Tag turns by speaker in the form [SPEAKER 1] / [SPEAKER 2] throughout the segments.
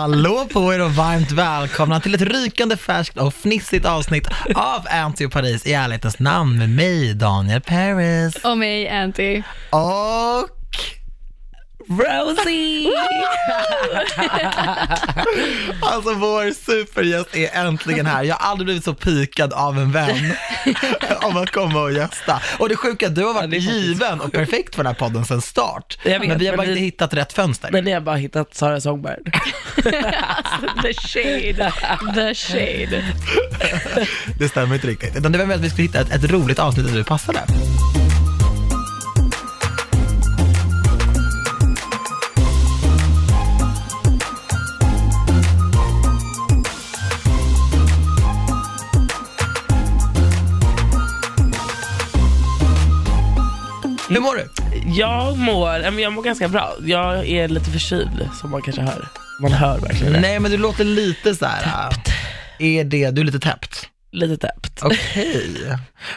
[SPEAKER 1] Hallå på er och varmt välkomna till ett rykande färskt och fnissigt avsnitt av Anty och Paris i ärlighetens namn med mig Daniel Paris
[SPEAKER 2] Och mig, Anty.
[SPEAKER 1] och
[SPEAKER 2] Rosie!
[SPEAKER 1] Alltså vår supergäst är äntligen här. Jag har aldrig blivit så pikad av en vän om att komma och gästa. Och det sjuka, du har varit
[SPEAKER 3] det är faktiskt
[SPEAKER 1] given och perfekt för den här podden sedan start.
[SPEAKER 3] Jag vet,
[SPEAKER 1] men vi har
[SPEAKER 3] men
[SPEAKER 1] bara
[SPEAKER 3] vi-
[SPEAKER 1] inte hittat rätt fönster.
[SPEAKER 3] Men ni har bara hittat Sara Sångberg.
[SPEAKER 2] The shade. The shade.
[SPEAKER 1] Det stämmer inte riktigt. Utan det var väl att vi skulle hitta ett, ett roligt avsnitt där du passade. Hur mår du?
[SPEAKER 3] Jag mår, ja, men jag mår ganska bra. Jag är lite förkyld som man kanske hör. Man hör verkligen det.
[SPEAKER 1] Nej men du låter lite så här. äh, Är det, du är lite täppt?
[SPEAKER 3] Lite täppt.
[SPEAKER 1] Okej.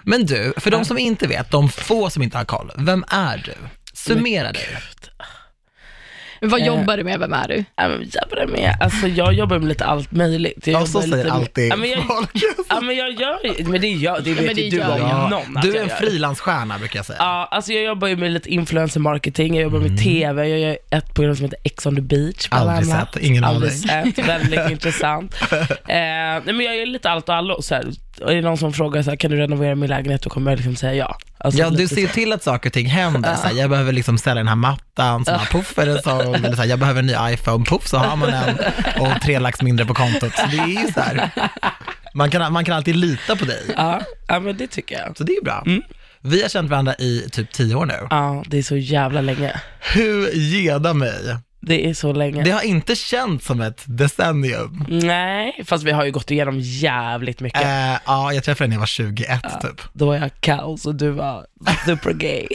[SPEAKER 1] Men du, för de som inte vet, de få som inte har koll, vem är du? Summera dig.
[SPEAKER 2] Men vad
[SPEAKER 3] Eh.
[SPEAKER 2] jobbar du med? Vem är du?
[SPEAKER 3] Ja, men jävlar med. Alltså jag jobbar med lite allt möjligt. Jag
[SPEAKER 1] Ja, så
[SPEAKER 3] jobbar
[SPEAKER 1] säger
[SPEAKER 3] lite med-
[SPEAKER 1] alltid
[SPEAKER 3] ja, men jag,
[SPEAKER 1] folk.
[SPEAKER 3] ja men jag gör ju, men det är jag, det vet
[SPEAKER 2] men det
[SPEAKER 3] ju du
[SPEAKER 2] gör
[SPEAKER 3] om
[SPEAKER 2] jag.
[SPEAKER 3] någon att
[SPEAKER 1] du är
[SPEAKER 3] jag
[SPEAKER 1] en
[SPEAKER 3] gör.
[SPEAKER 1] frilansstjärna brukar jag säga.
[SPEAKER 3] Ja, alltså jag jobbar ju med lite influencer marketing, jag jobbar med TV, jag gör ett program som heter Ex on the beach. bland
[SPEAKER 1] Mm. Aldrig
[SPEAKER 3] annat.
[SPEAKER 1] sett, ingen
[SPEAKER 3] Aldrig
[SPEAKER 1] aning.
[SPEAKER 3] sett, väldigt intressant. Eh, nej, men jag gör lite allt och allo. Så här. Är det någon som frågar så här, kan du renovera min lägenhet, då kommer jag liksom säga ja. Alltså,
[SPEAKER 1] Ja, du
[SPEAKER 3] lite
[SPEAKER 1] ser ju
[SPEAKER 3] så.
[SPEAKER 1] till att saker och ting händer. Såhär, jag behöver liksom ställa den här mattan, så bara poff är det såld. Eller såhär, jag behöver en ny iPhone, poff så har man en. Och tre lax mindre på kontot. Så det är ju såhär, man kan, man kan alltid lita på dig.
[SPEAKER 3] Ja, ja, men det tycker jag.
[SPEAKER 1] Så det är ju bra.
[SPEAKER 3] Mm.
[SPEAKER 1] Vi har känt varandra i typ tio år nu.
[SPEAKER 3] Ja, det är så jävla länge.
[SPEAKER 1] Hur geda mig.
[SPEAKER 3] Det är så länge.
[SPEAKER 1] Det har inte känts som ett decennium.
[SPEAKER 3] Nej, fast vi har ju gått igenom jävligt mycket.
[SPEAKER 1] Eh, ja, jag träffade henne när jag var 21 typ.
[SPEAKER 3] Då var jag kaos och du var supergay.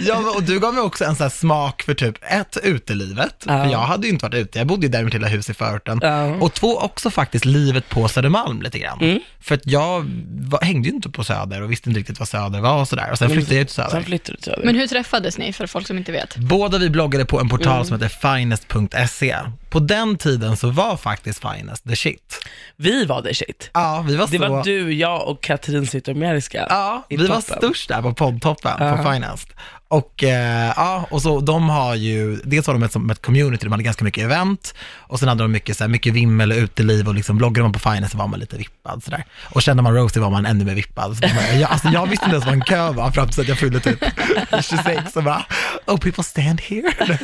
[SPEAKER 1] Ja, men- och du gav mig också en sån här smak för typ ett, utelivet.
[SPEAKER 3] Ja.
[SPEAKER 1] För jag hade ju inte varit ute, jag bodde ju där i mitt lilla hus i förorten.
[SPEAKER 3] Ja. Mm.
[SPEAKER 1] Och två, också faktiskt livet på Södermalm lite grann. För att jag var, hängde ju inte på Söder och visste inte riktigt vad Söder var och sådär. Och sen flyttade jag ut till
[SPEAKER 3] Mm. Sen
[SPEAKER 1] Söder.
[SPEAKER 3] flyttade du till Söder.
[SPEAKER 2] Men hur träffades ni, för folk som inte vet?
[SPEAKER 1] Båda vi bloggade på en
[SPEAKER 3] Mm.
[SPEAKER 1] portal som heter finest.se. På den tiden så var faktiskt finest the shit.
[SPEAKER 3] Vi var the shit.
[SPEAKER 1] Ja, vi var
[SPEAKER 3] Det
[SPEAKER 1] så...
[SPEAKER 3] var du, jag och Katrin Zytomierska.
[SPEAKER 1] Ja,
[SPEAKER 3] i
[SPEAKER 1] vi var
[SPEAKER 3] toppen.
[SPEAKER 1] störst där på poddtoppen på Finest. Och, eh, ja, och så de har ju, dels har de ett, som ett community, de hade ganska mycket event och sen hade de mycket, så här, mycket vimmel och uteliv och liksom bloggade man på Finest så var man lite vippad sådär. Och kände man Rosie var man ännu mer vippad. Så bara, jag, alltså, jag visste inte ens vad en kö var fram tills att jag fyllde typ 26 och bara, oh people stand here.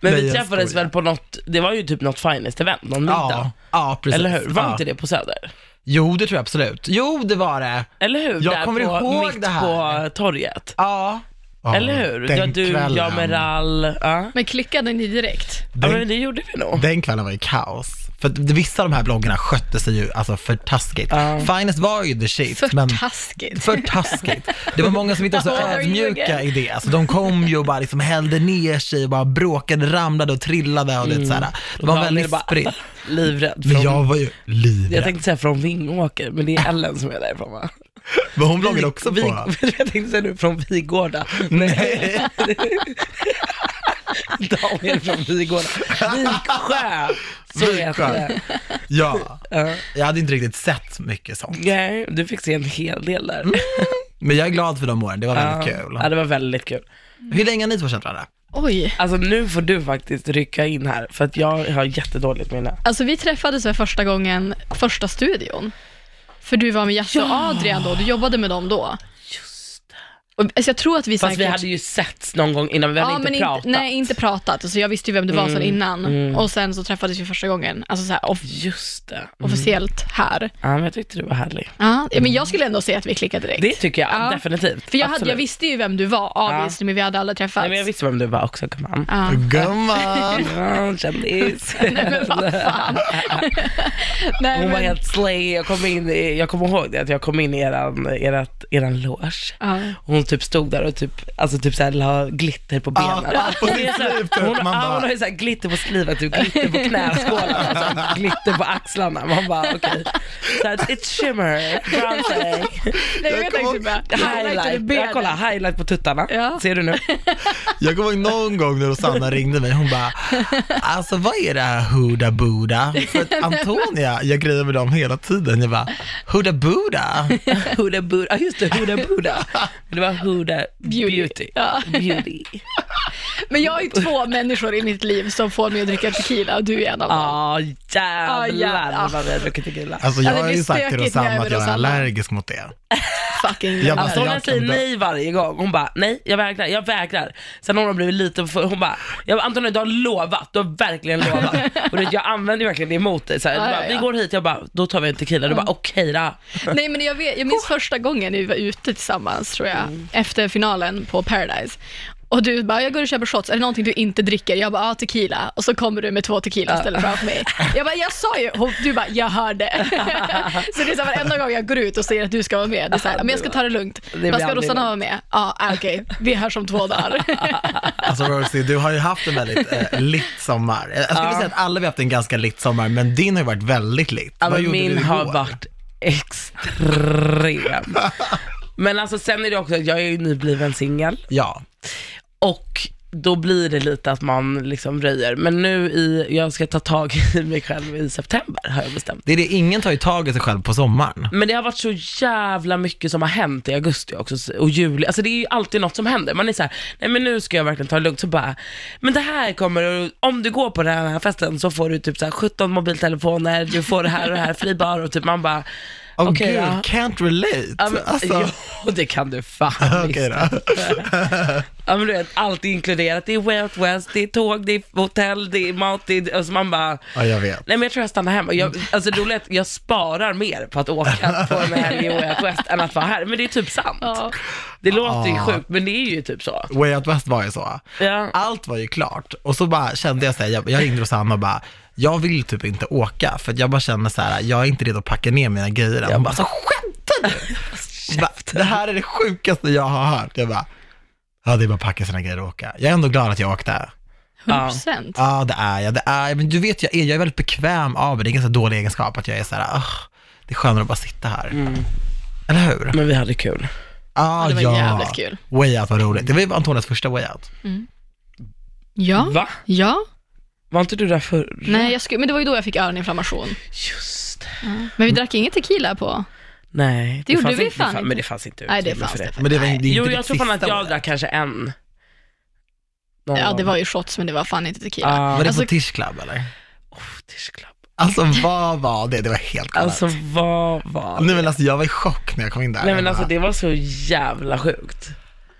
[SPEAKER 3] Men
[SPEAKER 1] Nej,
[SPEAKER 3] vi
[SPEAKER 1] jag
[SPEAKER 3] träffades
[SPEAKER 1] skojar.
[SPEAKER 3] väl på något, det var ju typ något finest event, någon middag.
[SPEAKER 1] Ja, ja, precis.
[SPEAKER 3] Eller hur? Var
[SPEAKER 1] ja.
[SPEAKER 3] inte det på Söder?
[SPEAKER 1] Jo, det tror jag absolut. Jo, det var det.
[SPEAKER 3] Eller hur?
[SPEAKER 1] Jag
[SPEAKER 3] Där
[SPEAKER 1] kommer
[SPEAKER 3] på,
[SPEAKER 1] ihåg
[SPEAKER 3] mitt
[SPEAKER 1] det här.
[SPEAKER 3] på torget.
[SPEAKER 1] Ja.
[SPEAKER 3] Eller hur?
[SPEAKER 1] Den
[SPEAKER 3] Ja, du, jag
[SPEAKER 1] kvällen.
[SPEAKER 3] Meral. Ja.
[SPEAKER 2] Men klickade ni direkt?
[SPEAKER 3] ja,
[SPEAKER 1] Den
[SPEAKER 3] men det gjorde vi nog.
[SPEAKER 1] Den kvällen var ju kaos. För att vissa av de här bloggarna skötte sig ju alltså för taskigt.
[SPEAKER 3] Ja.
[SPEAKER 1] Finest var ju the shit,
[SPEAKER 2] För
[SPEAKER 1] men
[SPEAKER 2] taskigt.
[SPEAKER 1] för taskigt. Det var många som inte var så
[SPEAKER 2] Where are you
[SPEAKER 1] ödmjuka
[SPEAKER 2] again?
[SPEAKER 1] i det. Alltså, de kom ju och bara liksom hällde ner sig och bara bråkade, ramlade och trillade och lite såhär. Det var
[SPEAKER 3] Ja,
[SPEAKER 1] väldigt
[SPEAKER 3] men det Mm. bara-
[SPEAKER 1] spritt.
[SPEAKER 3] Livrädd. Från,
[SPEAKER 1] Men jag
[SPEAKER 3] jag...
[SPEAKER 1] var ju livrädd.
[SPEAKER 3] tänkte säga från Vingåker, men det är Ellen som är därifrån va?
[SPEAKER 1] Men hon bloggade också
[SPEAKER 3] Vi,
[SPEAKER 1] på...
[SPEAKER 3] jag tänkte säga nu från Vigårda.
[SPEAKER 1] Nej.
[SPEAKER 3] Daniel från Vigårda. Viksjö. Så heter det.
[SPEAKER 1] Ja,
[SPEAKER 3] Ja.
[SPEAKER 1] jag hade inte riktigt sett mycket sånt.
[SPEAKER 3] Nej, du fick se en hel del där.
[SPEAKER 1] Men jag är glad för de åren, Mm. det var väldigt
[SPEAKER 3] ja.
[SPEAKER 1] kul.
[SPEAKER 3] Ja, det var väldigt kul.
[SPEAKER 1] Hur länge har ni två känt varandra?
[SPEAKER 2] Oj.
[SPEAKER 3] Alltså nu får du faktiskt rycka in här, för att jag har jättedåligt minne.
[SPEAKER 2] Alltså vi träffades för första gången, första studion. För du var med Jaså och Adrian då, du jobbade med dem då. Och, alltså jag tror att vi
[SPEAKER 3] Fast
[SPEAKER 2] säkert...
[SPEAKER 3] vi hade ju setts någon gång innan, vi hade inte pratat. Mm,
[SPEAKER 2] nej, inte pratat. Alltså jag visste ju vem du var sedan innan. Och sen så träffades vi första gången, alltså så här, off-
[SPEAKER 3] Just det.
[SPEAKER 2] officiellt här.
[SPEAKER 3] Ja, men jag tyckte du var härlig.
[SPEAKER 2] Ja, men jag skulle ändå säga att vi klickade direkt.
[SPEAKER 3] Det tycker jag
[SPEAKER 2] Ja.
[SPEAKER 3] definitivt.
[SPEAKER 2] För jag, hade,
[SPEAKER 3] Absolut.
[SPEAKER 2] jag visste ju vem du var, obviously, men vi hade aldrig träffats.
[SPEAKER 3] Nej, men jag visste vem du var också, gumman.
[SPEAKER 2] Ja.
[SPEAKER 1] Gumman!
[SPEAKER 3] Ja, kändis.
[SPEAKER 2] Nej men vad fan. Nej,
[SPEAKER 3] Hon var
[SPEAKER 2] men-
[SPEAKER 3] helt slay. Jag kom, in, i- jag kommer ihåg det, att jag kom in i eran, erat, eran loge.
[SPEAKER 2] Ja.
[SPEAKER 3] Och Hon typ stod där och typ, alltså typ såhär la glitter på benen.
[SPEAKER 1] Ja, på
[SPEAKER 3] Och det är
[SPEAKER 1] sitt
[SPEAKER 3] såhär-
[SPEAKER 1] liv typ.
[SPEAKER 3] hon,
[SPEAKER 1] Man
[SPEAKER 3] ja,
[SPEAKER 1] bara-
[SPEAKER 3] hon har ju såhär glitter på slivet, typ, glitter på knäskålarna, och såhär glitter på axlarna. Man bara okej. Såhär, It's shimmer, bronzing,
[SPEAKER 2] Nej, jag
[SPEAKER 1] Jag
[SPEAKER 2] vet
[SPEAKER 1] kommer
[SPEAKER 2] inte. bara, highlight
[SPEAKER 3] highlight.
[SPEAKER 2] i
[SPEAKER 3] Jag
[SPEAKER 2] benet.
[SPEAKER 3] kollar highlight på tuttarna.
[SPEAKER 2] Ja.
[SPEAKER 3] Ser du nu?
[SPEAKER 1] Jag kommer ihåg någon gång när Rosanna ringde mig, hon bara, alltså vad är det här Huda Buda? För att Antonia, jag grejer med dem hela tiden, jag bara, Huda Buda?
[SPEAKER 3] Huda Buda, ah, just det, Huda Buda. Det var Huda
[SPEAKER 2] Beauty.
[SPEAKER 3] Beauty.
[SPEAKER 2] Ja.
[SPEAKER 3] Beauty.
[SPEAKER 2] Men jag har ju två människor i mitt liv som får mig att dricka tequila och du är en av dem.
[SPEAKER 3] Ah,
[SPEAKER 2] jävlar.
[SPEAKER 3] jävlar vad vi har druckit tequila.
[SPEAKER 1] Alltså jag
[SPEAKER 2] Ja, det
[SPEAKER 1] har ju
[SPEAKER 2] blir
[SPEAKER 1] sagt till
[SPEAKER 2] stökigt med
[SPEAKER 1] Rosanna att jag är
[SPEAKER 2] Rosanna.
[SPEAKER 1] allergisk mot det.
[SPEAKER 2] Fucking alltså.
[SPEAKER 1] Jag bara,
[SPEAKER 2] jävlar.
[SPEAKER 1] jag
[SPEAKER 3] Antonija
[SPEAKER 1] kan
[SPEAKER 3] säger
[SPEAKER 1] dö.
[SPEAKER 3] nej varje gång. Hon bara, nej jag vägrar, jag vägrar. Sen har hon blivit lite för hon bara, jag bara, Antonija du har lovat, du har verkligen lovat. Och du vet, jag använder ju verkligen det emot dig. Så här,
[SPEAKER 2] Ja,
[SPEAKER 3] du
[SPEAKER 2] ja,
[SPEAKER 3] bara,
[SPEAKER 2] ja.
[SPEAKER 3] Vi går hit, jag bara, då tar vi en tequila. Du bara, okej då.
[SPEAKER 2] Nej, men jag, vet, jag minns första gången vi var ute tillsammans, tror jag,
[SPEAKER 3] Mm.
[SPEAKER 2] efter finalen på Paradise. Och du bara, jag går och köper shots, är det någonting du inte dricker? Jag bara, ja tequila. Och så kommer du med två tequila och ställer framför mig. Jag bara, jag sa ju, och du bara, jag hörde. så det är så här, varenda gång jag går ut och säger att du ska vara med, det är så här, men jag ska ta det lugnt.
[SPEAKER 3] blir
[SPEAKER 2] Vad ska
[SPEAKER 3] aldrig
[SPEAKER 2] Rosanna
[SPEAKER 3] lugnt.
[SPEAKER 2] vara med? Ja, ah, okej, vi hörs om två dagar.
[SPEAKER 1] Alltså Rosie, du har ju haft en väldigt eh, lit sommar. Jag skulle säga att alla vi har haft en ganska lit sommar, men din har ju varit väldigt lit.
[SPEAKER 3] Ja,
[SPEAKER 1] Vad
[SPEAKER 3] men
[SPEAKER 1] gjorde
[SPEAKER 3] Alltså, min
[SPEAKER 1] du
[SPEAKER 3] har
[SPEAKER 1] igår?
[SPEAKER 3] varit extrem. men alltså sen är det också att jag är ju nybliven singel.
[SPEAKER 1] Ja,
[SPEAKER 3] Och då blir det lite att man liksom röjer. Men nu i, jag ska ta tag i mig själv i september har jag bestämt.
[SPEAKER 1] det är det, ingen tar ju tag i sig själv på sommaren.
[SPEAKER 3] Men det har varit så jävla mycket som har hänt i augusti också och juli. Alltså det är ju alltid något som händer. Man är så här, nej men nu ska jag verkligen ta det lugnt. Så bara, men det här kommer, och om du går på den här festen så får du typ så här 17 mobiltelefoner, du får det här och det här, fri bar och typ man bara,
[SPEAKER 1] Åh
[SPEAKER 3] Okej
[SPEAKER 1] gud,
[SPEAKER 3] då.
[SPEAKER 1] can't relate.
[SPEAKER 3] ja men,
[SPEAKER 1] alltså,
[SPEAKER 3] jo, det kan du fan visst.
[SPEAKER 1] okej då.
[SPEAKER 3] Ja men du vet, allt är inkluderat. Det är Way Out West, det är tåg, det är hotell, det är mat, det är, alltså man bara,
[SPEAKER 1] Ja, jag vet.
[SPEAKER 3] Nej men jag tror jag stannar hemma.
[SPEAKER 2] Mm.
[SPEAKER 3] Jag, alltså det roliga är att jag sparar mer på att åka på en helg i Way Out West än att vara här. Men det är typ sant.
[SPEAKER 2] Ja.
[SPEAKER 3] Det låter ju
[SPEAKER 1] Ah.
[SPEAKER 3] sjukt men det är ju typ så.
[SPEAKER 1] Way Out West var ju så.
[SPEAKER 3] Ja.
[SPEAKER 1] Allt var ju klart och så bara kände jag såhär, jag, jag ringde Rosanna och bara, jag vill typ inte åka för att jag bara känner såhär, jag är inte redo att packa ner mina grejer än. Hon bara, så skämtar du? Hon bara, Det här är det sjukaste jag har hört. Jag bara, ja det är bara att packa sina grejer och åka. Jag är ändå glad att jag åkte.
[SPEAKER 2] 100%.
[SPEAKER 1] Ja det är jag, det är men du vet jag är, jag är väldigt bekväm av mig, det är en ganska dålig egenskap att jag är såhär, ah, det är skönare att bara sitta här. Eller hur?
[SPEAKER 3] Men vi hade kul.
[SPEAKER 1] Ah,
[SPEAKER 2] det var
[SPEAKER 1] ja,
[SPEAKER 2] jävligt kul.
[SPEAKER 1] Way out var roligt. Det var ju Antonias första way out.
[SPEAKER 2] Ja. Mm.
[SPEAKER 3] Va?
[SPEAKER 2] Ja,
[SPEAKER 3] Var inte du där förr?
[SPEAKER 2] nej, jag skulle, men det var ju då jag fick öroninflammation.
[SPEAKER 3] Just det.
[SPEAKER 2] Men vi drack ingen tequila på.
[SPEAKER 3] Nej.
[SPEAKER 2] gjorde
[SPEAKER 3] fanns
[SPEAKER 2] vi
[SPEAKER 3] inte,
[SPEAKER 2] fan
[SPEAKER 3] fan-
[SPEAKER 2] inte.
[SPEAKER 3] Men det fanns inte
[SPEAKER 2] Nej, det
[SPEAKER 3] utrymme
[SPEAKER 2] fanns
[SPEAKER 3] för
[SPEAKER 2] det.
[SPEAKER 1] Men det var det är inte
[SPEAKER 3] Jo
[SPEAKER 1] ditt
[SPEAKER 3] jag tror fan att
[SPEAKER 1] sista way
[SPEAKER 3] jag
[SPEAKER 1] out.
[SPEAKER 3] drack kanske en. Någon
[SPEAKER 2] Ja, det
[SPEAKER 3] gång.
[SPEAKER 2] var ju shots, men det var fan inte tequila.
[SPEAKER 1] Var
[SPEAKER 3] Ah,
[SPEAKER 1] det
[SPEAKER 2] Alltså-
[SPEAKER 1] på Tisch Club eller?
[SPEAKER 3] oh, Tisch Club.
[SPEAKER 1] Alltså vad var det? Det var helt galet.
[SPEAKER 3] Alltså vad var det?
[SPEAKER 1] Nej men alltså jag var i chock när jag kom in där.
[SPEAKER 3] Nej men
[SPEAKER 1] Jag
[SPEAKER 3] alltså
[SPEAKER 1] bara,
[SPEAKER 3] det var så jävla sjukt.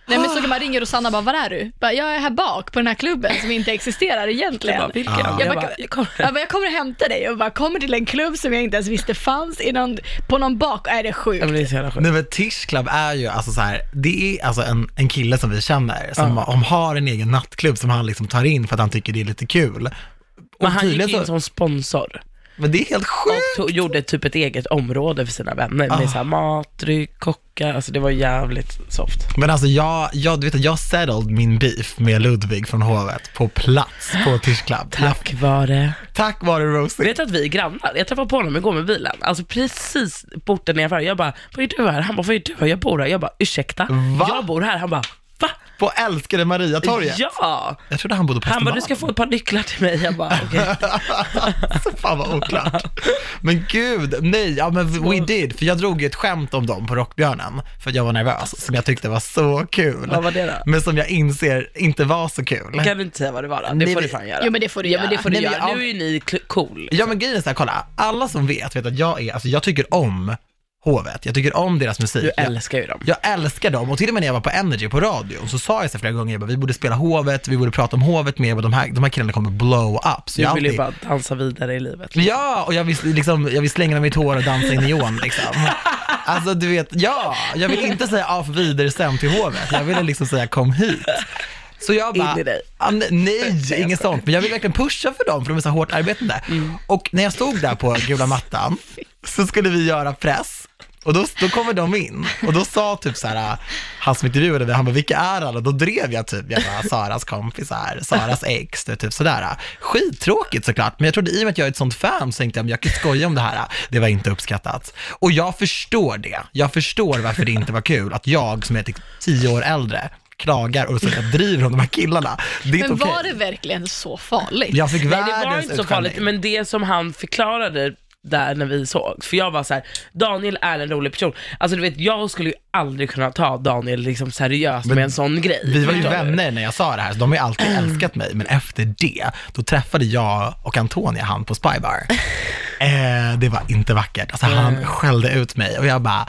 [SPEAKER 2] Nej men så kan man ringer och Sanna bara, var är du? Bara, jag är här bak på den här klubben som inte existerar
[SPEAKER 3] Jag
[SPEAKER 2] egentligen.
[SPEAKER 3] bara, vilken?
[SPEAKER 1] Ja.
[SPEAKER 3] Jag
[SPEAKER 2] Jag
[SPEAKER 3] bara,
[SPEAKER 2] bara-
[SPEAKER 3] jag kommer.
[SPEAKER 2] Jag, bara, jag kommer och hämtar dig och bara kommer till en klubb som jag inte ens visste fanns i någon, på någon bak. Är det
[SPEAKER 3] Ja, men
[SPEAKER 2] sjukt?
[SPEAKER 3] det är så jävla sjukt.
[SPEAKER 1] Nej men Tisch Club är ju alltså så här, det är alltså en, en kille som vi känner som om har en egen nattklubb som han liksom tar in för att han tycker det är lite kul. Och
[SPEAKER 3] Men han gick
[SPEAKER 1] tydligen
[SPEAKER 3] in som sponsor
[SPEAKER 1] Men det är helt sjukt.
[SPEAKER 3] och tog, gjorde typ ett eget område för sina vänner med så här mat, dryck, kockar, alltså det var jävligt soft.
[SPEAKER 1] Men alltså jag, jag, du vet att jag settled min beef med Ludvig från hovet på plats på Tisch Club.
[SPEAKER 3] Tack vare...
[SPEAKER 1] Jag, tack vare Rosie.
[SPEAKER 3] Vet du att vi är grannar? Jag träffade på honom igår med bilen, alltså precis porten nedanför. Jag bara, vad är du här? Han bara, vad är du här? Jag bor här. Jag bara, ursäkta?
[SPEAKER 1] Va?
[SPEAKER 3] Jag bor här. Han bara, va?
[SPEAKER 1] På älskade Maria torget.
[SPEAKER 3] Ja!
[SPEAKER 1] Jag trodde han bodde på
[SPEAKER 3] Han bara,
[SPEAKER 1] Östermalm.
[SPEAKER 3] du ska få ett par nycklar till mig. Jag bara, okej.
[SPEAKER 1] Så Alltså, Fan vad oklart. Men gud, nej, ja men we did. För jag drog ju ett skämt om dem på Rockbjörnen, för att jag var nervös, som jag tyckte var så kul.
[SPEAKER 3] Vad var det då?
[SPEAKER 1] Men som jag inser inte var så kul.
[SPEAKER 3] Kan du inte säga vad det var då? Det
[SPEAKER 1] Nej,
[SPEAKER 3] får du
[SPEAKER 1] men-
[SPEAKER 3] fan göra.
[SPEAKER 2] Jo men det får du
[SPEAKER 3] Ja,
[SPEAKER 2] göra.
[SPEAKER 3] men det får du
[SPEAKER 1] Nej, men
[SPEAKER 3] göra.
[SPEAKER 1] jag-
[SPEAKER 3] Nu är ju ni kl- cool.
[SPEAKER 1] Ja men grejen är så här, kolla, alla som vet, vet att jag är, alltså jag tycker om hovet, jag tycker om deras musik.
[SPEAKER 3] Du
[SPEAKER 1] Jag-
[SPEAKER 3] älskar ju dem.
[SPEAKER 1] Jag älskar dem och till och med när jag var på Energy på radion så sa jag så flera gånger, jag bara, vi borde spela hovet, vi borde prata om hovet mer, och de här, de här killarna kommer blow up. Så
[SPEAKER 3] Du
[SPEAKER 1] jag
[SPEAKER 3] vill ju
[SPEAKER 1] alltid-
[SPEAKER 3] bara dansa vidare i livet.
[SPEAKER 1] Ja, och jag vill, liksom, jag vill slänga mitt hår och dansa i neon liksom. Alltså du vet, ja, jag vill inte säga av vidare sen till hovet, jag ville liksom säga kom hit. Så jag bara,
[SPEAKER 3] In i dig.
[SPEAKER 1] Ah, ne- nej, inget sånt, men jag vill verkligen pusha för dem, för de är så hårt arbetande.
[SPEAKER 3] Mm.
[SPEAKER 1] Och när jag stod där på gula mattan, så skulle vi göra press, och då, då kommer de in, och då sa typ så här, han som intervjuade mig, han bara, vilka är alla? Och då drev jag typ, jag bara, Saras kompisar, Saras ex, du, typ sådär. Skittråkigt såklart, men jag trodde i och med att jag är ett sånt fan, så tänkte jag, men jag kan skoja om det här. Det var inte uppskattat. Och jag förstår det, jag förstår varför det inte var kul, att jag som är typ tio år äldre, klagar och så driver om de här killarna. Det är inte
[SPEAKER 2] Men
[SPEAKER 1] okej.
[SPEAKER 2] var det verkligen så farligt?
[SPEAKER 1] Jag fick
[SPEAKER 3] Nej,
[SPEAKER 1] världens
[SPEAKER 3] det var inte så
[SPEAKER 1] utskällning.
[SPEAKER 3] farligt, men det som han förklarade där när vi såg för jag var så här: Daniel är en rolig person. Alltså du vet, jag skulle ju aldrig kunna ta Daniel liksom seriöst med en sån grej.
[SPEAKER 1] Vi var ju
[SPEAKER 3] Förstår du?
[SPEAKER 1] vänner när jag sa det här, så de har ju alltid
[SPEAKER 3] Mm.
[SPEAKER 1] älskat mig. Men efter det, då träffade jag och Antonia han på Spybar. Eh, det var inte vackert. Alltså han skällde ut mig och jag bara,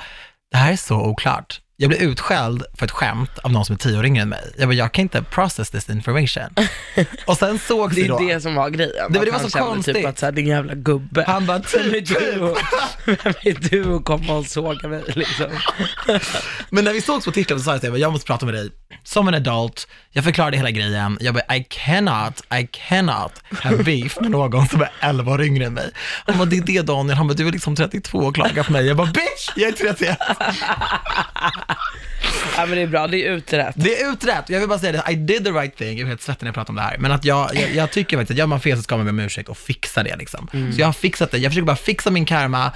[SPEAKER 1] det här är så oklart. Jag blev utskälld för ett skämt av någon som är tio år yngre än mig. Jag bara, jag kan inte process this information. och sen sågs
[SPEAKER 3] Det
[SPEAKER 1] vi
[SPEAKER 3] är
[SPEAKER 1] då.
[SPEAKER 3] det som var grejen.
[SPEAKER 1] men det
[SPEAKER 3] att
[SPEAKER 1] var
[SPEAKER 3] han
[SPEAKER 1] så
[SPEAKER 3] kände
[SPEAKER 1] konstigt.
[SPEAKER 3] Typ att såhär, din jävla gubbe.
[SPEAKER 1] Han bara,
[SPEAKER 3] vem är
[SPEAKER 1] typ,
[SPEAKER 3] du? och- Vem är du och komma och såga mig liksom?
[SPEAKER 1] Men när vi sågs på Tickland så sa jag till dig, jag måste prata med dig som en adult. Jag förklarade hela grejen. Jag bara, I cannot, I cannot have beef med någon som är 11 år yngre än mig. Han bara, det är det Daniel. Han bara, du är liksom 32 och klagar på mig. Jag bara, bitch, jag är 31.
[SPEAKER 3] Ja men det är bra, det är utrett.
[SPEAKER 1] Det är utrett. Jag vill bara säga det, I did the right thing. Jag är helt svettig när jag pratar om det här. Men att jag, jag, jag tycker faktiskt att gör man fel så ska man be om ursäkt och fixa det liksom.
[SPEAKER 3] Mm.
[SPEAKER 1] Så jag har fixat det. Jag försöker bara fixa min karma,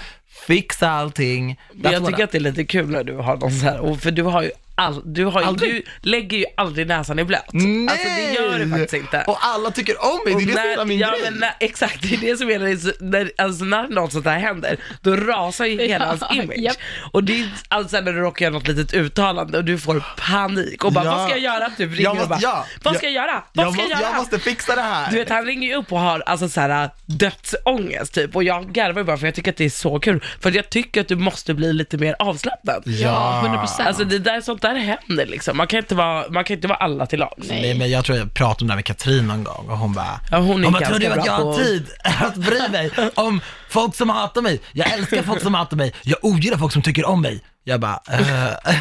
[SPEAKER 1] fixa allting.
[SPEAKER 3] Men
[SPEAKER 1] That's
[SPEAKER 3] jag
[SPEAKER 1] what
[SPEAKER 3] tycker att det är lite kul när du har någon så här, och för du har ju all, du, har ju,
[SPEAKER 1] Aldrig.
[SPEAKER 3] du lägger ju aldrig näsan i blöt.
[SPEAKER 1] Nej!
[SPEAKER 3] Alltså det gör du faktiskt inte.
[SPEAKER 1] Och alla tycker om mig, det är det som är hela min
[SPEAKER 3] ja,
[SPEAKER 1] grej.
[SPEAKER 3] men, när, exakt, det är det som är det- när, alltså, när något sånt här händer, då rasar ju hela
[SPEAKER 2] Ja,
[SPEAKER 3] hans image.
[SPEAKER 2] japp.
[SPEAKER 3] Och det är alltså när du råkar göra något litet uttalande och du får panik och bara,
[SPEAKER 1] Ja.
[SPEAKER 3] vad ska jag göra? Typ ringer
[SPEAKER 1] Jag
[SPEAKER 3] och
[SPEAKER 1] måste-
[SPEAKER 3] bara,
[SPEAKER 1] ja.
[SPEAKER 3] vad
[SPEAKER 1] Jag-
[SPEAKER 3] ska jag göra? Vad
[SPEAKER 1] Jag
[SPEAKER 3] ska jag,
[SPEAKER 1] måste,
[SPEAKER 3] göra?
[SPEAKER 1] jag måste fixa det här.
[SPEAKER 3] Du vet han ringer ju upp och har alltså så här dödsångest typ och jag garvar ju bara för jag tycker att det är så kul. För jag tycker att du måste bli lite mer avslappnad.
[SPEAKER 2] Ja, 100%.
[SPEAKER 3] Alltså det där, sånt där händer liksom. Man kan inte vara, man kan inte vara alla till lags.
[SPEAKER 2] Nej.
[SPEAKER 1] Nej, men jag tror jag pratade om det här med Katrin någon gång och hon bara,
[SPEAKER 3] Ja, hon är
[SPEAKER 1] bara,
[SPEAKER 3] ganska
[SPEAKER 1] tror du
[SPEAKER 3] bra
[SPEAKER 1] att jag har
[SPEAKER 3] på-
[SPEAKER 1] tid att bry mig om folk som hatar mig? Jag älskar folk som hatar mig, jag ogillar folk som tycker om mig. Jag bara, eh,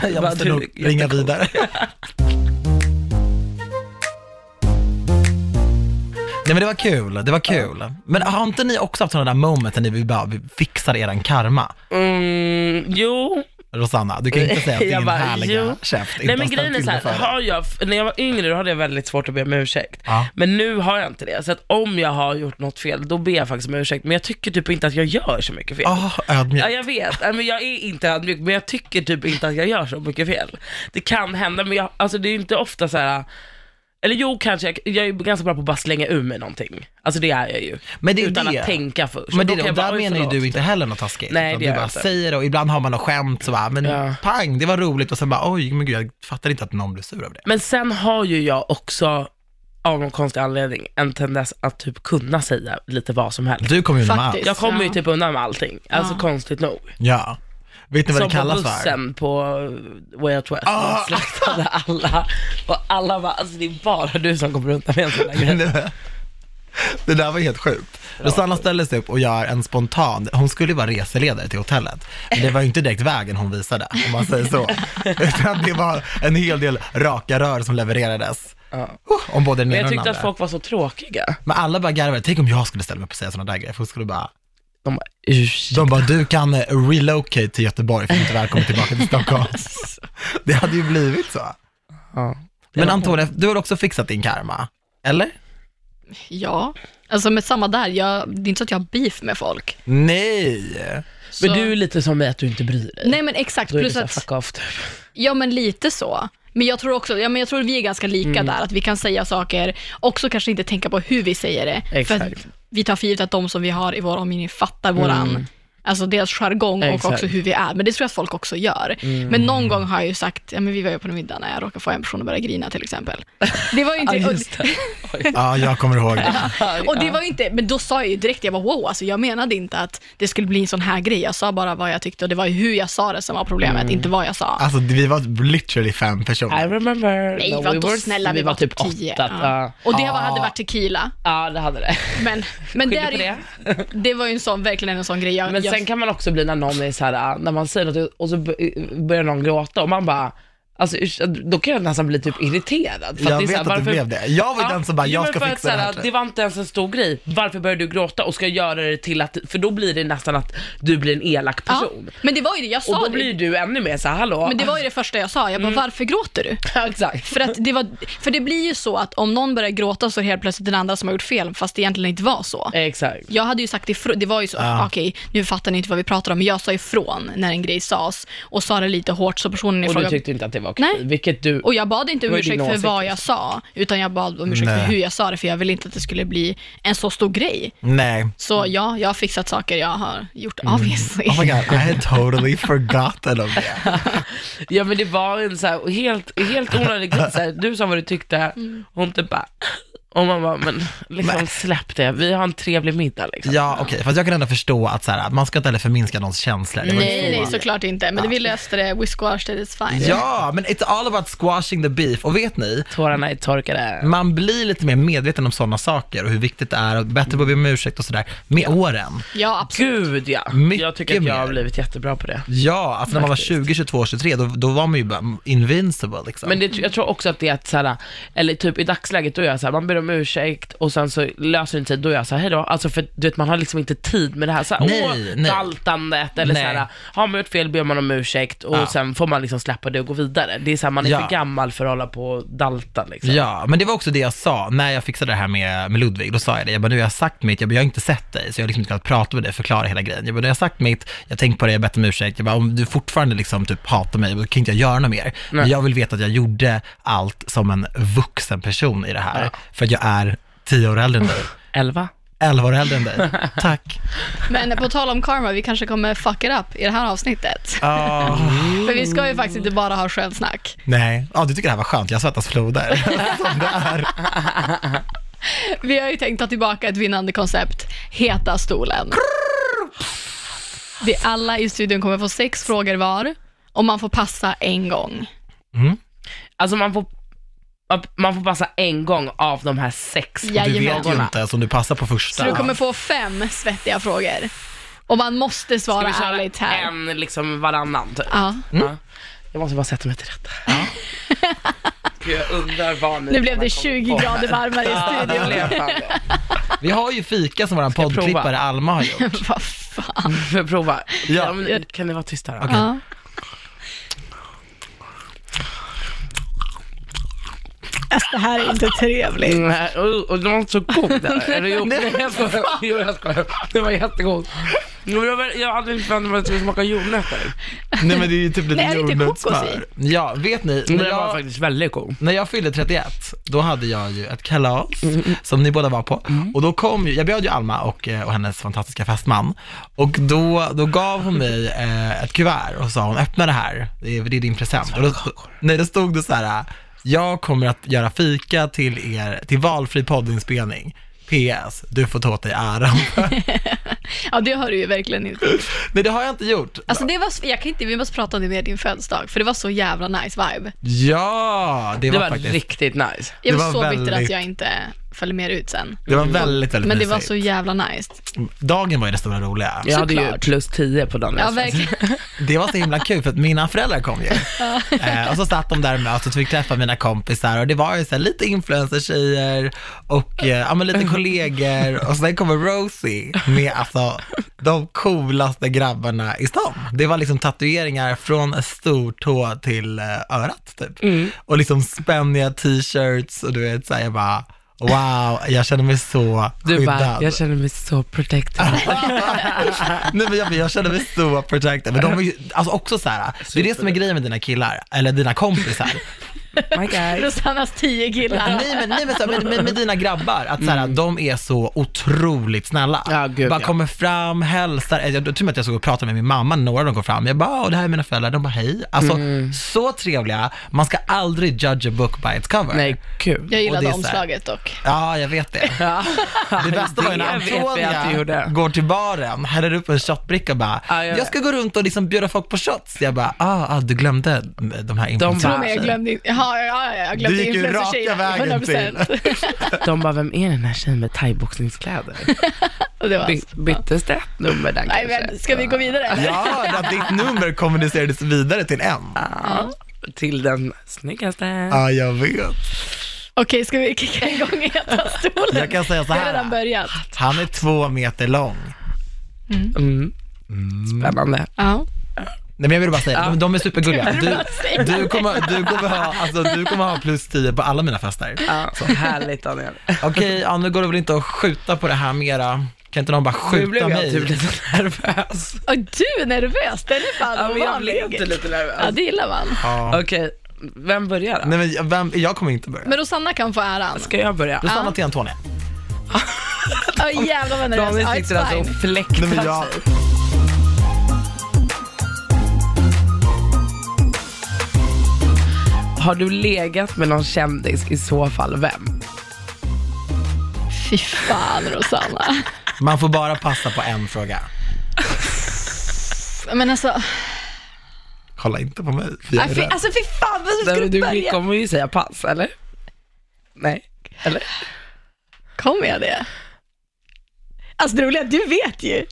[SPEAKER 1] jag
[SPEAKER 3] Bara,
[SPEAKER 1] måste
[SPEAKER 3] du är
[SPEAKER 1] nog ringa
[SPEAKER 3] jättecool.
[SPEAKER 1] vidare. Nej men det var kul, det var kul. Men har inte ni också haft sådana där moment när ni vill bara fixar eran karma?
[SPEAKER 3] Mm, jo,
[SPEAKER 1] Rosanna, du kan ju inte säga att
[SPEAKER 3] Jag
[SPEAKER 1] din
[SPEAKER 3] bara,
[SPEAKER 1] härliga
[SPEAKER 3] jo.
[SPEAKER 1] käft inte
[SPEAKER 3] Nej
[SPEAKER 1] har
[SPEAKER 3] men
[SPEAKER 1] ställt
[SPEAKER 3] grejen är
[SPEAKER 1] till
[SPEAKER 3] så
[SPEAKER 1] det
[SPEAKER 3] här,
[SPEAKER 1] för dig.
[SPEAKER 3] har jag, när jag var yngre då hade jag väldigt svårt att be om ursäkt.
[SPEAKER 1] Ja.
[SPEAKER 3] Men nu har jag inte det, så att om jag har gjort något fel då ber jag faktiskt om ursäkt. Men jag tycker typ inte att jag gör så mycket fel.
[SPEAKER 1] Ah, ödmjuk.
[SPEAKER 3] Ja, jag vet, Nej, men jag är inte ödmjuk men jag tycker typ inte att jag gör så mycket fel. Det kan hända men jag, alltså det är ju inte ofta så här. Eller jo kanske, jag, jag är ju ganska bra på att bara slänga ur mig någonting. Alltså det är jag ju.
[SPEAKER 1] Men det är ju
[SPEAKER 3] Utan
[SPEAKER 1] det.
[SPEAKER 3] att tänka först.
[SPEAKER 1] Men det,
[SPEAKER 3] Då kan
[SPEAKER 1] och
[SPEAKER 3] jag bara,
[SPEAKER 1] där
[SPEAKER 3] oj,
[SPEAKER 1] menar ju
[SPEAKER 3] förlåt.
[SPEAKER 1] du inte heller något taskigt.
[SPEAKER 3] Nej,
[SPEAKER 1] utan
[SPEAKER 3] det
[SPEAKER 1] du
[SPEAKER 3] gör
[SPEAKER 1] bara
[SPEAKER 3] jag inte.
[SPEAKER 1] säger det och ibland har man något skämt så bara, men
[SPEAKER 3] Ja.
[SPEAKER 1] pang, det var roligt och sen bara, oj, men gud, jag fattar inte att någon blev sur över det.
[SPEAKER 3] Men sen har ju jag också av någon konstig anledning en tendens att typ kunna säga lite vad som helst.
[SPEAKER 1] Du kom ju undan med allt.
[SPEAKER 2] Faktiskt.
[SPEAKER 3] Jag kommer ju
[SPEAKER 2] Ja.
[SPEAKER 3] typ undan med allting, alltså konstigt nog.
[SPEAKER 1] Ja. Vet ni vad
[SPEAKER 3] Som
[SPEAKER 1] det
[SPEAKER 3] på
[SPEAKER 1] kallas för?
[SPEAKER 3] bussen på eh, Way Out West,
[SPEAKER 1] Ah!
[SPEAKER 3] oh! slaktade alla och alla bara, alltså det är bara du som kommer undan med en sån där grej.
[SPEAKER 1] Det där var helt sjukt. Rosanna ställer sig upp och gör en spontan, hon skulle ju vara reseledare till hotellet, men det var ju inte direkt vägen hon visade, om man säger så. Utan det var en hel del raka rör som levererades.
[SPEAKER 3] Ja.
[SPEAKER 1] Oh, om både den
[SPEAKER 3] Men
[SPEAKER 1] ena och
[SPEAKER 3] jag
[SPEAKER 1] den
[SPEAKER 3] tyckte att
[SPEAKER 1] andra.
[SPEAKER 3] folk var så tråkiga.
[SPEAKER 1] Men alla bara garvade, tänk om jag skulle ställa mig upp och säga sådana där grejer, för hon skulle bara
[SPEAKER 3] De bara, ursäkta.
[SPEAKER 1] De bara, du kan eh, relocate till Göteborg för du är inte välkommen tillbaka till Stockholm. Det hade ju blivit så.
[SPEAKER 3] Ja.
[SPEAKER 1] Men Antonija, du har också fixat din karma, eller?
[SPEAKER 2] Ja, alltså med samma där, jag, det är inte så att jag har beef med folk.
[SPEAKER 1] Nej!
[SPEAKER 2] Så.
[SPEAKER 3] Men du är lite som mig att du inte bryr dig.
[SPEAKER 2] Nej men exakt,
[SPEAKER 3] Då är du
[SPEAKER 2] plus
[SPEAKER 3] såhär,
[SPEAKER 2] att,
[SPEAKER 3] fuck off typ.
[SPEAKER 2] ja men lite så. Men jag tror också, ja, men jag tror vi är ganska lika
[SPEAKER 3] Mm.
[SPEAKER 2] där, att vi kan säga saker, också kanske inte tänka på hur vi säger det. För att
[SPEAKER 3] Exakt. Mm.
[SPEAKER 2] vi tar för givet att de som vi har i vår omgivning fattar våran, alltså deras jargong och
[SPEAKER 3] Exakt. Mm.
[SPEAKER 2] också hur vi är. Men det tror jag att folk också gör. Men någon gång har jag ju sagt, ja men vi var ju på en middag när jag råkade få en person att börja grina till exempel. Det var ju inte,
[SPEAKER 3] Ja, just det. Oj.
[SPEAKER 1] Ja, jag kommer ihåg det.
[SPEAKER 2] Och det var ju inte, men då sa jag ju direkt, jag var wow, alltså jag menade inte att det skulle bli en sån här grej. Jag sa bara vad jag tyckte och det var ju hur jag sa det som var problemet,
[SPEAKER 3] Mm.
[SPEAKER 2] inte vad jag sa.
[SPEAKER 1] Alltså, vi var literally fem
[SPEAKER 3] I
[SPEAKER 1] personer.
[SPEAKER 3] remember.
[SPEAKER 2] Nej,
[SPEAKER 3] No, we
[SPEAKER 2] vadå
[SPEAKER 3] were-
[SPEAKER 2] snälla, vi var typ tio.
[SPEAKER 3] åtta.
[SPEAKER 2] Ja.
[SPEAKER 3] Ja.
[SPEAKER 2] Och det
[SPEAKER 1] Ja.
[SPEAKER 2] var, hade varit tequila.
[SPEAKER 3] Ja, det hade det.
[SPEAKER 2] Men, men det,
[SPEAKER 3] Skyller
[SPEAKER 2] är
[SPEAKER 3] på
[SPEAKER 2] ju, det var ju en sån, verkligen en sån grej. Jag,
[SPEAKER 3] Men
[SPEAKER 2] jag,
[SPEAKER 3] sen kan man också bli när någon är så här, ah, när man säger något och så b- börjar någon gråta och man bara, alltså ursä- då kan jag nästan bli typ irriterad. För
[SPEAKER 1] Jag
[SPEAKER 3] det är så
[SPEAKER 1] vet
[SPEAKER 3] här,
[SPEAKER 1] att du blev det. Jag var den som bara,
[SPEAKER 3] jo,
[SPEAKER 1] jag
[SPEAKER 3] men
[SPEAKER 1] ska
[SPEAKER 3] för att
[SPEAKER 1] fixa
[SPEAKER 3] så
[SPEAKER 1] det här.
[SPEAKER 3] Det var inte ens en stor grej. Varför börjar du gråta och ska göra det till att, för då blir det nästan att du blir en elak
[SPEAKER 2] ja.
[SPEAKER 3] person.
[SPEAKER 2] Men det var ju det, jag
[SPEAKER 3] Och
[SPEAKER 2] sa
[SPEAKER 3] då
[SPEAKER 2] det.
[SPEAKER 3] blir Mm. du ännu mer så här, hallå?
[SPEAKER 2] Men det var ju det första jag sa, jag bara, varför gråter du?
[SPEAKER 3] Ja, Exakt.
[SPEAKER 2] För, att det var, för det blir ju så att om någon börjar gråta så är det helt plötsligt den andra som har gjort fel, fast det egentligen inte var så.
[SPEAKER 3] Exakt.
[SPEAKER 2] Jag hade ju sagt ifrån, det var ju så,
[SPEAKER 1] Ja.
[SPEAKER 2] okej, nu fattar ni inte vad vi pratar om, men jag sa ifrån när en grej sades och sa det lite hårt så personen i
[SPEAKER 3] Och du
[SPEAKER 2] fråga
[SPEAKER 3] tyckte inte att det var sak.
[SPEAKER 2] Nej.
[SPEAKER 3] Vilket du...
[SPEAKER 2] Och jag bad inte om
[SPEAKER 3] Vad är din
[SPEAKER 2] ursäkt för
[SPEAKER 3] åsikt?
[SPEAKER 2] vad jag sa, utan jag bad om ursäkt
[SPEAKER 1] Nej.
[SPEAKER 2] för hur jag sa det, för jag ville inte att det skulle bli en så stor grej.
[SPEAKER 1] Nej.
[SPEAKER 2] Så ja, jag har fixat saker jag har gjort, obviously.
[SPEAKER 1] Mm. Oh my god, I had totally forgotten of that.
[SPEAKER 3] Ja men det var en så här, helt, helt onödig grej. Så här, Du sa vad du tyckte och hon typ bara... Och man bara, men liksom släpp det. Vi har en trevlig middag liksom.
[SPEAKER 1] Ja, okej, fast jag kan ändå förstå att så här, man ska inte heller förminska någons känslor. Det var ju
[SPEAKER 2] Nej,
[SPEAKER 1] så.
[SPEAKER 2] nej, såklart inte. Men vi löste det, we squashed it, it's fine.
[SPEAKER 1] Ja, men it's all about squashing the beef. Och vet ni,
[SPEAKER 3] Tårarna är torkade.
[SPEAKER 1] man blir lite mer medveten om sådana saker och hur viktigt det är och bättre på att be om ursäkt och sådär med åren.
[SPEAKER 2] Ja, absolut.
[SPEAKER 3] Gud ja.
[SPEAKER 1] Mycket
[SPEAKER 3] jag tycker att jag har
[SPEAKER 1] mer.
[SPEAKER 3] blivit jättebra på det.
[SPEAKER 1] Ja, alltså när man var
[SPEAKER 3] Faktiskt.
[SPEAKER 1] 20, 22, 23, då, då var man ju bara invincible liksom.
[SPEAKER 3] Men det, jag tror också att det är att såhär, eller typ i dagsläget då är jag såhär, man ber om ursäkt och sen så löser det inte sig, då är jag såhär, hejdå. Alltså för du vet man har liksom inte tid med det här såhär,
[SPEAKER 1] Nej, nej.
[SPEAKER 3] åh, daltandet eller
[SPEAKER 1] Nej.
[SPEAKER 3] såhär, har man gjort fel ber man om ursäkt och
[SPEAKER 1] Ja.
[SPEAKER 3] sen får man liksom släppa det och gå vidare. Det är såhär, man är
[SPEAKER 1] Ja.
[SPEAKER 3] för gammal för att hålla på och dalta liksom.
[SPEAKER 1] Ja, men det var också det jag sa när jag fixade det här med, med Ludvig. Då sa jag det, jag bara, nu har jag sagt mitt, jag, bara, jag har inte sett dig, så jag har liksom inte kunnat prata med dig, förklara hela grejen. Jag bara, nu har jag sagt mitt, jag har tänkt på det, jag har bett om ursäkt. Jag bara, om du fortfarande liksom typ hatar mig, då kan inte jag göra något mer. Men
[SPEAKER 3] Nej.
[SPEAKER 1] jag vill veta att jag gjorde allt som en vuxen person i det här, för att jag är tio år äldre än dig.
[SPEAKER 3] Elva?
[SPEAKER 1] Elva år äldre än dig. Tack.
[SPEAKER 2] Men på tal om karma, vi kanske kommer fuck it up i det här avsnittet.
[SPEAKER 1] Ah.
[SPEAKER 2] Ah. För vi ska ju faktiskt inte bara ha självsnack.
[SPEAKER 1] Nej, ja, du tycker det här var skönt, jag svettas floder. som det är.
[SPEAKER 2] Vi har ju tänkt ta tillbaka ett vinnande koncept, Heta stolen. Vi alla i studion kommer få sex frågor var och man får passa en gång.
[SPEAKER 3] Alltså man får, man får passa en gång av de här sex.
[SPEAKER 2] Ja.
[SPEAKER 1] Du vet ju
[SPEAKER 2] Jajamän.
[SPEAKER 1] inte ens om du passar på första.
[SPEAKER 2] Så du kommer få fem svettiga frågor. Och man måste
[SPEAKER 3] Ska
[SPEAKER 2] svara
[SPEAKER 3] vi
[SPEAKER 2] ärligt
[SPEAKER 3] köra
[SPEAKER 2] här.
[SPEAKER 3] en liksom varannan typ?
[SPEAKER 2] Ja.
[SPEAKER 3] Ja. Jag måste bara sätta mig till rätta. Gud, jag undrar vad ni
[SPEAKER 2] Nu blev
[SPEAKER 3] kommer
[SPEAKER 2] det
[SPEAKER 3] komma
[SPEAKER 2] 20
[SPEAKER 3] på.
[SPEAKER 2] grader varmare i
[SPEAKER 3] Ja, Ah, det
[SPEAKER 2] studion.
[SPEAKER 3] blev fan det.
[SPEAKER 1] Vi har ju fika som vår poddklippare
[SPEAKER 3] prova?
[SPEAKER 1] Alma har gjort.
[SPEAKER 2] Vad fan.
[SPEAKER 3] Får jag prova?
[SPEAKER 1] Ja.
[SPEAKER 3] Ja, men, eh, kan ni vara tysta då?
[SPEAKER 2] Ja. Alltså, det här är inte trevligt.
[SPEAKER 3] Nej, Mm, och, och den var inte så god där. Eller jo, nej, jag skojar. Jo, jag skojar. Den var jättegod. Men jag var- Jag hade inte förväntat mig att det skulle smaka jordnötter.
[SPEAKER 1] Nej men det är ju typ lite
[SPEAKER 2] Nej, är det inte
[SPEAKER 1] jordnötssmör. Ja, vet ni,
[SPEAKER 3] Men
[SPEAKER 1] när
[SPEAKER 3] den var
[SPEAKER 1] jag,
[SPEAKER 3] faktiskt väldigt god.
[SPEAKER 1] när jag fyllde 31, då hade jag ju ett kalas
[SPEAKER 2] Mm,
[SPEAKER 1] som ni båda var på. Och då kom ju, jag bjöd ju Alma och, eh, och hennes fantastiska fästman. Och då, då gav hon mig eh, ett kuvert och sa hon, öppna det här, det är, det är din present. Och då, nej, då stod det så här, "Eh, jag kommer att göra fika till er, till valfri poddinspelning. PS, du får ta åt dig äran.
[SPEAKER 2] Ja, det har du ju verkligen inte.
[SPEAKER 1] nej, det har jag inte gjort.
[SPEAKER 2] Alltså det var, s- jag kan inte, vi måste prata om det mer din födelsedag, för det var så jävla nice vibe.
[SPEAKER 1] Ja, det
[SPEAKER 3] Det
[SPEAKER 1] var,
[SPEAKER 3] var
[SPEAKER 1] faktiskt,
[SPEAKER 3] riktigt nice.
[SPEAKER 2] Jag
[SPEAKER 1] Det
[SPEAKER 2] var,
[SPEAKER 1] var
[SPEAKER 2] så bitter
[SPEAKER 1] väldigt-
[SPEAKER 2] att jag inte följde med ut sen.
[SPEAKER 1] det var väldigt, väldigt
[SPEAKER 2] Men det var
[SPEAKER 1] mysigt.
[SPEAKER 2] så jävla nice.
[SPEAKER 1] Dagen var ju det stora roliga.
[SPEAKER 3] Jag hade ju
[SPEAKER 2] Såklart.
[SPEAKER 3] plus 10 på den.
[SPEAKER 2] Ja,
[SPEAKER 3] resan.
[SPEAKER 2] verkligen.
[SPEAKER 1] Det var så himla kul för att mina föräldrar kom ju. Eh, och så satt de där och möts och fick träffa mina kompisar och det var ju så här, lite influencertjejer och eh, ja, men lite kollegor och sen kommer Rosie med alltså de coolaste grabbarna i stan. Det var liksom tatueringar från stortå till eh, örat typ.
[SPEAKER 3] Mm.
[SPEAKER 1] Och liksom spänniga t-shirts och du vet så här, jag bara Wow, jag känner mig så
[SPEAKER 3] Du
[SPEAKER 1] skyddad.
[SPEAKER 3] bara, jag känner mig så protected.
[SPEAKER 1] Nej men jag, jag känner mig så protected. Men de är ju, alltså också så här, det är det som är grejen med dina killar, eller dina kompisar.
[SPEAKER 3] My guys.
[SPEAKER 2] Rosannas tio killar.
[SPEAKER 1] nej men, nej, men så här, med, med, med dina grabbar, att så här, de är så otroligt snälla.
[SPEAKER 3] Mm. Ja, gud,
[SPEAKER 1] bara
[SPEAKER 3] ja.
[SPEAKER 1] kommer fram, hälsar, jag, jag tror att jag såg och pratade med min mamma när några av dem kom fram. Jag bara, "Åh, det här är mina föräldrar, de bara hej. Alltså
[SPEAKER 3] Mm.
[SPEAKER 1] så trevliga, man ska aldrig judge a book by its cover.
[SPEAKER 3] Nej, gud.
[SPEAKER 2] Jag
[SPEAKER 1] Och det
[SPEAKER 2] gillade
[SPEAKER 1] är så här-
[SPEAKER 2] omslaget dock.
[SPEAKER 1] Ja, jag vet det. Det bästa var ju när
[SPEAKER 3] Det vet vi att du
[SPEAKER 1] Antonia
[SPEAKER 3] gjorde.
[SPEAKER 1] går till baren, häller upp en shotbricka och bara,
[SPEAKER 3] Ja, jag
[SPEAKER 1] jag
[SPEAKER 3] vet.
[SPEAKER 1] ska gå runt och liksom bjuda folk på shots. Jag bara, ah, ah du glömde de här
[SPEAKER 2] Tror
[SPEAKER 1] influencerna.
[SPEAKER 2] mig jag
[SPEAKER 1] tjejerna."
[SPEAKER 2] glömde inte, ja, ja, ja, jag glömde
[SPEAKER 1] Du gick ju
[SPEAKER 2] influencertjejerna,
[SPEAKER 1] raka vägen
[SPEAKER 2] 100%.
[SPEAKER 3] De bara, vem är den här tjejen med thaiboxningskläder?
[SPEAKER 2] Och det var,
[SPEAKER 3] By- Byttes det ett nummer där
[SPEAKER 2] nej,
[SPEAKER 3] kanske?
[SPEAKER 2] men, ska vi gå vidare? eller?
[SPEAKER 1] Ja, att ditt nummer kommunicerades vidare till en.
[SPEAKER 3] Ja, till den snyggaste.
[SPEAKER 1] Ja, jag vet.
[SPEAKER 2] Okej, ska vi kicka igång heta stolen?
[SPEAKER 1] Jag kan säga så
[SPEAKER 2] Vi har
[SPEAKER 1] här.
[SPEAKER 2] redan börjat.
[SPEAKER 1] Han är två meter lång.
[SPEAKER 3] Mm. Spännande.
[SPEAKER 2] Ja.
[SPEAKER 1] Nej men jag vill bara säga, de, de är supergulliga. Du,
[SPEAKER 2] säga
[SPEAKER 1] du, kommer, du, kommer ha, alltså, du kommer ha plus 10 på alla mina fester.
[SPEAKER 3] Ja, så härligt Daniel.
[SPEAKER 1] Okej, ja, nu går det väl inte att skjuta på det här mera. Kan inte någon bara
[SPEAKER 3] Nu blev
[SPEAKER 1] skjuta
[SPEAKER 3] jag
[SPEAKER 1] mig?
[SPEAKER 3] typ lite nervös.
[SPEAKER 2] Och du är nervös, den är fan
[SPEAKER 3] Ja, men jag
[SPEAKER 2] ovanlig.
[SPEAKER 3] blev inte lite
[SPEAKER 2] Ja,
[SPEAKER 3] nervös.
[SPEAKER 2] det gillar man.
[SPEAKER 1] Ja.
[SPEAKER 3] Okej, Vem börjar då?
[SPEAKER 1] Nej, men vem, jag kommer inte börja.
[SPEAKER 2] Men Rosanna kan få äran.
[SPEAKER 3] Ska jag börja?
[SPEAKER 1] Rosanna
[SPEAKER 2] Ja.
[SPEAKER 1] till Antonija.
[SPEAKER 2] Åh jävlar vad nervös.
[SPEAKER 3] Daniel
[SPEAKER 2] Ja,
[SPEAKER 3] sitter
[SPEAKER 2] it's
[SPEAKER 3] alltså och
[SPEAKER 2] fine.
[SPEAKER 3] fläktar
[SPEAKER 1] Nej, men jag-
[SPEAKER 3] sig. Har du legat med någon kändis? I så fall vem?
[SPEAKER 2] Fy fan Rosanna.
[SPEAKER 1] Man får bara passa på en fråga.
[SPEAKER 2] Men alltså,
[SPEAKER 1] Kolla inte på mig, för jag är
[SPEAKER 2] nej, fy,
[SPEAKER 1] rädd.
[SPEAKER 2] alltså fy fan vad ska
[SPEAKER 3] Nej,
[SPEAKER 2] du
[SPEAKER 3] men du
[SPEAKER 2] börja?
[SPEAKER 3] kommer ju säga pass, eller? Nej, eller?
[SPEAKER 2] Kommer jag det? Alltså det roliga är att du vet ju.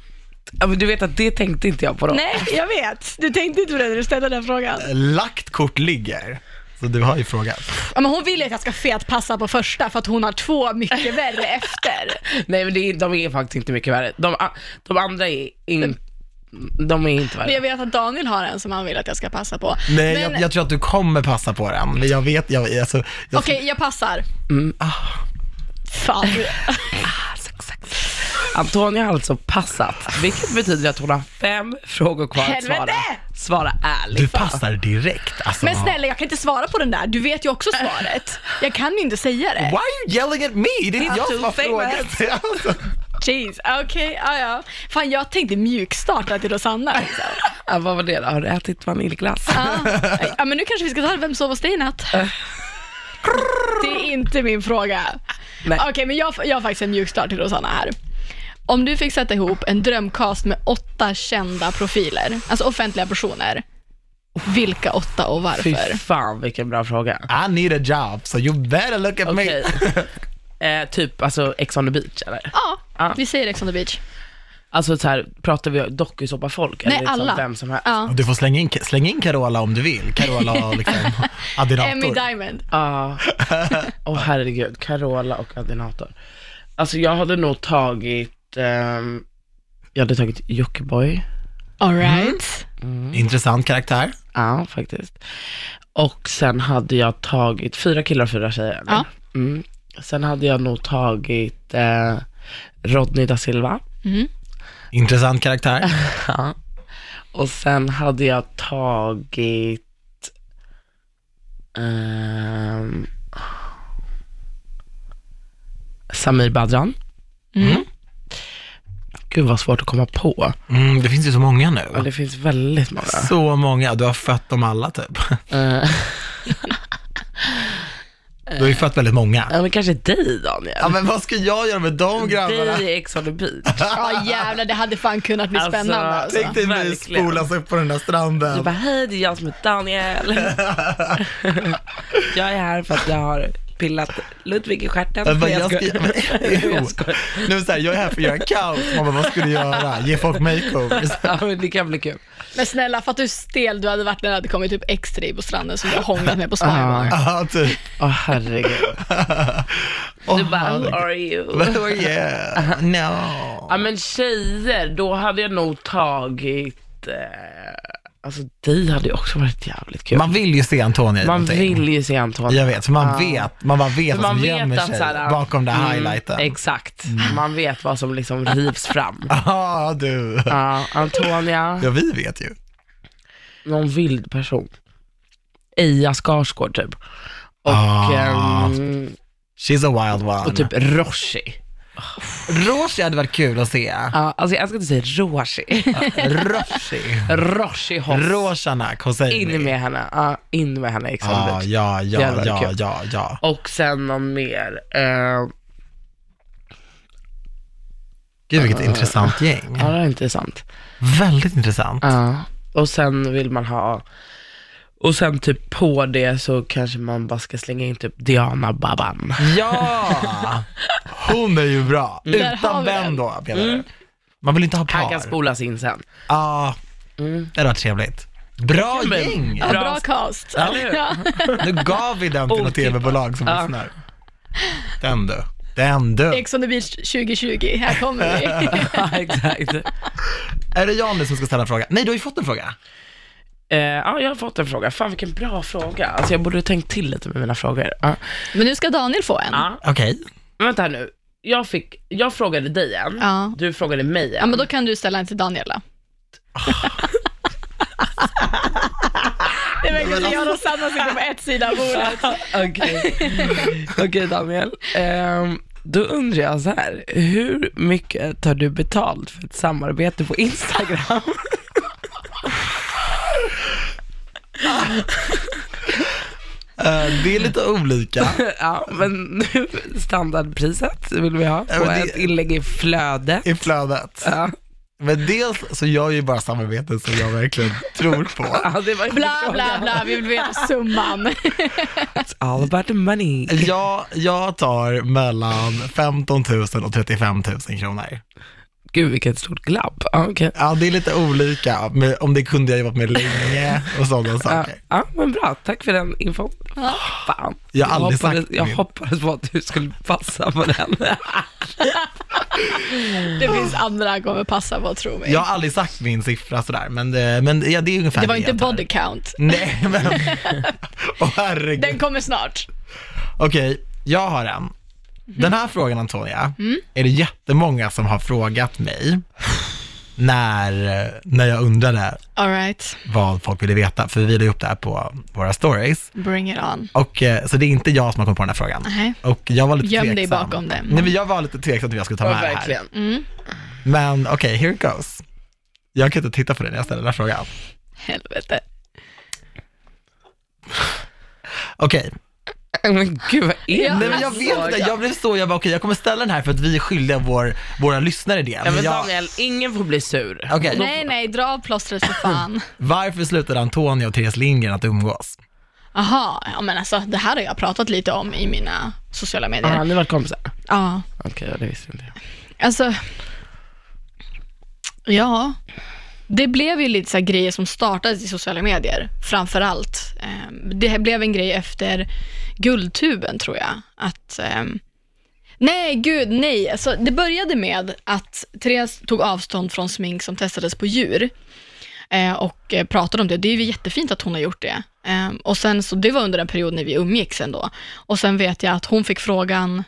[SPEAKER 3] Ja, men du vet att det tänkte inte jag på då.
[SPEAKER 2] Nej, jag vet. Du tänkte inte på det när du ställde den frågan.
[SPEAKER 1] Lagt kort ligger, så du har ju frågat.
[SPEAKER 2] Ja, men hon vill ju att jag ska fetpassa på första för att hon har två mycket värre efter.
[SPEAKER 3] Nej, men det är, de är faktiskt inte mycket värre. De, a- de andra är, in, de är inte
[SPEAKER 2] Men
[SPEAKER 3] värre.
[SPEAKER 2] jag vet att Daniel har en som han vill att jag ska passa på.
[SPEAKER 1] Nej,
[SPEAKER 2] Men-
[SPEAKER 1] jag, jag tror att du kommer passa på den, men jag vet, jag, alltså, jag, Mm, ah.
[SPEAKER 2] Okej, jag passar. Fan.
[SPEAKER 3] Antonia har alltså passat, vilket betyder att hon har fem frågor kvar att svara.
[SPEAKER 2] Helvete!
[SPEAKER 3] Svara ärligt.
[SPEAKER 1] du passar direkt. Alltså.
[SPEAKER 2] Men snälla, jag kan inte svara på den där. Du vet ju också svaret. Jag kan ju inte säga det.
[SPEAKER 1] Why are you yelling at me? Det är inte jag
[SPEAKER 3] too
[SPEAKER 1] som har
[SPEAKER 3] famous.
[SPEAKER 1] frågat. Alltså.
[SPEAKER 2] Jeez, okej, ja ja. Fan, jag tänkte mjukstarta till Rosanna. Liksom.
[SPEAKER 3] Ja, vad var det då? Har du ätit vaniljglass?
[SPEAKER 2] Ah, Ja. ja, men nu kanske vi ska ta Vem sov hos dig i natt?
[SPEAKER 1] Eh.
[SPEAKER 2] Det är inte min fråga.
[SPEAKER 3] Nej.
[SPEAKER 2] Okej, men jag, jag har faktiskt en mjuk start till Rosanna här. Om du fick sätta ihop en drömcast med åtta kända profiler, alltså offentliga personer, vilka åtta och
[SPEAKER 3] Fy
[SPEAKER 2] varför?
[SPEAKER 3] fan vilken bra fråga.
[SPEAKER 1] I need a job, so you better look at
[SPEAKER 3] Okej.
[SPEAKER 1] me.
[SPEAKER 3] eh, typ alltså Ex on the beach eller?
[SPEAKER 2] Ja,
[SPEAKER 3] Ja.
[SPEAKER 2] vi säger Ex on the beach.
[SPEAKER 3] Alltså så här, pratar vi dokusåpafolk eller
[SPEAKER 2] Nej,
[SPEAKER 3] liksom
[SPEAKER 2] alla.
[SPEAKER 3] vem som helst? Ja.
[SPEAKER 2] Ja.
[SPEAKER 1] Du får slänga in, slänga in Carola om du vill. Carola och liksom
[SPEAKER 2] Emmy
[SPEAKER 1] Adinator.
[SPEAKER 2] Diamond.
[SPEAKER 3] Åh herregud, Carola och Adinator. Alltså jag hade nog tagit, ehm, jag hade tagit Jockiboi.
[SPEAKER 2] Alright.
[SPEAKER 1] Intressant karaktär.
[SPEAKER 3] Ja, faktiskt. Och sen hade jag tagit fyra killar och fyra tjejer. eller?
[SPEAKER 2] Ja.
[SPEAKER 3] Mm. Sen hade jag nog tagit eh, Rodney da Silva.
[SPEAKER 2] Mm.
[SPEAKER 1] Intressant karaktär.
[SPEAKER 3] Ja. Och sen hade jag tagit... ehm, Samir Badran.
[SPEAKER 2] Mm.
[SPEAKER 3] Gud vad svårt att komma på.
[SPEAKER 1] Mm, det finns ju så många
[SPEAKER 3] Ja,
[SPEAKER 1] nu.
[SPEAKER 3] det finns väldigt många.
[SPEAKER 1] Så många, du har fött dem alla typ.
[SPEAKER 3] Eh,
[SPEAKER 1] Du har ju fött väldigt många.
[SPEAKER 3] ja, men kanske dig Daniel.
[SPEAKER 1] Ja, men vad ska jag göra med de grabbarna?
[SPEAKER 3] dig i Ex on the beach.
[SPEAKER 2] Ja jävlar, det hade fan kunnat bli
[SPEAKER 3] Alltså,
[SPEAKER 2] spännande. Alltså.
[SPEAKER 1] Tänk dig mig
[SPEAKER 3] Verkligen.
[SPEAKER 1] spolas upp på den där
[SPEAKER 3] Du
[SPEAKER 1] stranden.
[SPEAKER 3] bara, hej det är jag som heter Daniel. jag är här för att jag har pillat Ludvig i stjärten.
[SPEAKER 1] Jag bara,
[SPEAKER 3] Nej,
[SPEAKER 1] jag ska,
[SPEAKER 3] skojar.
[SPEAKER 1] men, jo.
[SPEAKER 3] Jag skojar.
[SPEAKER 1] Nu så här, jag är här för att göra kaos. Man bara, vad ska du göra? Ge folk makeovers.
[SPEAKER 3] Ja, men det kan bli kul.
[SPEAKER 2] Men snälla, fattar du hur stel du hade varit när det hade kommit typ X-ray på stranden som du har hånglat med på Spybar.
[SPEAKER 1] Ja, typ.
[SPEAKER 3] Åh herregud. Du
[SPEAKER 1] Oh,
[SPEAKER 3] bara, oh, who are you?
[SPEAKER 1] Who are you? No.
[SPEAKER 3] Ja men tjejer, då hade jag nog tagit, eh, alltså dig hade ju också varit jävligt kul. Man,
[SPEAKER 1] Man vill ju se Antonija i någonting.
[SPEAKER 3] vill ju se Anton.
[SPEAKER 1] Jag vet, för man
[SPEAKER 3] Ja.
[SPEAKER 1] vet, man bara vet
[SPEAKER 3] För
[SPEAKER 1] vad
[SPEAKER 3] man
[SPEAKER 1] som
[SPEAKER 3] vet
[SPEAKER 1] gömmer
[SPEAKER 3] att
[SPEAKER 1] sig
[SPEAKER 3] så här,
[SPEAKER 1] bakom det
[SPEAKER 3] mm,
[SPEAKER 1] här highlighten. Mm.
[SPEAKER 3] Exakt, man vet vad som liksom rivs fram.
[SPEAKER 1] Ja, du.
[SPEAKER 3] Ja, Antonia,
[SPEAKER 1] Ja, vi vet ju.
[SPEAKER 3] någon vild person. Eja Skarsgård typ. Och,
[SPEAKER 1] Ah.
[SPEAKER 3] ehm,
[SPEAKER 1] She's a wild one.
[SPEAKER 3] och typ Roshi.
[SPEAKER 1] Roshi hade varit kul att se.
[SPEAKER 3] Ja, alltså jag älskar att du säger Roshi.
[SPEAKER 1] Roshi.
[SPEAKER 3] Roshi Hoss.
[SPEAKER 1] Roshanak Hosseini.
[SPEAKER 3] In med henne, ja, in med henne i Ex on the
[SPEAKER 1] Ah,
[SPEAKER 3] beach.
[SPEAKER 1] ja, ja,
[SPEAKER 3] Jävlar,
[SPEAKER 1] ja,
[SPEAKER 3] kul.
[SPEAKER 1] ja, ja.
[SPEAKER 3] Och sen någon mer. Eh,
[SPEAKER 1] Gud, vilket intressant gäng.
[SPEAKER 3] ja, det är intressant.
[SPEAKER 1] Väldigt intressant.
[SPEAKER 3] Ja. Och sen vill man ha, och sen typ på det så kanske man bara ska slänga in typ Diana Baban.
[SPEAKER 1] Ja! Hon är ju bra.
[SPEAKER 3] Mm.
[SPEAKER 2] Där har
[SPEAKER 1] Utan
[SPEAKER 2] vi
[SPEAKER 1] vän
[SPEAKER 2] den.
[SPEAKER 1] då, menar du? Man vill inte ha
[SPEAKER 3] Han kan
[SPEAKER 1] par. Ja,
[SPEAKER 3] spolas in sen.
[SPEAKER 1] ah,
[SPEAKER 3] Mm.
[SPEAKER 1] det var trevligt. Bra
[SPEAKER 3] men-
[SPEAKER 1] gäng!
[SPEAKER 2] Ja,
[SPEAKER 3] Bra.
[SPEAKER 2] bra cast.
[SPEAKER 1] Ja.
[SPEAKER 2] Ja.
[SPEAKER 1] Nu gav vi den till något
[SPEAKER 3] Otippat.
[SPEAKER 1] tv-bolag som
[SPEAKER 3] Ja.
[SPEAKER 1] lyssnar. Den du. Den du.
[SPEAKER 2] Ex on the beach 2020, här kommer vi.
[SPEAKER 3] Ja, exakt.
[SPEAKER 1] Är det jag nu som ska ställa en fråga? Nej, du har ju fått en fråga.
[SPEAKER 3] Eh, ja, jag har fått en fråga. Fan vilken bra fråga. Alltså jag borde ha tänkt till lite med mina frågor. Ja.
[SPEAKER 2] Men nu ska Daniel få en.
[SPEAKER 3] Ja,
[SPEAKER 1] Okej.
[SPEAKER 3] men vänta här nu. Jag, fick, jag frågade dig en,
[SPEAKER 2] Ja.
[SPEAKER 3] du frågade mig
[SPEAKER 2] Ja,
[SPEAKER 3] en.
[SPEAKER 2] men då kan du ställa en till Daniel då. Nej, men alltså-
[SPEAKER 1] men
[SPEAKER 2] Jag och Rosanna sitter på ett sida av bordet.
[SPEAKER 3] Okej, Okej, Daniel. Ehm, då undrar jag så här, hur mycket tar du betalt för ett samarbete på Instagram?
[SPEAKER 1] eh, det är lite olika.
[SPEAKER 3] ja, men standardpriset vill vi ha
[SPEAKER 1] Ja,
[SPEAKER 3] på
[SPEAKER 1] men det-
[SPEAKER 3] ett inlägg i flödet.
[SPEAKER 1] i flödet.
[SPEAKER 3] Ja,
[SPEAKER 1] Men dels så gör jag ju bara samarbeten som jag verkligen tror på.
[SPEAKER 3] ja, det var inte
[SPEAKER 2] Bla,
[SPEAKER 3] frågan.
[SPEAKER 2] bla, bla, vi vill veta summan.
[SPEAKER 3] It's all about the money.
[SPEAKER 1] Jag, jag tar mellan 15 000 och 35 000 kronor.
[SPEAKER 3] Gud, vilket stort glapp. Ja, okej.
[SPEAKER 1] Ja, det är lite olika, men om det kunde jag jobbat med länge och sådana
[SPEAKER 3] Ja,
[SPEAKER 1] saker.
[SPEAKER 3] ja, men bra. Tack för den infon.
[SPEAKER 2] Ja.
[SPEAKER 3] Fan.
[SPEAKER 1] Jag har aldrig
[SPEAKER 3] hoppades,
[SPEAKER 1] sagt
[SPEAKER 3] jag
[SPEAKER 1] min.
[SPEAKER 3] hoppades på att du skulle passa på den.
[SPEAKER 2] Det finns andra jag kommer passa på, tro mig.
[SPEAKER 1] Jag har aldrig sagt min siffra sådär, men, det- men ja, det är ungefär
[SPEAKER 2] det var
[SPEAKER 1] jag
[SPEAKER 2] inte
[SPEAKER 1] tar.
[SPEAKER 2] body count.
[SPEAKER 1] Nej, men... Åh herregud.
[SPEAKER 2] Den kommer snart.
[SPEAKER 1] Okej, jag har en. Den här frågan Antonia,
[SPEAKER 2] Mm.
[SPEAKER 1] är det jättemånga som har frågat mig när, eh, när jag undrade
[SPEAKER 2] All right,
[SPEAKER 1] vad folk ville veta, för vi la ju upp det här på våra stories.
[SPEAKER 2] bring it on.
[SPEAKER 1] Och, eh, så det är inte jag som har kommit på den här frågan.
[SPEAKER 2] Nej.
[SPEAKER 1] Och jag var lite
[SPEAKER 2] Göm dig
[SPEAKER 1] tveksam.
[SPEAKER 2] bakom det.
[SPEAKER 1] Nej, men jag var lite tveksam till vad jag skulle ta med det här. Men okej, here it goes. Jag kan inte titta på det när jag ställer den här frågan.
[SPEAKER 2] Helvete.
[SPEAKER 1] Okej,
[SPEAKER 3] Men gud, vad är
[SPEAKER 2] Ja.
[SPEAKER 3] det?
[SPEAKER 1] nej men jag vet inte, jag blev så, jag bara okej, jag kommer ställa den här för att vi är skyldiga vår, våra lyssnare det.
[SPEAKER 3] Ja, men
[SPEAKER 1] Men jag,
[SPEAKER 3] Daniel, ingen får bli sur.
[SPEAKER 1] Okej.
[SPEAKER 2] Nej, nej, dra av plåstret för fan.
[SPEAKER 1] Varför slutade Antonija och Therese Lindgren att umgås?
[SPEAKER 2] Aha, ja men alltså det här har jag pratat lite om i mina sociala medier.
[SPEAKER 3] ni var kompisar?
[SPEAKER 2] Ja,
[SPEAKER 3] Okej, ja, det visste inte jag.
[SPEAKER 2] alltså. Ja, det blev ju lite så här grejer som startades i sociala medier, framför allt. Ehm, Det här blev en grej efter Guldtuben tror jag. Att, ehm, nej, gud, nej. Alltså, det började med att Therese tog avstånd från smink som testades på djur. eh, och eh, pratade om det. Det är ju jättefint att hon har gjort det. Eh, Och sen så, det var under en period när vi umgicks ändå. Och sen vet jag att hon fick frågan,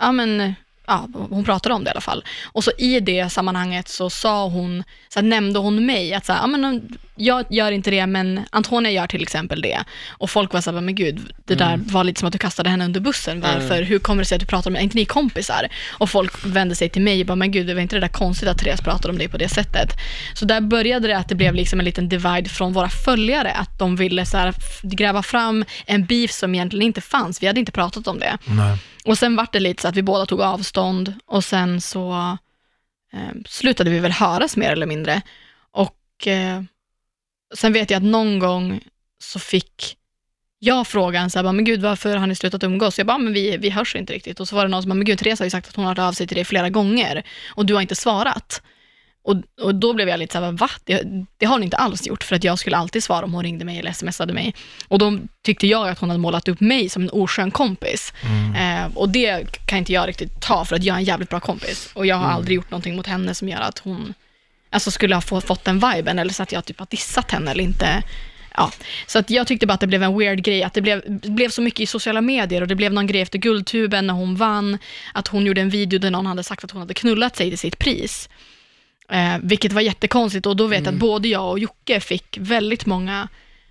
[SPEAKER 2] ja men, eh, ja, hon pratade om det i alla fall. Och så i det sammanhanget så sa hon, så här, nämnde hon mig att så här, ja men om- jag gör inte det, men Antonia gör till exempel det. Och folk var så här, men gud, det där var lite som att du kastade henne under bussen. Varför? Hur kommer det sig att du pratar om, är inte ni kompisar? Och folk vände sig till mig och bara, men gud, det var inte det där konstigt att Therese pratade om det på det sättet. Så där började det att det blev liksom en liten divide från våra följare, att de ville så här f- gräva fram en beef som egentligen inte fanns. Vi hade inte pratat om det.
[SPEAKER 1] Nej.
[SPEAKER 2] Och sen vart det lite så att vi båda tog avstånd och sen så eh, slutade vi väl höras mer eller mindre. Och eh, sen vet jag att någon gång så fick jag frågan så här, bara, men gud varför har ni slutat umgås? Jag bara, men vi, vi hörs inte riktigt. Och så var det någon som bara, men gud Therese har ju sagt att hon har hört av sig till dig flera gånger och du har inte svarat. Och, och då blev jag lite så här, va? Det, det har hon inte alls gjort, för att jag skulle alltid svara om hon ringde mig eller smsade mig. Och då tyckte jag att hon hade målat upp mig som en oskön kompis. Eh, och det kan inte jag riktigt ta, för att jag är en jävligt bra kompis. Och jag har aldrig gjort någonting mot henne som gör att hon alltså, skulle ha få, fått den viben, eller så att jag typ har dissat henne eller inte. Ja, så att jag tyckte bara att det blev en weird grej, att det blev, blev så mycket i sociala medier och det blev någon grej efter Guldtuben när hon vann, att hon gjorde en video där någon hade sagt att hon hade knullat sig till sitt pris. Eh, vilket var jättekonstigt och då vet jag att både jag och Jocke fick väldigt många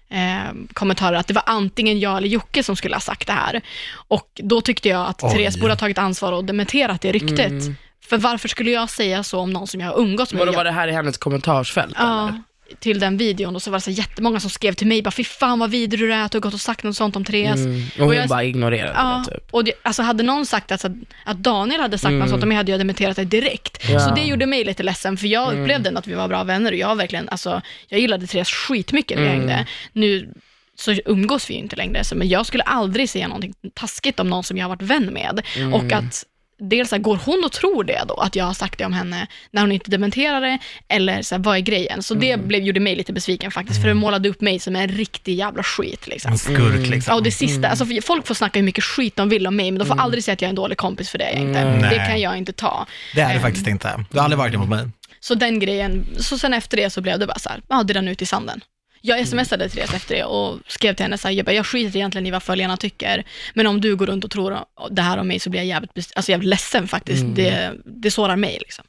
[SPEAKER 2] eh, kommentarer att det var antingen jag eller Jocke som skulle ha sagt det här. Och då tyckte jag att
[SPEAKER 1] Oj.
[SPEAKER 2] Therese borde ha tagit ansvar och dementerat det ryktet. För varför skulle jag säga så om någon som jag har umgåtts med?
[SPEAKER 3] Men då
[SPEAKER 2] Jag-
[SPEAKER 3] var det här i hennes kommentarsfält?
[SPEAKER 2] Ja,
[SPEAKER 3] eller?
[SPEAKER 2] till den videon och så var det så här jättemånga som skrev till mig bara fy fan vad vidrig du är att du har gått och sagt något sånt om Therese.
[SPEAKER 3] Mm. Och hon
[SPEAKER 2] jag-
[SPEAKER 3] bara ignorerade
[SPEAKER 2] Ja,
[SPEAKER 3] det typ. Mm.
[SPEAKER 2] och det, alltså hade någon sagt att, att Daniel hade sagt något sånt om mig hade jag dementerat det direkt.
[SPEAKER 3] Ja. Mm.
[SPEAKER 2] Så det gjorde mig lite ledsen för jag upplevde ändå att vi var bra vänner och jag verkligen, alltså jag gillade Therese skitmycket när vi
[SPEAKER 3] Mm.
[SPEAKER 2] hängde. Nu så umgås vi ju inte längre, så, men jag skulle aldrig säga någonting taskigt om någon som jag har varit vän med.
[SPEAKER 3] Mm.
[SPEAKER 2] Och att dels så här, går hon och tror det då, att jag har sagt det om henne när hon inte dementerar det, eller så här, vad är grejen?
[SPEAKER 3] Mm.
[SPEAKER 2] Så det blev, gjorde mig lite besviken faktiskt, för det målade upp mig som en riktig jävla skit. Liksom.
[SPEAKER 1] En
[SPEAKER 3] Mm.
[SPEAKER 1] skurk liksom.
[SPEAKER 2] Ja, och det sista, alltså, för folk får snacka hur mycket skit de vill om mig, men de får aldrig säga att jag är en dålig kompis för det är jag inte.
[SPEAKER 1] Mm.
[SPEAKER 2] Det
[SPEAKER 1] Nej.
[SPEAKER 2] kan jag inte ta.
[SPEAKER 1] Det är det
[SPEAKER 2] Ehm.
[SPEAKER 1] faktiskt inte. Du har aldrig varit emot mig.
[SPEAKER 2] Så den grejen, så sen efter det så blev det bara så här, ja det rann ut i sanden. Jag smsade Therese efter det och skrev till henne så här, jag, bara, jag skiter egentligen i vad följarna tycker, men om du går runt och tror det här om mig så blir jag jävligt, bes- alltså, jävligt ledsen faktiskt. Det, det sårar mig liksom.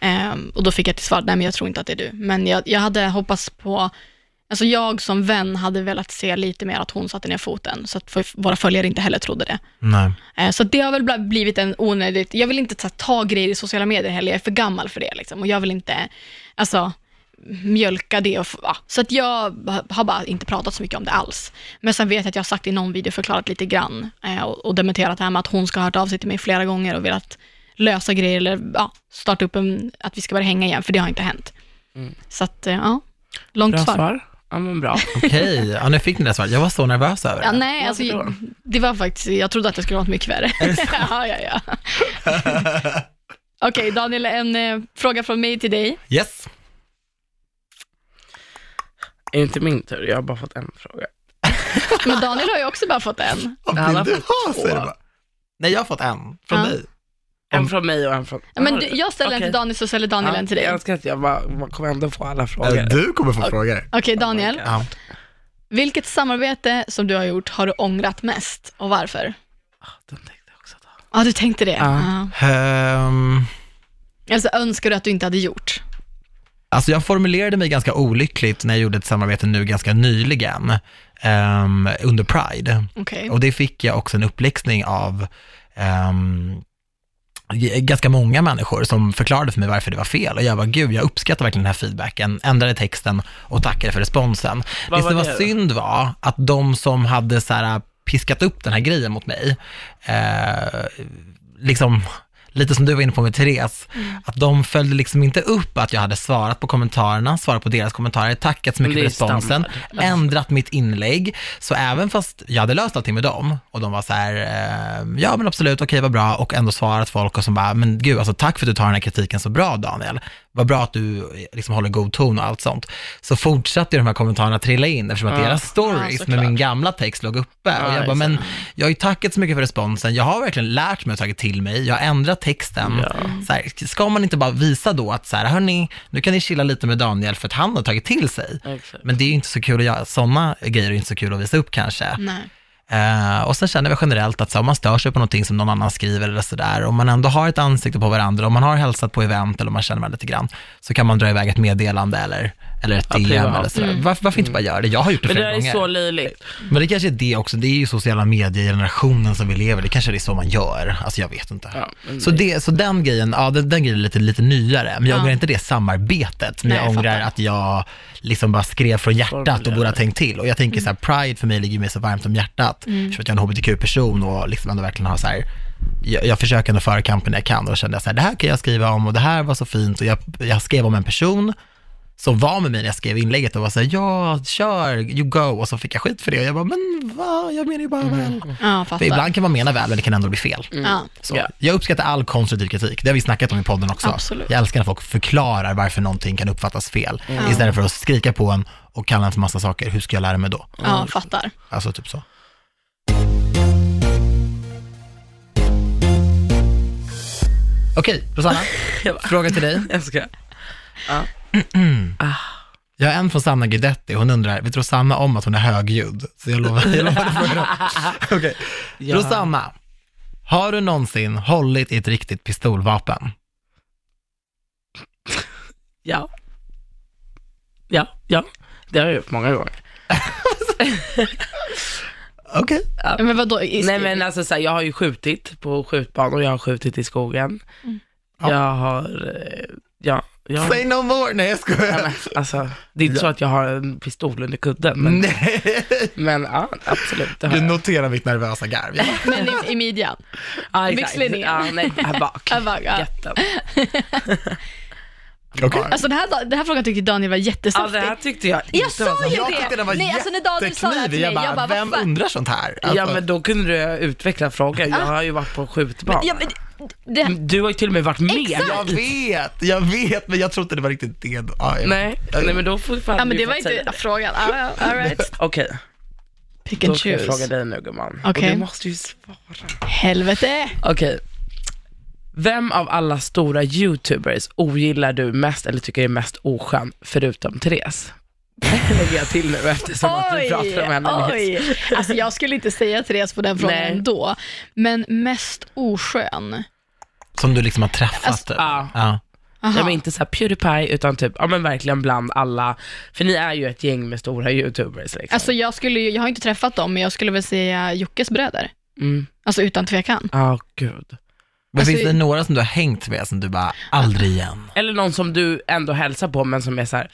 [SPEAKER 2] Ehm, och då fick jag till svar, nej men jag tror inte att det är du. Men jag, jag hade hoppats på Alltså jag som vän hade velat se lite mer att hon satte ner foten, så att för, våra följare inte heller trodde det.
[SPEAKER 1] Nej.
[SPEAKER 2] Eh, Så det har väl bla- blivit en onödigt, jag vill inte ta, ta grejer i sociala medier heller, jag är för gammal för det liksom. Och jag vill inte, alltså, mjölka det och, f- ja. Så att jag ha- har bara inte pratat så mycket om det alls. Men sen vet jag att jag har sagt i någon video, förklarat lite grann eh, och, och dementerat det här med att hon ska ha hört av sig till mig flera gånger och velat lösa grejer eller ja, starta upp en, att vi ska börja hänga igen, för det har inte hänt. Så att, eh, ja, långt
[SPEAKER 3] Bra
[SPEAKER 2] svar.
[SPEAKER 3] svar. Ja men bra.
[SPEAKER 1] Okej, ja, nu fick ni det svaret. Jag var så nervös över
[SPEAKER 2] Ja,
[SPEAKER 1] det.
[SPEAKER 2] nej, alltså,
[SPEAKER 3] det då?
[SPEAKER 2] det var faktiskt, jag trodde att det skulle vara något mycket värre. ja, ja, ja. Okej, Daniel, en eh, fråga från mig till dig.
[SPEAKER 1] Yes.
[SPEAKER 3] Är det inte min tur? Jag har bara fått en fråga.
[SPEAKER 2] Men Daniel har ju också bara fått en.
[SPEAKER 1] Vad
[SPEAKER 3] Alla
[SPEAKER 1] vill
[SPEAKER 3] har
[SPEAKER 1] du
[SPEAKER 3] fått
[SPEAKER 1] ha,
[SPEAKER 3] två.
[SPEAKER 1] säger du bara. Nej, jag har fått en från
[SPEAKER 2] Ja.
[SPEAKER 1] dig. Om-
[SPEAKER 3] En från mig och en från...
[SPEAKER 2] Ja, Men du, jag ställer en
[SPEAKER 3] Okej.
[SPEAKER 2] till Daniel, så ställer Daniel en till dig.
[SPEAKER 3] Jag
[SPEAKER 2] Okej,
[SPEAKER 3] önskar att jag bara, man kommer ändå få alla
[SPEAKER 1] Eller
[SPEAKER 3] frågor.
[SPEAKER 1] Du kommer få frågor.
[SPEAKER 2] Daniel.
[SPEAKER 3] God.
[SPEAKER 1] Ja.
[SPEAKER 2] Vilket samarbete som du har gjort har du ångrat mest och varför?
[SPEAKER 3] Den tänkte jag också ta.
[SPEAKER 2] Ja, du tänkte det.
[SPEAKER 3] Ja.
[SPEAKER 1] Ehm,
[SPEAKER 2] Ja. Alltså, önskar du att du inte hade gjort?
[SPEAKER 1] Alltså jag formulerade mig ganska olyckligt när jag gjorde ett samarbete nu ganska nyligen ehm, under Pride.
[SPEAKER 2] Okej.
[SPEAKER 3] Oh.
[SPEAKER 1] Och det fick jag också en uppläxning av ehm, g- ganska många människor som förklarade för mig varför det var fel. Och jag var gud, jag uppskattar verkligen den här feedbacken, ändrade texten och tackade för responsen.
[SPEAKER 3] Vad
[SPEAKER 1] det som
[SPEAKER 3] var
[SPEAKER 1] var
[SPEAKER 3] det då?
[SPEAKER 1] synd var att de som hade så här äh, piskat upp den här grejen mot mig, eh, liksom lite som du var inne på med Therese,
[SPEAKER 3] Mm.
[SPEAKER 1] att de följde liksom inte upp att jag hade svarat på kommentarerna, svarat på deras kommentarer, tackat så
[SPEAKER 3] Men
[SPEAKER 1] mycket för
[SPEAKER 3] det är
[SPEAKER 1] responsen,
[SPEAKER 3] standard.
[SPEAKER 1] ändrat mitt inlägg. Så även fast jag hade löst allting med dem och de var så här, eh, ja men absolut, okej vad bra och ändå svarat folk och som bara, men gud alltså tack för att du tar den här kritiken så bra Daniel. Vad bra att du eh, liksom håller god ton och allt sånt. Så fortsatte ju de här kommentarerna trilla in eftersom att
[SPEAKER 3] Ja.
[SPEAKER 1] deras stories
[SPEAKER 3] Ja,
[SPEAKER 1] med
[SPEAKER 3] såklart.
[SPEAKER 1] min gamla text låg uppe.
[SPEAKER 3] Ja,
[SPEAKER 1] och jag bara,
[SPEAKER 3] just det.
[SPEAKER 1] men jag har ju tackat så mycket för responsen, jag har verkligen lärt mig och tagit till mig, jag har ändrat texten.
[SPEAKER 3] Ja.
[SPEAKER 1] Så här, ska man inte bara visa då att så här, hörni, nu kan ni chilla lite med Daniel för att han har tagit till sig.
[SPEAKER 3] Exakt.
[SPEAKER 1] Men det är ju inte så kul att göra, sådana grejer är inte så kul att visa upp kanske.
[SPEAKER 2] Nej.
[SPEAKER 1] Eh, och sen känner vi generellt att så, här, om man stör sig på någonting som någon annan skriver eller sådär, om man ändå har ett ansikte på varandra, om man har hälsat på event eller om man känner varandra lite grann, så kan man dra iväg ett meddelande eller, eller ett
[SPEAKER 3] Ja,
[SPEAKER 1] DM
[SPEAKER 3] privat. Mm.
[SPEAKER 1] eller sådär. Varför, varför inte bara göra det? Jag har gjort det
[SPEAKER 3] Men det
[SPEAKER 1] flera
[SPEAKER 3] där
[SPEAKER 1] gånger.
[SPEAKER 3] är så löjligt.
[SPEAKER 1] Men det kanske är det också, det är ju sociala medier-generationen som vi lever i, det kanske är så man gör, alltså jag vet inte.
[SPEAKER 3] Ja, men
[SPEAKER 1] så, det, så den grejen, ja den, den grejen är lite, lite nyare, men jag
[SPEAKER 2] Ja.
[SPEAKER 1] ångrar inte det samarbetet, men
[SPEAKER 2] Nej,
[SPEAKER 1] jag
[SPEAKER 2] jag
[SPEAKER 1] ångrar
[SPEAKER 2] fattar.
[SPEAKER 1] att jag liksom bara skrev från hjärtat och
[SPEAKER 3] Formulerade.
[SPEAKER 1] borde ha tänkt till. Och jag tänker så
[SPEAKER 2] Mm.
[SPEAKER 1] här, pride för mig ligger mig så varmt om hjärtat, eftersom att jag är en hbtq-person och liksom ändå verkligen har så här, jag, jag försöker ändå föra kampen jag kan och då kände jag så här, det här kan jag skriva om och det här var så fint och jag, jag skrev om en person som var med mig när jag skrev inlägget och var såhär, ja, kör, you go, och så fick jag skit för det och jag bara, men va, jag menar ju bara
[SPEAKER 2] Mm.
[SPEAKER 1] väl. För
[SPEAKER 2] Ja, fattar.
[SPEAKER 1] ibland kan man mena väl, men det kan ändå bli fel.
[SPEAKER 2] Ja.
[SPEAKER 1] Så.
[SPEAKER 3] Ja.
[SPEAKER 1] Jag uppskattar all konstruktiv kritik, det har vi snackat om i podden också.
[SPEAKER 2] Absolut.
[SPEAKER 1] Jag älskar när folk förklarar varför någonting kan uppfattas fel, istället för att skrika på en och kalla en för massa saker, hur ska jag lära mig då?
[SPEAKER 2] ja, fattar.
[SPEAKER 1] Alltså typ så. Okej, Rosanna,
[SPEAKER 3] Jag bara-
[SPEAKER 1] fråga till dig.
[SPEAKER 3] Jag ska.
[SPEAKER 1] Jag har en från Sanna Guidetti, hon undrar, vet Rosanna om att hon är högljudd? Så jag lovar, jag lovar att fråga dem. Okej.
[SPEAKER 3] Ja.
[SPEAKER 1] Rosanna, har du någonsin hållit i ett riktigt pistolvapen?
[SPEAKER 3] Ja. Ja, ja. Det har jag gjort många gånger.
[SPEAKER 1] Okej.
[SPEAKER 2] Ja, Men vadå? I-
[SPEAKER 3] Nej men alltså så här, jag har ju skjutit på skjutbanor, jag har skjutit i skogen.
[SPEAKER 2] Mm.
[SPEAKER 1] Ja.
[SPEAKER 3] Jag har, eh, ja, jag
[SPEAKER 1] Say no more, nej jag
[SPEAKER 3] Nej,
[SPEAKER 1] skojar.
[SPEAKER 3] men, alltså, det är inte så att jag har en pistol under kudden, men,
[SPEAKER 1] Nej,
[SPEAKER 3] men ja, absolut. Det har
[SPEAKER 1] du
[SPEAKER 3] jag.
[SPEAKER 1] noterar mitt nervösa garv. Jag bara,
[SPEAKER 2] Men i, i midjan?
[SPEAKER 3] Ja, exakt.
[SPEAKER 2] byxlinjen.
[SPEAKER 3] Ja, nej, här bak.
[SPEAKER 2] Här bak, ja.
[SPEAKER 3] Jätten.
[SPEAKER 1] Okej.
[SPEAKER 2] Alltså den här, den här frågan tyckte Daniel var
[SPEAKER 3] Ja,
[SPEAKER 2] jättesaftig.
[SPEAKER 3] det här tyckte jag inte
[SPEAKER 2] Jag sa
[SPEAKER 3] var så-
[SPEAKER 2] ju
[SPEAKER 1] Jag
[SPEAKER 2] det.
[SPEAKER 1] tyckte den var
[SPEAKER 2] Nej, alltså när Daniel sa det här till
[SPEAKER 1] jätteknivig. Jag
[SPEAKER 2] mig, jag
[SPEAKER 1] bara,
[SPEAKER 2] bara, vad
[SPEAKER 1] vem
[SPEAKER 2] fan?
[SPEAKER 1] undrar sånt här? Alltså,
[SPEAKER 3] Ja men då kunde du utveckla frågan, jag har ju varit på skjutbanor.
[SPEAKER 2] Ja, men, det,
[SPEAKER 3] Du har ju till och med varit med.
[SPEAKER 2] Exakt.
[SPEAKER 1] Jag vet, jag vet, men jag tror inte det var riktigt det. Ja, jag-
[SPEAKER 3] Nej, nej men då får fan
[SPEAKER 2] ja, men
[SPEAKER 3] du
[SPEAKER 2] det var
[SPEAKER 3] fått säga
[SPEAKER 2] inte frågan. Ah, ja, All right.
[SPEAKER 3] Okej,
[SPEAKER 2] Pick
[SPEAKER 3] då
[SPEAKER 2] and
[SPEAKER 3] ska jag fråga
[SPEAKER 2] choose.
[SPEAKER 3] dig nu gumman.
[SPEAKER 2] Okej.
[SPEAKER 3] Och du måste ju svara.
[SPEAKER 2] Helvete.
[SPEAKER 3] Okej. Vem av alla stora youtubers ogillar du mest eller tycker är mest oskön, förutom Therese? Lägger jag till nu eftersom att du pratade om henne nyss.
[SPEAKER 2] oj. Alltså jag skulle inte säga Therese på den frågan
[SPEAKER 3] Nej.
[SPEAKER 2] ändå. Men mest oskön.
[SPEAKER 1] Som du liksom har träffat.
[SPEAKER 2] Alltså,
[SPEAKER 1] typ.
[SPEAKER 3] ja.
[SPEAKER 1] Ja.
[SPEAKER 2] Aha.
[SPEAKER 3] Ja, men inte så här Pewdiepie, utan typ, ja men verkligen bland alla, för ni är ju ett gäng med stora youtubers liksom.
[SPEAKER 2] Alltså jag, skulle, ju- jag har inte träffat dem, men jag skulle väl säga Jockes bröder.
[SPEAKER 3] mm.
[SPEAKER 2] Alltså utan tvekan.
[SPEAKER 3] Ja, gud.
[SPEAKER 1] Men
[SPEAKER 2] Alltså,
[SPEAKER 1] finns det några som du har hängt med som du bara, aldrig igen?
[SPEAKER 3] Eller någon som du ändå hälsar på, men som är så här,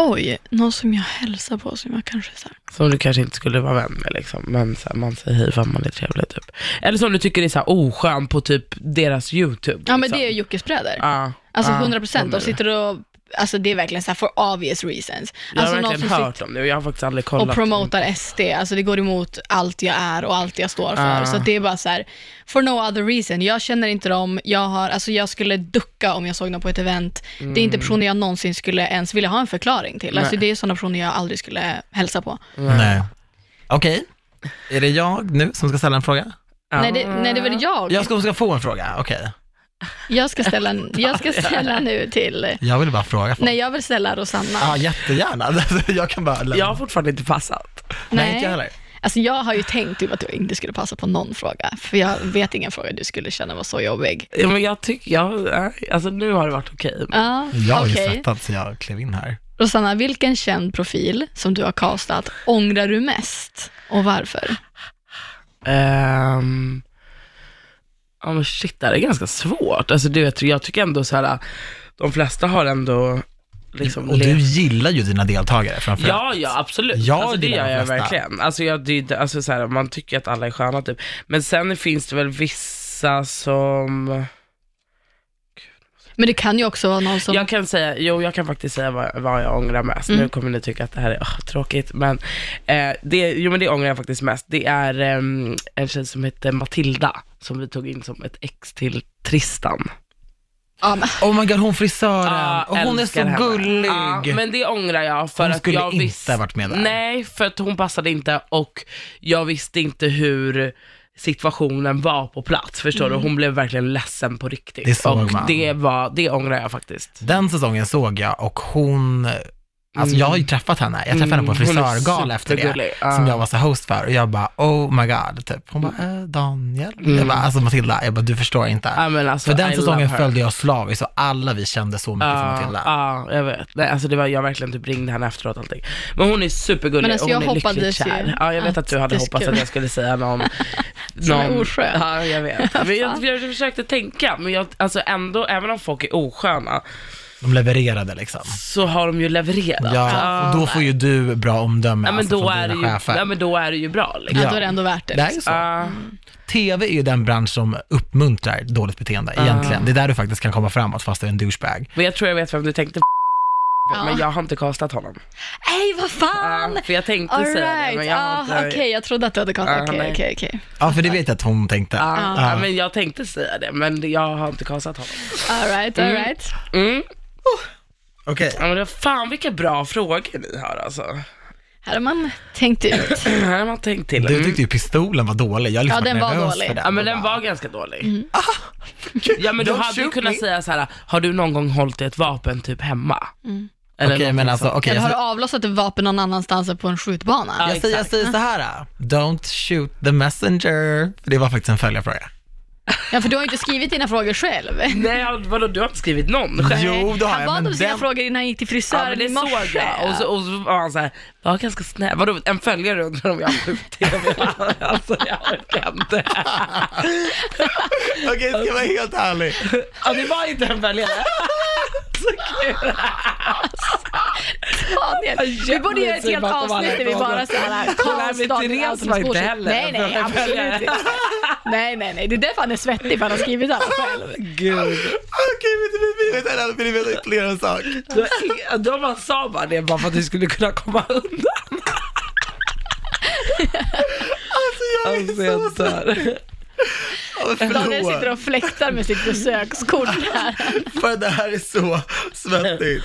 [SPEAKER 2] Oj, någon som jag hälsar på som jag kanske så här.
[SPEAKER 3] som du kanske inte skulle vara vän med liksom, men så här, man säger hej fan man är trevlig typ. Eller som du tycker är så här oskön på typ deras youtube.
[SPEAKER 2] Ja men
[SPEAKER 3] liksom.
[SPEAKER 2] det är Jockes bröder.
[SPEAKER 3] Ja, Ah,
[SPEAKER 2] Alltså
[SPEAKER 3] ja,
[SPEAKER 2] 100 procent,
[SPEAKER 3] de är
[SPEAKER 2] de
[SPEAKER 3] det.
[SPEAKER 2] sitter och, alltså det är verkligen så här for obvious reasons.
[SPEAKER 3] Jag har
[SPEAKER 2] alltså
[SPEAKER 3] verkligen
[SPEAKER 2] sitter-
[SPEAKER 3] hört om det och jag har faktiskt aldrig kollat.
[SPEAKER 2] och promotar SD. Alltså det går emot allt jag är och allt jag står för.
[SPEAKER 3] Ah.
[SPEAKER 2] Så att det är bara så här, for no other reason. Jag känner inte dem, jag, har, alltså jag skulle ducka om jag såg dem på ett event. Det är inte personer jag någonsin skulle ens vilja ha en förklaring till. Alltså
[SPEAKER 3] Nej.
[SPEAKER 2] det är sådana personer jag aldrig skulle hälsa på.
[SPEAKER 1] Nej. Okej, är det jag nu som ska ställa en fråga?
[SPEAKER 3] Ja.
[SPEAKER 2] Nej, det, nej, det är väl jag.
[SPEAKER 1] Jag
[SPEAKER 2] Jag,
[SPEAKER 1] ska, ska få en fråga, okej.
[SPEAKER 2] ska, ställa, en- jag ska ställa nu till...
[SPEAKER 1] Jag vill bara fråga folk.
[SPEAKER 2] Nej, jag vill ställa Rosanna.
[SPEAKER 1] Ja, jättegärna. Alltså, jag kan bara lämna.
[SPEAKER 3] Jag har fortfarande inte passat.
[SPEAKER 1] nej.
[SPEAKER 2] nej.
[SPEAKER 1] inte jag heller.
[SPEAKER 2] Alltså jag har ju tänkt typ att du inte skulle passa på någon fråga, för jag vet ingen fråga du skulle känna var så jobbig.
[SPEAKER 3] Ja, Men jag tycker, jag, nej, alltså nu har det varit okej.
[SPEAKER 2] Ja,
[SPEAKER 1] Jag har ju
[SPEAKER 2] okej.
[SPEAKER 1] svettats så jag klev in här.
[SPEAKER 2] Rosanna, vilken känd profil som du har castat ångrar du mest och varför?
[SPEAKER 3] Ehm, ja men shit, det här är ganska svårt. Alltså du vet, jag tycker ändå så här, de flesta har ändå liksom
[SPEAKER 1] Och du
[SPEAKER 3] levt-
[SPEAKER 1] gillar ju dina deltagare framförallt.
[SPEAKER 3] Ja, ja absolut.
[SPEAKER 1] Jag
[SPEAKER 3] alltså, det
[SPEAKER 1] gillar de
[SPEAKER 3] gör jag
[SPEAKER 1] flesta.
[SPEAKER 3] verkligen. Alltså, jag, det, är inte- alltså, så här, man tycker att alla är sköna typ. Men sen finns det väl vissa som...
[SPEAKER 2] Men det kan ju också vara någon som...
[SPEAKER 3] Jag kan säga, jo jag kan faktiskt säga vad, vad jag ångrar mest.
[SPEAKER 1] Mm.
[SPEAKER 3] Nu kommer ni tycka att det här är åh, tråkigt, men eh, det, jo men det ångrar jag faktiskt mest. Det är ehm, en tjej som heter Matilda, som vi tog in som ett ex till Tristan.
[SPEAKER 2] Ja, men,
[SPEAKER 1] Oh my god, hon frisören.
[SPEAKER 3] Ja,
[SPEAKER 1] Ah, och hon är så
[SPEAKER 3] älskar henne.
[SPEAKER 1] gullig.
[SPEAKER 3] Ja, men det ångrar jag för
[SPEAKER 1] Hon
[SPEAKER 3] att
[SPEAKER 1] skulle
[SPEAKER 3] jag
[SPEAKER 1] inte
[SPEAKER 3] visst-
[SPEAKER 1] ha varit med där.
[SPEAKER 3] Nej, för att hon passade inte och jag visste inte hur situationen var på plats, förstår du? Hon blev verkligen ledsen på riktigt.
[SPEAKER 1] Mm. Det såg
[SPEAKER 3] och
[SPEAKER 1] man.
[SPEAKER 3] det, var, det ångrar jag faktiskt.
[SPEAKER 1] Den säsongen såg jag och hon, alltså jag har ju träffat henne, jag träffade henne på en
[SPEAKER 3] Mm, hon är
[SPEAKER 1] frisörgala efter det,
[SPEAKER 3] supergullig, ja.
[SPEAKER 1] som jag var så host för och jag bara oh my god, typ. hon bara eh, Daniel, jag bara, alltså Matilda, jag bara du förstår inte.
[SPEAKER 3] Mm. Ja, men alltså,
[SPEAKER 1] för den
[SPEAKER 3] I
[SPEAKER 1] säsongen
[SPEAKER 3] love her.
[SPEAKER 1] följde jag slaviskt och alla vi kände så mycket för
[SPEAKER 3] Ja,
[SPEAKER 1] Matilda.
[SPEAKER 3] ja, jag vet. Nej, alltså det var, jag verkligen typ ringde henne efteråt och allting. Men hon är supergullig
[SPEAKER 2] Men alltså,
[SPEAKER 3] och hon
[SPEAKER 2] jag
[SPEAKER 3] är lyckligt
[SPEAKER 2] hoppades ju
[SPEAKER 3] kär. Ja, jag vet att,
[SPEAKER 2] att
[SPEAKER 3] du hade
[SPEAKER 2] det
[SPEAKER 3] hoppats
[SPEAKER 2] skulle-
[SPEAKER 3] att jag skulle säga någon...
[SPEAKER 2] Som är oskön.
[SPEAKER 3] Ja, jag vet. Men jag, jag försökte tänka, men jag, alltså ändå, även om folk är osköna,
[SPEAKER 1] De levererade liksom.
[SPEAKER 3] så har de ju levererat.
[SPEAKER 1] Ja, och då får ju du bra omdöme
[SPEAKER 3] Ja, men
[SPEAKER 1] alltså,
[SPEAKER 3] då
[SPEAKER 1] från
[SPEAKER 3] är, det
[SPEAKER 1] dina
[SPEAKER 3] ju,
[SPEAKER 1] chefer.
[SPEAKER 3] ja, men då är det ju bra. Liksom.
[SPEAKER 2] ja.
[SPEAKER 1] Ja.
[SPEAKER 2] då är det ändå värt det.
[SPEAKER 1] det är ju
[SPEAKER 2] Liksom.
[SPEAKER 1] så.
[SPEAKER 3] Ja.
[SPEAKER 1] TV är ju den bransch som uppmuntrar dåligt beteende egentligen. Det är där du faktiskt kan komma framåt fast du är en douchebag.
[SPEAKER 3] men jag tror jag vet vem du tänkte på, men
[SPEAKER 2] Ja.
[SPEAKER 3] jag har inte kastat honom.
[SPEAKER 2] Nej, vad fan!
[SPEAKER 3] Ja, för jag tänkte
[SPEAKER 2] All
[SPEAKER 3] säga det, men
[SPEAKER 2] right.
[SPEAKER 3] jag
[SPEAKER 2] Ah,
[SPEAKER 3] har
[SPEAKER 2] Okej,
[SPEAKER 3] inte...
[SPEAKER 2] jag trodde att du hade
[SPEAKER 3] Ja,
[SPEAKER 2] kastat. Okej,
[SPEAKER 3] nej.
[SPEAKER 2] okej, okej.
[SPEAKER 1] Ja, för det vet jag att hon tänkte.
[SPEAKER 3] Ja,
[SPEAKER 2] Ja.
[SPEAKER 3] ja, men jag tänkte säga det, men jag har inte kastat honom.
[SPEAKER 2] All right, all
[SPEAKER 3] Mm.
[SPEAKER 2] right.
[SPEAKER 3] Mm.
[SPEAKER 1] Okej.
[SPEAKER 3] Ja, men det, fan vilka bra frågor ni har alltså.
[SPEAKER 2] Här har man tänkt ut.
[SPEAKER 3] Det här har man tänkt till. Mm.
[SPEAKER 1] Du tyckte ju pistolen var dålig. Jag har liksom
[SPEAKER 2] Ja, den
[SPEAKER 1] varit
[SPEAKER 2] var
[SPEAKER 1] nervös
[SPEAKER 2] dålig.
[SPEAKER 1] För den.
[SPEAKER 3] Ja men
[SPEAKER 1] Och
[SPEAKER 3] den
[SPEAKER 1] bara,
[SPEAKER 3] var ganska dålig.
[SPEAKER 2] Mm.
[SPEAKER 3] Ja men du
[SPEAKER 1] Ah. Don't
[SPEAKER 3] hade ju
[SPEAKER 1] shoot
[SPEAKER 3] kunnat
[SPEAKER 1] me.
[SPEAKER 3] säga så här: har du någon gång hållit i ett vapen typ hemma?
[SPEAKER 2] Mm.
[SPEAKER 3] Eller
[SPEAKER 1] Okej, men
[SPEAKER 3] någonting
[SPEAKER 1] alltså,
[SPEAKER 3] sånt.
[SPEAKER 1] okej.
[SPEAKER 2] Eller har du
[SPEAKER 1] jag,
[SPEAKER 2] avlossat ett vapen någon annanstans än på en skjutbana?
[SPEAKER 3] Ja.
[SPEAKER 1] jag, säger, jag säger så här. äh, Don't shoot the messenger. För det var faktiskt en följarfråga.
[SPEAKER 2] Ja, för du har ju inte skrivit dina frågor själv.
[SPEAKER 3] Nej jag- vadå du har inte skrivit någon själv?
[SPEAKER 1] Jo, det har
[SPEAKER 2] Han
[SPEAKER 1] jag.
[SPEAKER 2] bad om
[SPEAKER 1] Men
[SPEAKER 2] sina
[SPEAKER 1] den,
[SPEAKER 2] frågor innan han gick till
[SPEAKER 3] Ja
[SPEAKER 2] frisören
[SPEAKER 3] men det
[SPEAKER 2] i
[SPEAKER 3] såg
[SPEAKER 2] morse.
[SPEAKER 3] jag. Och så, och så var han såhär, var ganska snäll. Vadå en följare undrar om jag har skjutit? alltså jag orkar inte.
[SPEAKER 1] okej, ska jag vara helt ärlig.
[SPEAKER 3] Ja det var inte en följare.
[SPEAKER 2] Daniel, vi
[SPEAKER 3] Jag
[SPEAKER 2] borde göra ett
[SPEAKER 3] bryr mig
[SPEAKER 2] helt
[SPEAKER 3] inte om
[SPEAKER 2] avsnitt där vi
[SPEAKER 3] alla
[SPEAKER 2] bara såhär
[SPEAKER 3] Nej, men Therese var inte heller
[SPEAKER 2] Nej, nej,
[SPEAKER 3] en
[SPEAKER 2] absolut
[SPEAKER 3] följare.
[SPEAKER 2] inte. Nej, nej, nej, det är därför han är svettig, för han har skrivit alla själv.
[SPEAKER 3] Gud.
[SPEAKER 1] Okej, vill ni veta, vill ni veta ytterligare en sak?
[SPEAKER 3] Då- Då man sa bara det bara för att du skulle kunna komma undan.
[SPEAKER 1] Alltså jag är
[SPEAKER 3] Alltså jag
[SPEAKER 1] så...
[SPEAKER 3] dör.
[SPEAKER 1] Ja, men
[SPEAKER 2] Daniel sitter
[SPEAKER 1] Förlåt,
[SPEAKER 2] och fläktar med sitt besökskort här.
[SPEAKER 1] för det här är så svettigt.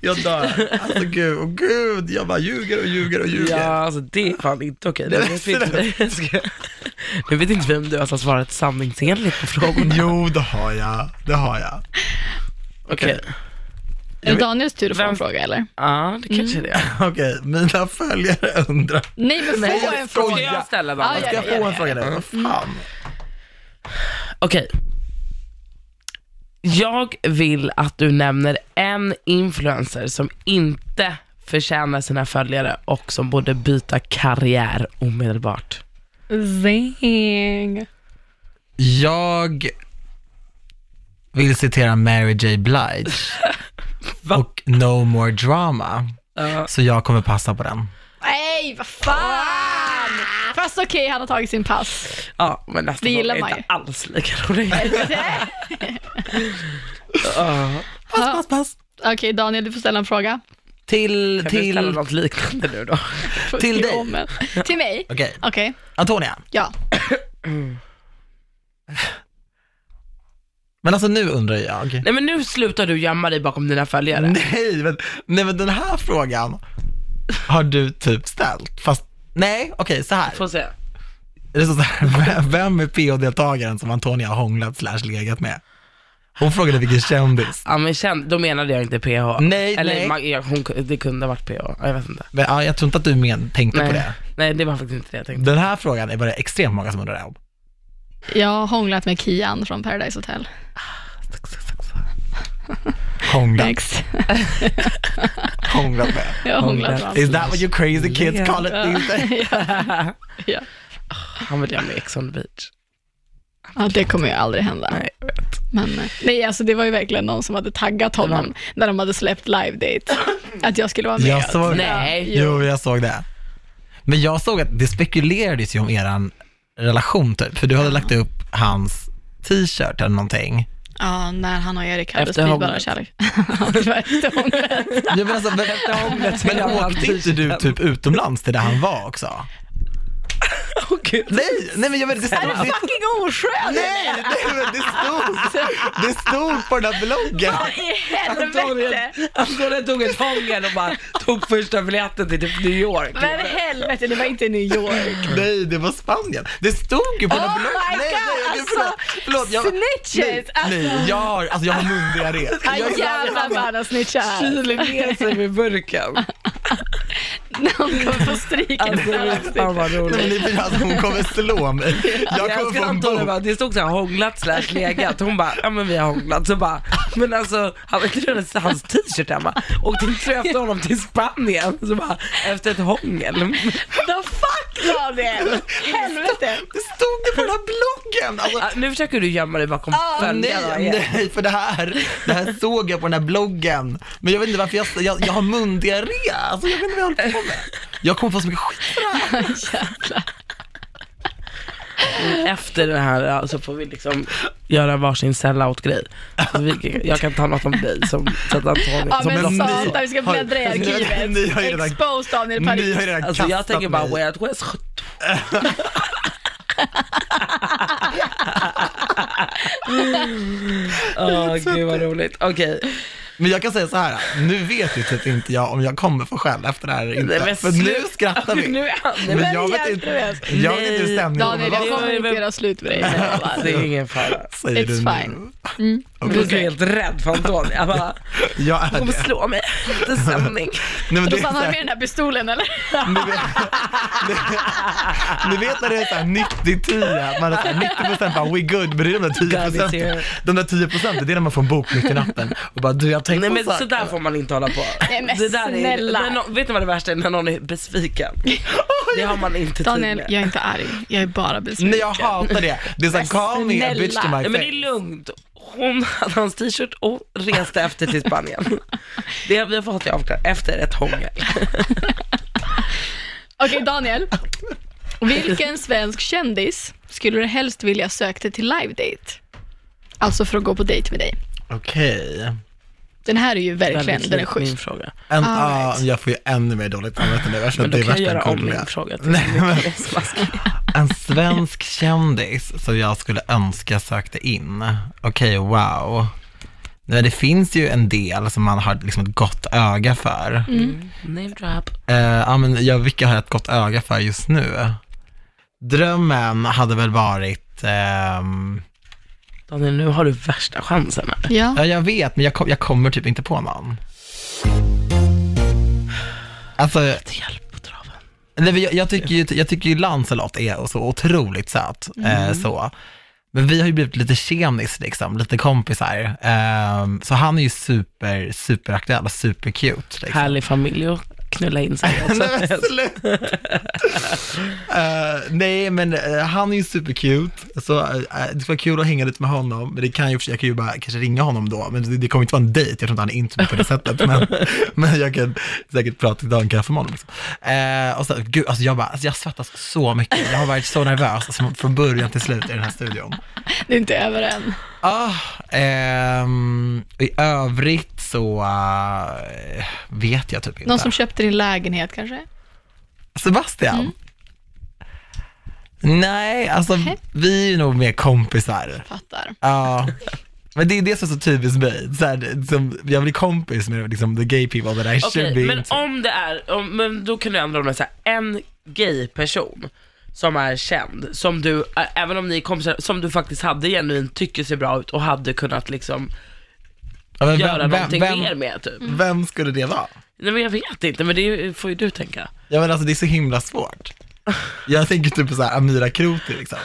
[SPEAKER 1] Jag dör. Alltså gud, och gud. Jag bara ljuger och ljuger och
[SPEAKER 3] Ja,
[SPEAKER 1] ljuger.
[SPEAKER 3] alltså det är fan inte okej. Nu
[SPEAKER 1] Nej,
[SPEAKER 3] vet vi inte- Jag skojar. Nu vet inte vem du ens har svarat sanningsenligt på frågorna.
[SPEAKER 1] Jo, det har jag. Det har jag.
[SPEAKER 3] Okej.
[SPEAKER 2] Är det Daniels tur att få en
[SPEAKER 3] Vem-
[SPEAKER 2] fråga eller?
[SPEAKER 3] Ja, det kanske det är.
[SPEAKER 1] Okej, mina följare undrar.
[SPEAKER 2] Nej, men
[SPEAKER 1] Nej,
[SPEAKER 2] få
[SPEAKER 1] jag
[SPEAKER 2] en
[SPEAKER 1] skojar.
[SPEAKER 2] fråga.
[SPEAKER 3] Ska jag ställa dem?
[SPEAKER 2] Ja,
[SPEAKER 1] Ska jag
[SPEAKER 2] ja,
[SPEAKER 3] Mm.
[SPEAKER 1] få en fråga
[SPEAKER 2] ja.
[SPEAKER 1] nu? Vad fan?
[SPEAKER 3] Okej. Jag vill att du nämner en influencer som inte förtjänar sina följare och som borde byta karriär omedelbart.
[SPEAKER 2] Zing.
[SPEAKER 1] Jag vill citera Mary J. Blige och No More Drama, så jag kommer passa på den.
[SPEAKER 2] Nej, vad fan! Fast okej, han har tagit sin pass.
[SPEAKER 3] Ja, men nästa
[SPEAKER 2] Det gillar
[SPEAKER 3] fråga
[SPEAKER 2] man
[SPEAKER 3] är
[SPEAKER 2] ju.
[SPEAKER 3] inte alls lika rolig.
[SPEAKER 1] Pass, pass, pass.
[SPEAKER 2] Okej, Daniel, du får ställa en fråga.
[SPEAKER 1] Till,
[SPEAKER 3] Kan du
[SPEAKER 1] till,
[SPEAKER 3] ställa
[SPEAKER 1] okej.
[SPEAKER 3] något liknande nu då?
[SPEAKER 1] Till
[SPEAKER 2] Tycker
[SPEAKER 1] dig.
[SPEAKER 2] om en. Till mig? Okej,
[SPEAKER 1] Antonia,
[SPEAKER 2] ja.
[SPEAKER 1] men alltså nu undrar jag.
[SPEAKER 3] Nej men nu slutar du gömma dig bakom dina följare.
[SPEAKER 1] Nej men, nej, men den här frågan har du typ ställt, fast nej, okej så här.
[SPEAKER 3] Får se.
[SPEAKER 1] Det står så här, vem är PO-deltagaren som Antonia har hånglat slash legat med? Hon frågade vilken kändis.
[SPEAKER 3] Ja men känd, då menade jag inte PH.
[SPEAKER 1] Nej,
[SPEAKER 3] Eller
[SPEAKER 1] nej.
[SPEAKER 3] Man, ja, hon, det kunde ha varit PH, Ja, jag vet inte.
[SPEAKER 1] Men, ja, jag tror inte att du men, tänkte på
[SPEAKER 3] Nej.
[SPEAKER 1] det.
[SPEAKER 3] nej, det var faktiskt inte det jag tänkte.
[SPEAKER 1] Den här frågan är bara extremt många som undrar om.
[SPEAKER 2] Jag har hånglat med Kian från Paradise Hotel.
[SPEAKER 1] Hånglat,
[SPEAKER 2] Next.
[SPEAKER 1] hånglat med.
[SPEAKER 2] Jag har hånglat med
[SPEAKER 3] Hånglat.
[SPEAKER 2] honom.
[SPEAKER 1] Is that what you crazy kids call it these days?
[SPEAKER 2] Ja. Ja.
[SPEAKER 3] Ah, Han vill göra med Ex on the beach.
[SPEAKER 2] Ja, det kommer ju aldrig hända.
[SPEAKER 3] Nej, jag vet.
[SPEAKER 2] Men, eh, nej, alltså det var ju verkligen någon som hade taggat honom när de hade släppt live date. Att jag skulle vara med.
[SPEAKER 1] Jag såg det.
[SPEAKER 3] Nej.
[SPEAKER 1] Jo, jag såg det. Men jag såg att det spekulerades ju om eran relation typ, för du hade lagt upp hans t-shirt eller någonting.
[SPEAKER 2] Ja, när han och Erik hade
[SPEAKER 3] Efter
[SPEAKER 2] spridbara
[SPEAKER 3] hånglet.
[SPEAKER 2] kärlek. Ja, det var efter hånglet.
[SPEAKER 1] Ja, men alltså, men, men åkte inte du typ utomlands till där han var också?
[SPEAKER 3] Åh gud.
[SPEAKER 1] Nej, nej men jag vet, det stod, det,
[SPEAKER 2] Fucking oskön!
[SPEAKER 1] nej, nej, men det stod, det stod på den här bloggen.
[SPEAKER 2] I
[SPEAKER 3] Antonija
[SPEAKER 2] helvete!
[SPEAKER 3] Antonija tog ett hångel och bara tog första biljetten till typ New York.
[SPEAKER 2] Men helvete, det var inte New York.
[SPEAKER 1] Nej, det var Spanien. Det stod ju på den
[SPEAKER 2] Oh
[SPEAKER 1] här bloggen.
[SPEAKER 2] my
[SPEAKER 1] nej, nej,
[SPEAKER 2] God,
[SPEAKER 1] okej, förlåt, förlåt. Jag, nej,
[SPEAKER 2] Snitches!
[SPEAKER 1] nej, jag har, alltså jag har mundiarré. Jag
[SPEAKER 2] Alltså,
[SPEAKER 1] är-
[SPEAKER 2] jävlar vad han har snitchat.
[SPEAKER 3] Kyler med sig med burken.
[SPEAKER 2] Någon kommer få stryk.
[SPEAKER 3] Alltså det fan vad
[SPEAKER 1] Nej, men
[SPEAKER 3] roligt.
[SPEAKER 1] det blir alltså, hon kommer slå mig. Jag
[SPEAKER 3] Alltså, Jag
[SPEAKER 1] kommer
[SPEAKER 3] älskar
[SPEAKER 1] få en
[SPEAKER 3] Antonija
[SPEAKER 1] bok.
[SPEAKER 3] bara, det stod såhär hånglat slash legat. Hon bara, ja men vi har hånglat. Så bara, men alltså han inte redan sett hans t-shirt hemma. Och till slut efter honom till Spanien. Så bara, efter ett hångel.
[SPEAKER 2] The fuck Daniel! Helvete!
[SPEAKER 1] Det stod det på den här bloggen. Alltså,
[SPEAKER 3] Ah, nu försöker du gömma dig bakom följarna.
[SPEAKER 1] Ah, nej, nej, för det här, det här såg jag på den här bloggen. Men jag vet inte varför jag, jag, jag har mundiarré. Alltså, jag vet inte vad jag håller på med. Jag kommer få så mycket skit.
[SPEAKER 3] Efter det här ja, så får vi liksom göra varsin sellout-grej. Så vi- Jag kan ta något om dig som, så att Antonija
[SPEAKER 2] Ja
[SPEAKER 3] som
[SPEAKER 2] men
[SPEAKER 1] block.
[SPEAKER 3] blockar.
[SPEAKER 2] satan, vi ska
[SPEAKER 1] Har-
[SPEAKER 2] bläddra i
[SPEAKER 1] Ni har ju
[SPEAKER 2] arkivet.
[SPEAKER 1] redan-
[SPEAKER 2] Expose Daniel
[SPEAKER 1] Ni
[SPEAKER 2] Paris.
[SPEAKER 1] har ju redan
[SPEAKER 3] Alltså jag
[SPEAKER 1] kastat
[SPEAKER 3] tänker bara,
[SPEAKER 1] mig.
[SPEAKER 3] way out west. Åh gud vad roligt. Okej,
[SPEAKER 1] Men jag kan säga så här, nu vet ju typ inte jag om jag kommer få skäll efter det här eller inte.
[SPEAKER 3] Nej, men
[SPEAKER 1] för nu
[SPEAKER 3] sluta.
[SPEAKER 1] skrattar vi.
[SPEAKER 3] nu är han
[SPEAKER 1] men jag vet
[SPEAKER 2] jävligt
[SPEAKER 1] inte,
[SPEAKER 2] nervös.
[SPEAKER 1] jag vet
[SPEAKER 3] Nej. alltså,
[SPEAKER 1] inte hur stämningen
[SPEAKER 2] Daniel,
[SPEAKER 1] kommer
[SPEAKER 2] jag
[SPEAKER 1] vara.
[SPEAKER 2] kommer inte göra slut med dig. jag lovar.
[SPEAKER 3] Det är ingen fara.
[SPEAKER 1] Säger du
[SPEAKER 2] It's
[SPEAKER 1] nu.
[SPEAKER 2] fine.
[SPEAKER 3] Jag är helt rädd för Antonija. Jag bara,
[SPEAKER 1] Jag är
[SPEAKER 3] Hon kommer
[SPEAKER 1] det.
[SPEAKER 3] slå mig efter sändning.
[SPEAKER 1] Nej, men det är
[SPEAKER 2] Rosanna,
[SPEAKER 1] så
[SPEAKER 2] har du
[SPEAKER 1] här-
[SPEAKER 2] med den här pistolen eller?
[SPEAKER 1] Ni vet, ni, ni vet när det är såhär 90-10, att man är såhär 90% bara we good, men det är de där 10
[SPEAKER 3] God is here.
[SPEAKER 1] procenten, de där 10 procenten, det är när man får en bok mitt i natten och bara du jag tänkte
[SPEAKER 3] Nej men
[SPEAKER 1] så här.
[SPEAKER 3] sådär får man inte hålla på.
[SPEAKER 2] Nej, men
[SPEAKER 3] det där
[SPEAKER 2] snälla.
[SPEAKER 3] Är, när nå- vet ni vad det värsta är? När någon är besviken. Det har man inte tid
[SPEAKER 2] Daniel,
[SPEAKER 3] med.
[SPEAKER 2] jag är inte arg. Jag är bara besviken.
[SPEAKER 1] Nej jag hatar det, det är såhär call me a bitch to my
[SPEAKER 2] Snälla.
[SPEAKER 1] face.
[SPEAKER 3] Nej men det är lugnt. Hon hade hans t-shirt och reste efter till Spanien. Det vi har fått det avklarat efter ett hångel.
[SPEAKER 2] Okej Daniel, vilken svensk kändis skulle du helst vilja sökte till live date? Alltså för att gå på dejt med dig.
[SPEAKER 1] Okej,
[SPEAKER 2] Den här är ju verkligen,
[SPEAKER 3] Väldigt
[SPEAKER 2] den är
[SPEAKER 3] lik min
[SPEAKER 2] schysst.
[SPEAKER 3] fråga.
[SPEAKER 1] En-
[SPEAKER 2] All
[SPEAKER 1] ah,
[SPEAKER 2] right.
[SPEAKER 1] jag får ju ännu mer dåligt samvete nu eftersom
[SPEAKER 3] Men då
[SPEAKER 1] det är
[SPEAKER 3] kan jag
[SPEAKER 1] värsta
[SPEAKER 3] göra om
[SPEAKER 1] kolliga.
[SPEAKER 3] min fråga till
[SPEAKER 1] Nej, men,
[SPEAKER 3] smaskigt.
[SPEAKER 1] En svensk kändis som jag skulle önska sökte in. Okej, wow. Nej, det finns ju en del som man har liksom ett gott öga för.
[SPEAKER 3] Name drop.
[SPEAKER 1] Eh, ja, men jag, vilka har jag ett gott öga för just nu? Drömmen hade väl varit, ehm,
[SPEAKER 3] Daniel nu har du värsta chansen här.
[SPEAKER 2] Ja.
[SPEAKER 1] ja jag vet, men jag, kom, jag kommer typ inte på någon. Alltså,
[SPEAKER 3] Till hjälp på traven.
[SPEAKER 1] nej, men jag, jag, tycker ju, jag tycker ju Lancelot är så otroligt söt. Eh, så. Men vi har ju blivit lite tjenis liksom, lite kompisar. Ehm, så han är ju super, superaktuell och supercute. Liksom.
[SPEAKER 3] Härlig familj och knulla in sig också.
[SPEAKER 2] Alltså,
[SPEAKER 1] Nej, men sluta. Eh, nej, men eh, han är ju supercute, så eh, det skulle vara kul att hänga lite med honom. Men det kan ju, jag kan ju bara kanske ringa honom då, men det, det kommer inte vara en dejt, jag tror inte han är intim på det sättet. Men, men jag kan säkert prata idag en kaffe med honom. Liksom. Eh, och så, gud, alltså jag, bara, alltså jag svettas så mycket, jag har varit så nervös alltså, från början till slut i den här studion.
[SPEAKER 2] Det är inte över än.
[SPEAKER 1] Ah, ehm, I övrigt så eh, vet jag typ inte.
[SPEAKER 2] Någon som köpte din lägenhet kanske?
[SPEAKER 1] Sebastian? Nej, alltså
[SPEAKER 2] Nej.
[SPEAKER 1] vi är ju nog mer kompisar.
[SPEAKER 2] Fattar.
[SPEAKER 1] Ja. Men det är det som är så typiskt mig. Så här, det- som, jag blir kompis med liksom, the gay people that I
[SPEAKER 3] Okej,
[SPEAKER 1] should be
[SPEAKER 3] men
[SPEAKER 1] into.
[SPEAKER 3] om det är, om, men då kan du ändra om det så här, en gay person som är känd, som du, ä- även om ni är kompisar, som du faktiskt hade genuint tycker ser bra ut och hade kunnat liksom
[SPEAKER 1] Ja, men
[SPEAKER 3] göra
[SPEAKER 1] vem,
[SPEAKER 3] någonting
[SPEAKER 1] vem, vem,
[SPEAKER 3] mer med typ.
[SPEAKER 1] vem skulle det vara?
[SPEAKER 3] Nej men jag vet inte, men det är ju- får ju du tänka.
[SPEAKER 1] Ja men alltså det är så himla svårt. Jag tänker typ på så här Amira Kroti liksom.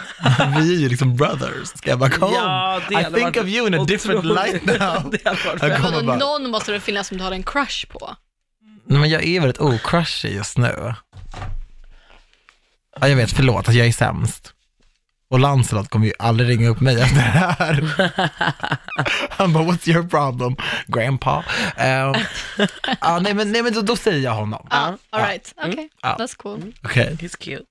[SPEAKER 1] Vi är ju liksom brothers. Ska jag bara kom?
[SPEAKER 3] Ja, det
[SPEAKER 1] Oh, I
[SPEAKER 3] hade
[SPEAKER 1] think
[SPEAKER 3] varit
[SPEAKER 1] of you in a different
[SPEAKER 3] otroligt.
[SPEAKER 1] light now.
[SPEAKER 3] Det hade varit
[SPEAKER 1] jag kommer
[SPEAKER 2] Vadå,
[SPEAKER 1] bara,
[SPEAKER 2] Alltså, någon måste det finnas som du har en crush på.
[SPEAKER 1] Nej, men jag är väldigt ocrushig just nu. Ja, jag vet, förlåt, alltså, jag är sämst. Och Lancelot kommer ju aldrig ringa upp mig efter det här. Han bara, what's your problem, grandpa? Eh, ja, nej, men, nej, men då, då säger jag honom.
[SPEAKER 2] Ja, Ah, all right. Okej,
[SPEAKER 1] Ja.
[SPEAKER 2] that's cool.
[SPEAKER 1] Okej.
[SPEAKER 3] He's cute.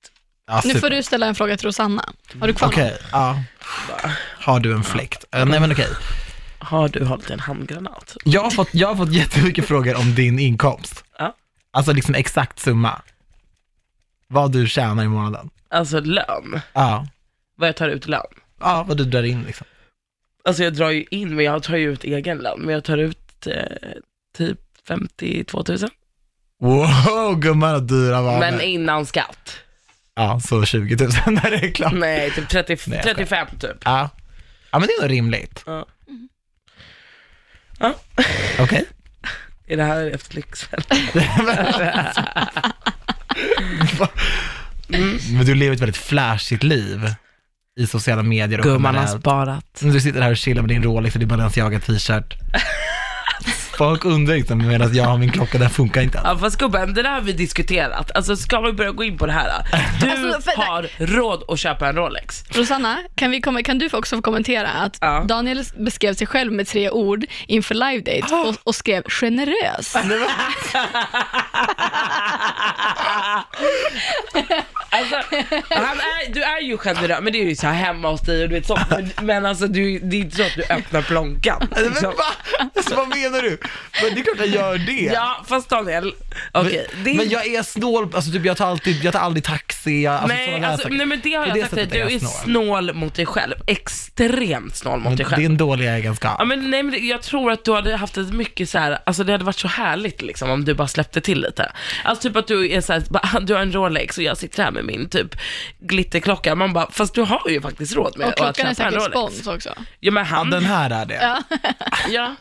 [SPEAKER 1] Ja,
[SPEAKER 2] Nu får
[SPEAKER 1] super.
[SPEAKER 2] du ställa en fråga till Rosanna. Har du kvar
[SPEAKER 1] Okej,
[SPEAKER 2] någon?
[SPEAKER 1] ja. Har du en fläkt? Eh, nej, men okej.
[SPEAKER 3] Har du hållit en handgranat?
[SPEAKER 1] Jag, har fått- jag har fått jättemycket frågor om din inkomst.
[SPEAKER 3] Ja.
[SPEAKER 1] Alltså liksom exakt summa. Vad du tjänar i månaden.
[SPEAKER 3] Alltså lön,
[SPEAKER 1] Ja,
[SPEAKER 3] vad jag tar ut i lön.
[SPEAKER 1] ja vad du drar in liksom.
[SPEAKER 3] Alltså jag drar ju in, men jag tar ju ut egen lön, men jag tar ut eh, typ 52 000.
[SPEAKER 1] Wow, gumman har dyra vanor.
[SPEAKER 3] Men innan skatt.
[SPEAKER 1] Ja, så 20 000 när det är klart.
[SPEAKER 3] Nej, typ 30,
[SPEAKER 1] Nej, jag
[SPEAKER 3] 35 typ.
[SPEAKER 1] Ja. ja, men det är nog rimligt.
[SPEAKER 3] Ja. Ja,
[SPEAKER 1] Okej.
[SPEAKER 3] är det här efter lyxen? Mm.
[SPEAKER 1] Men du lever ett väldigt flashigt liv i sociala medier och
[SPEAKER 3] Gumman har
[SPEAKER 1] generellt.
[SPEAKER 3] sparat.
[SPEAKER 1] Du sitter här och chillar med din Rolex och din Balenciaga t-shirt. Folk undrar liksom, medan jag har min klocka, den funkar inte alls.
[SPEAKER 3] Ja fast gubben, det där har vi diskuterat. Alltså ska vi börja gå in på det här? då? Du
[SPEAKER 2] Alltså, för-
[SPEAKER 3] har råd att köpa en Rolex.
[SPEAKER 2] Rosanna, kan, vi komma, kan du också få kommentera att
[SPEAKER 3] Ja.
[SPEAKER 2] Daniel beskrev sig själv med tre ord inför live date
[SPEAKER 3] Ah.
[SPEAKER 2] och, och skrev generös.
[SPEAKER 3] Alltså, han är, du är ju generös, men det är ju så här hemma hos dig och du vet sånt. Men, men alltså du, det är inte så att du öppnar plånkan.
[SPEAKER 1] Men
[SPEAKER 3] liksom.
[SPEAKER 1] va? Alltså, vad menar du? Men det är klart jag gör det.
[SPEAKER 3] Ja fast Daniel, okej. det är-
[SPEAKER 1] Men jag är snål, alltså typ, jag, tar alltid, jag tar aldrig taxi. Jag, alltså,
[SPEAKER 3] nej,
[SPEAKER 1] sådana där
[SPEAKER 3] alltså,
[SPEAKER 1] saker.
[SPEAKER 3] nej men det har
[SPEAKER 1] På
[SPEAKER 3] jag
[SPEAKER 1] det
[SPEAKER 3] sagt till
[SPEAKER 1] sättet
[SPEAKER 3] dig,
[SPEAKER 1] är
[SPEAKER 3] du är
[SPEAKER 1] jag
[SPEAKER 3] snål.
[SPEAKER 1] snål.
[SPEAKER 3] mot dig själv. Extremt snål mot
[SPEAKER 1] Men
[SPEAKER 3] dig
[SPEAKER 1] det är
[SPEAKER 3] själv.
[SPEAKER 1] en dålig egenskap.
[SPEAKER 3] Ja, men, nej, men det- jag tror att du hade haft ett mycket så här, alltså det hade varit så härligt liksom om du bara släppte till lite. Alltså typ att du är så här, bara, du har en Rolex och jag sitter här med min typ glitterklocka. Man bara, fast du har ju faktiskt råd med
[SPEAKER 2] Och
[SPEAKER 3] att
[SPEAKER 2] klockan
[SPEAKER 3] köpa
[SPEAKER 2] är
[SPEAKER 3] en
[SPEAKER 2] säkert
[SPEAKER 3] Rolex.
[SPEAKER 2] spons också.
[SPEAKER 3] Ja men
[SPEAKER 1] Ja,
[SPEAKER 3] han,
[SPEAKER 1] den här är det.
[SPEAKER 2] Ja.
[SPEAKER 3] ja.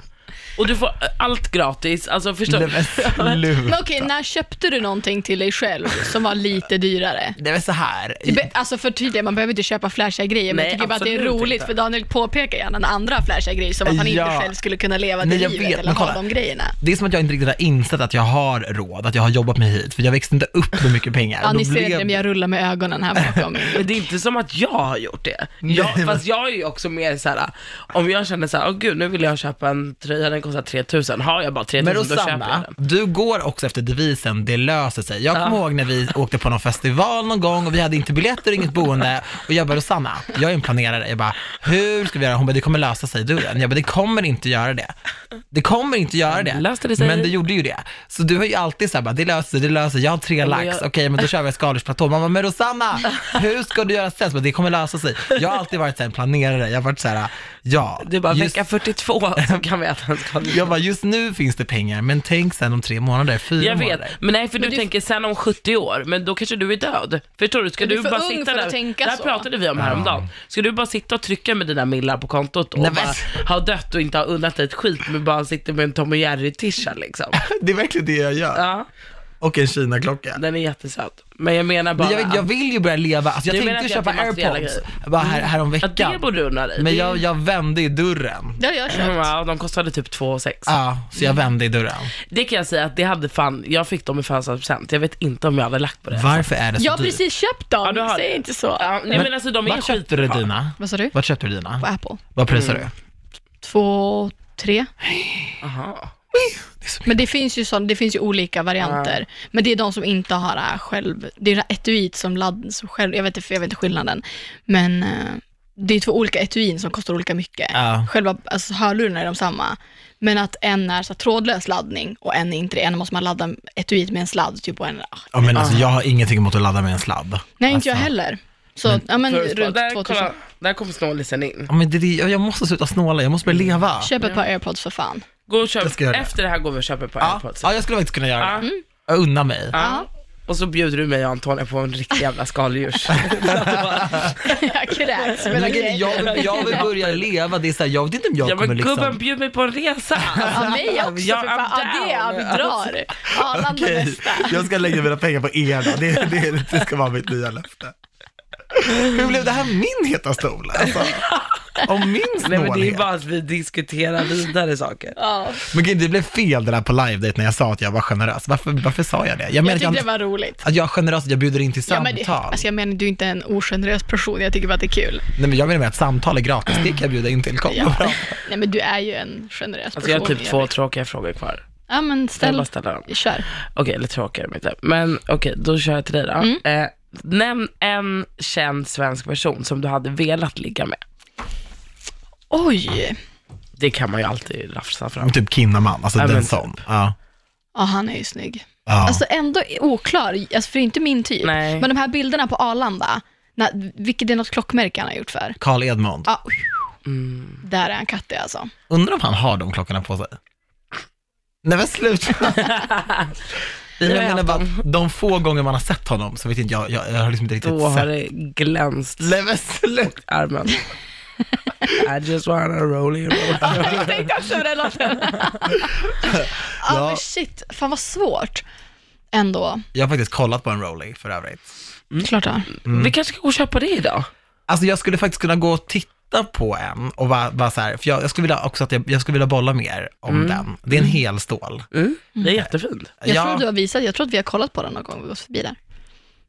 [SPEAKER 3] Och du får eh, allt gratis, alltså förstår
[SPEAKER 1] Nej
[SPEAKER 3] du?
[SPEAKER 1] men
[SPEAKER 2] Men
[SPEAKER 1] sluta.
[SPEAKER 2] okej, när köpte du någonting till dig själv som var lite dyrare?
[SPEAKER 1] Det är väl så här.
[SPEAKER 2] Det Be- alltså för tydliga, man behöver inte köpa flashiga grejer, men
[SPEAKER 3] Nej,
[SPEAKER 2] jag tycker bara att det är
[SPEAKER 3] absolut
[SPEAKER 2] roligt,
[SPEAKER 3] inte.
[SPEAKER 2] för Daniel påpekar gärna när andra har flashiga grejer, som att han
[SPEAKER 1] Ja.
[SPEAKER 2] inte själv skulle kunna leva det
[SPEAKER 1] Nej, jag
[SPEAKER 2] livet
[SPEAKER 1] vet,
[SPEAKER 2] eller
[SPEAKER 1] men
[SPEAKER 2] ha
[SPEAKER 1] kolla.
[SPEAKER 2] de grejerna.
[SPEAKER 1] Det är som att jag inte riktigt har insett att jag har råd, att jag har jobbat mig hit, för jag växte inte upp med mycket pengar.
[SPEAKER 2] Ja,
[SPEAKER 1] Då
[SPEAKER 2] ni ser
[SPEAKER 1] blev-
[SPEAKER 2] det, men jag rullar med ögonen här bakom.
[SPEAKER 3] Men det är inte som att jag har gjort det.
[SPEAKER 1] Nej,
[SPEAKER 3] Jag,
[SPEAKER 1] men-
[SPEAKER 3] fast jag är ju också mer så här. om jag känner så här, åh gud nu vill jag köpa en tröja, den kostar 3000, har jag bara 3000
[SPEAKER 1] Men
[SPEAKER 3] då köper jag
[SPEAKER 1] Rosanna,
[SPEAKER 3] den.
[SPEAKER 1] du går också efter devisen det löser sig. Jag kommer ihåg när vi åkte på någon festival någon gång och vi hade inte biljetter och inget boende och jag bara Rosanna, jag är en planerare. Jag bara, hur ska vi göra? Hon bara, det kommer lösa sig. Du Jag bara, det kommer inte göra det. Det kommer inte göra det.
[SPEAKER 3] Men löste det sig?
[SPEAKER 1] Men det gjorde ju det. Så du har ju alltid så här bara, det löser sig, det löser sig. Jag har tre lax,
[SPEAKER 3] men jag-
[SPEAKER 1] okej men då kör vi skaldjursplatå. Man bara, men Rosanna, hur ska du göra sen? Så bara, det kommer lösa sig. Jag har alltid varit så här, en planerare. Jag har varit så här, ja.
[SPEAKER 3] Du bara,
[SPEAKER 1] just-
[SPEAKER 3] vecka 42 så kan vi äta en skaldjur.
[SPEAKER 1] jag bara, just nu finns det pengar, men tänk sen om tre månader, fyra
[SPEAKER 3] Jag vet,
[SPEAKER 1] månader.
[SPEAKER 3] men nej för du
[SPEAKER 2] det-
[SPEAKER 3] tänker sen om 70 år, men då kanske du är död. Förstår du? Ska
[SPEAKER 2] Du
[SPEAKER 3] du,
[SPEAKER 2] är för
[SPEAKER 3] bara
[SPEAKER 2] ung
[SPEAKER 3] sitta
[SPEAKER 2] för att
[SPEAKER 3] där,
[SPEAKER 2] tänka
[SPEAKER 3] det här
[SPEAKER 2] så.
[SPEAKER 3] pratade vi om häromdagen. Ska du bara sitta och trycka med dina millar på kontot och
[SPEAKER 1] Nej, men-
[SPEAKER 3] bara ha dött och inte ha unnat dig ett skit, men bara sitta med en Tom och Jerry-tisha liksom.
[SPEAKER 1] Det är verkligen det jag gör.
[SPEAKER 3] Ja.
[SPEAKER 1] och en Kina-klocka.
[SPEAKER 3] Den är jättesöt. Men jag menar bara...
[SPEAKER 1] Men jag, vet, jag vill ju börja leva, alltså jag
[SPEAKER 3] Du menar
[SPEAKER 1] tänkte
[SPEAKER 3] att jag
[SPEAKER 1] köpa
[SPEAKER 3] till materiella
[SPEAKER 1] airpods
[SPEAKER 3] grejer?
[SPEAKER 1] bara här,
[SPEAKER 3] att Mm. det
[SPEAKER 1] häromveckan.
[SPEAKER 3] borde du unna dig.
[SPEAKER 1] Men
[SPEAKER 3] Det-
[SPEAKER 1] jag, jag vände i dörren.
[SPEAKER 2] Det har jag köpt.
[SPEAKER 3] Ja, de kostade typ 2 6.
[SPEAKER 1] Ja, så jag vände i dörren.
[SPEAKER 3] Det kan jag säga att det hade fan, jag fick dem i födelsedagspresent. Jag vet inte om jag hade lagt på det.
[SPEAKER 1] Varför är det så
[SPEAKER 2] Jag har
[SPEAKER 1] dyrt?
[SPEAKER 2] precis köpt dem,
[SPEAKER 3] Ja, du har
[SPEAKER 2] säg
[SPEAKER 3] det.
[SPEAKER 2] inte så.
[SPEAKER 3] Ja, nej, men, alltså de är
[SPEAKER 1] Vart köpte du
[SPEAKER 3] skitbra. Mm.
[SPEAKER 1] dina?
[SPEAKER 2] Vad sa du?
[SPEAKER 1] Vart köpte du dina?
[SPEAKER 2] På Apple.
[SPEAKER 1] Vad prisar du?
[SPEAKER 2] Två, tre.
[SPEAKER 3] Aha.
[SPEAKER 2] Men det finns ju, sån, det finns ju olika varianter. Men det är de som inte har det här själv, det är det här etuiet som ladd, som själv, jag vet inte, jag vet inte skillnaden. Men eh, det är två olika etuin som kostar olika mycket.
[SPEAKER 1] Ja.
[SPEAKER 2] Själva alltså, hörlurarna är de samma. Men att en är så här, trådlös laddning och en är inte det. En måste man ladda etuiet med en sladd typ och en, ah,
[SPEAKER 1] Ja men alltså jag har ingenting emot att ladda med en sladd.
[SPEAKER 2] nej inte jag
[SPEAKER 1] Alltså.
[SPEAKER 2] heller. Så ja, men,
[SPEAKER 3] Förutspå-
[SPEAKER 2] runt
[SPEAKER 3] där,
[SPEAKER 2] 2000.
[SPEAKER 3] kolla, där kom snålisen in.
[SPEAKER 1] Ja, men det, det, jag måste sluta snåla, jag måste börja leva.
[SPEAKER 2] Köp ett par airpods för fan.
[SPEAKER 3] Gå och
[SPEAKER 1] Jag
[SPEAKER 3] köp,
[SPEAKER 1] ska göra det.
[SPEAKER 3] efter det här går vi och köper på
[SPEAKER 1] Ja,
[SPEAKER 3] airpods. Mm.
[SPEAKER 1] ja, jag skulle faktiskt kunna göra
[SPEAKER 3] Ja.
[SPEAKER 1] det. Jag unnar mig.
[SPEAKER 3] Ja. Och så bjuder du mig och Antonija på en riktig jävla skaldjurs.
[SPEAKER 2] jag kräks. Men
[SPEAKER 1] Men grejen
[SPEAKER 2] okej.
[SPEAKER 1] är, jag, vill, jag vill börja leva, det är så här, jag vet inte om jag
[SPEAKER 3] ja
[SPEAKER 1] kommer
[SPEAKER 3] men gubben
[SPEAKER 1] liksom...
[SPEAKER 3] bjud mig på en resa.
[SPEAKER 2] Ja, mig också
[SPEAKER 3] Ja,
[SPEAKER 2] för fan. Ja,
[SPEAKER 3] I'm
[SPEAKER 2] det är
[SPEAKER 3] down.
[SPEAKER 2] vi drar. Arlanda
[SPEAKER 1] Okej,
[SPEAKER 2] nästa.
[SPEAKER 1] jag ska lägga mina pengar på er då. Det, det, det ska vara mitt nya löfte. Hur blev det här min heta stol? Alltså, om min
[SPEAKER 3] Nej men det är
[SPEAKER 1] snålhet.
[SPEAKER 3] bara att vi diskuterar vidare saker.
[SPEAKER 2] Ja.
[SPEAKER 1] Men gud, det blev fel det där på live date när jag sa att jag var generös. Varför, varför sa jag det? Jag menar
[SPEAKER 2] Jag
[SPEAKER 1] att
[SPEAKER 2] tyckte
[SPEAKER 1] jag,
[SPEAKER 2] det var roligt.
[SPEAKER 1] att jag är generös, jag bjuder in till
[SPEAKER 2] Ja,
[SPEAKER 1] samtal.
[SPEAKER 2] men det, alltså jag menar, du är inte en ogenerös person. Jag tycker bara att det är kul.
[SPEAKER 1] Nej men jag menar med att samtal är gratis, det kan jag bjuda in till. Kom och prata.
[SPEAKER 2] Nej, men du är ju en generös
[SPEAKER 3] Alltså
[SPEAKER 2] person.
[SPEAKER 3] jag har typ
[SPEAKER 2] i
[SPEAKER 3] två
[SPEAKER 2] övrigt.
[SPEAKER 3] tråkiga frågor kvar.
[SPEAKER 2] Ja, men
[SPEAKER 3] Kan jag
[SPEAKER 2] ställ.
[SPEAKER 3] bara ställa dem?
[SPEAKER 2] Kör.
[SPEAKER 3] Okej, eller tråkigare men inte. Men okej, då kör jag till dig då.
[SPEAKER 2] Mm.
[SPEAKER 3] Eh, nämn en känd svensk person som du hade velat ligga med.
[SPEAKER 2] Oj.
[SPEAKER 3] Det kan man ju alltid rafsa fram.
[SPEAKER 1] Typ Kinnaman, alltså
[SPEAKER 3] Ja,
[SPEAKER 1] den
[SPEAKER 3] men typ.
[SPEAKER 1] sån. Ja.
[SPEAKER 2] Ja, han är ju snygg.
[SPEAKER 1] Ja.
[SPEAKER 2] Alltså ändå oklar, alltså, för det är inte min typ.
[SPEAKER 3] Nej.
[SPEAKER 2] Men de här bilderna på Arlanda, när, vilket är något klockmärke han har gjort för.
[SPEAKER 1] Carl Edmond.
[SPEAKER 2] Ja,
[SPEAKER 3] Mm.
[SPEAKER 2] Där är han kattig alltså.
[SPEAKER 1] Undrar om han har de klockorna på sig? Nej men sluta. jag
[SPEAKER 3] har
[SPEAKER 1] menar
[SPEAKER 3] haft
[SPEAKER 1] bara, att de få gånger man har sett honom så vet inte jag, jag, jag har liksom inte riktigt
[SPEAKER 3] Då har
[SPEAKER 1] sett.
[SPEAKER 3] det glänst
[SPEAKER 1] Nej men sluta.
[SPEAKER 3] armen. I just wanna roll you.
[SPEAKER 2] jag tänkte också på den låten. Ja,
[SPEAKER 1] Ja.
[SPEAKER 2] Ah, men shit. Fan vad svårt. Ändå.
[SPEAKER 1] Jag har faktiskt kollat på en Rolly för övrigt.
[SPEAKER 3] Mm.
[SPEAKER 2] Klart ja.
[SPEAKER 3] Vi kanske ska gå och köpa det idag.
[SPEAKER 1] Alltså jag skulle faktiskt kunna gå och titta på en och bara, bara så här, för jag, jag skulle vilja också att jag, jag skulle vilja bolla mer om den. Det är en hel stål.
[SPEAKER 3] Det är jättefint.
[SPEAKER 2] Jag
[SPEAKER 1] ja,
[SPEAKER 2] tror du har visat, jag tror att vi har kollat på den någon gång vi gått förbi där.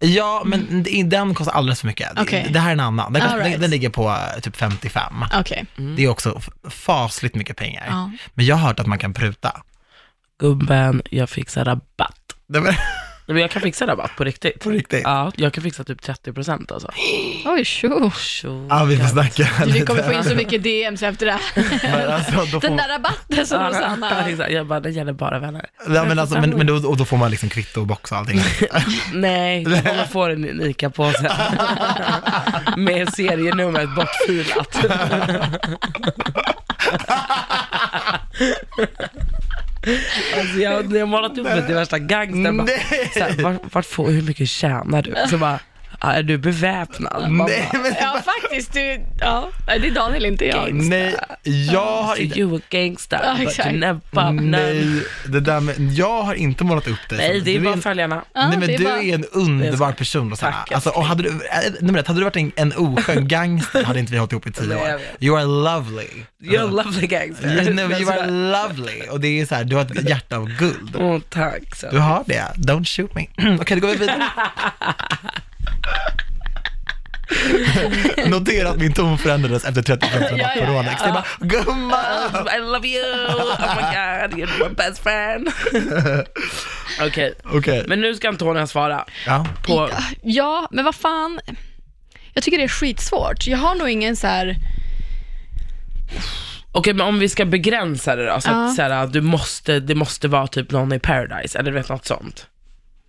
[SPEAKER 1] ja, men det- den kostar alldeles för mycket. Det-
[SPEAKER 2] Okej.
[SPEAKER 1] Det här är en annan. Den, kostar,
[SPEAKER 2] All right.
[SPEAKER 1] den, den ligger på eh, typ 55.
[SPEAKER 2] Okej.
[SPEAKER 1] Det är också f- fasligt mycket pengar.
[SPEAKER 2] Ja.
[SPEAKER 1] Men jag har hört att man kan pruta.
[SPEAKER 3] Gubben, jag fixar rabatt.
[SPEAKER 1] Nej, men,
[SPEAKER 3] Nej, men jag kan fixa rabatt på riktigt.
[SPEAKER 1] på riktigt. Ja,
[SPEAKER 3] Ja, jag kan fixa typ 30% alltså.
[SPEAKER 2] Oj, tjo.
[SPEAKER 3] Tjo.
[SPEAKER 1] vi får snacka
[SPEAKER 2] Vi kommer få in så mycket DMs efter det här.
[SPEAKER 1] Men alltså, då får
[SPEAKER 2] Den
[SPEAKER 1] man,
[SPEAKER 2] där rabatten som
[SPEAKER 3] Ja,
[SPEAKER 2] Rosanna...
[SPEAKER 3] exakt. Jag bara, det gäller bara vänner.
[SPEAKER 1] ja, men alltså, men, men då, och då får man liksom kvitto och box och allting.
[SPEAKER 3] Nej, då kommer man få en ICA-påse. Med serienumret bortfilat. alltså jag, jag har målat upp mig till värsta gangstern. Bara,
[SPEAKER 1] Nej.
[SPEAKER 3] så här, vart, vart får, hur mycket tjänar du? Så bara, "Ja, är du beväpnad? Man
[SPEAKER 1] Nej,
[SPEAKER 3] bara,
[SPEAKER 1] men,
[SPEAKER 2] Ja, faktiskt. Du, ja. Nej, det är Daniel, inte jag.
[SPEAKER 1] nej, jag har
[SPEAKER 3] "So
[SPEAKER 1] inte...
[SPEAKER 3] you a gangster,
[SPEAKER 2] Ja,
[SPEAKER 3] but
[SPEAKER 2] exakt.
[SPEAKER 3] you never know."
[SPEAKER 1] Nej, det där med, jag har inte målat upp dig.
[SPEAKER 3] Nej,
[SPEAKER 1] som-
[SPEAKER 3] det är
[SPEAKER 1] du
[SPEAKER 3] bara
[SPEAKER 1] en,
[SPEAKER 3] följarna.
[SPEAKER 2] Ja,
[SPEAKER 1] Nej men
[SPEAKER 2] det är
[SPEAKER 1] du
[SPEAKER 2] bara-
[SPEAKER 1] är en underbar person Rosanna.
[SPEAKER 3] Tack,
[SPEAKER 1] Alltså, och hade du, äh, nummer ett, hade du varit en, en oskön gangster hade inte vi hållit ihop i tio
[SPEAKER 3] Nej, jag
[SPEAKER 1] år.
[SPEAKER 3] vet.
[SPEAKER 1] You are lovely.
[SPEAKER 3] You're a lovely gangster.
[SPEAKER 1] You, know, you are lovely. Och det är så här, du har ett hjärta av guld.
[SPEAKER 3] Åh, tack. Så.
[SPEAKER 1] Du har det. Don't shoot me. Okej, då går vi vidare. Notera att min ton förändrades efter 30 minuter
[SPEAKER 2] Ja,
[SPEAKER 1] av
[SPEAKER 2] ja, ja.
[SPEAKER 1] Coronex. Det är bara, gumman!
[SPEAKER 3] I love you, oh my god, you're my best friend. Okej,
[SPEAKER 1] Okej,
[SPEAKER 3] men nu ska Antonija svara
[SPEAKER 1] ja.
[SPEAKER 3] på...
[SPEAKER 2] Ja, men vad fan. Jag tycker det är skitsvårt. Jag har nog ingen så här...
[SPEAKER 3] Okej, men om vi ska begränsa det då, så
[SPEAKER 2] Ja.
[SPEAKER 3] att så här, du måste, det måste vara typ någon i Paradise, eller du vet något sånt.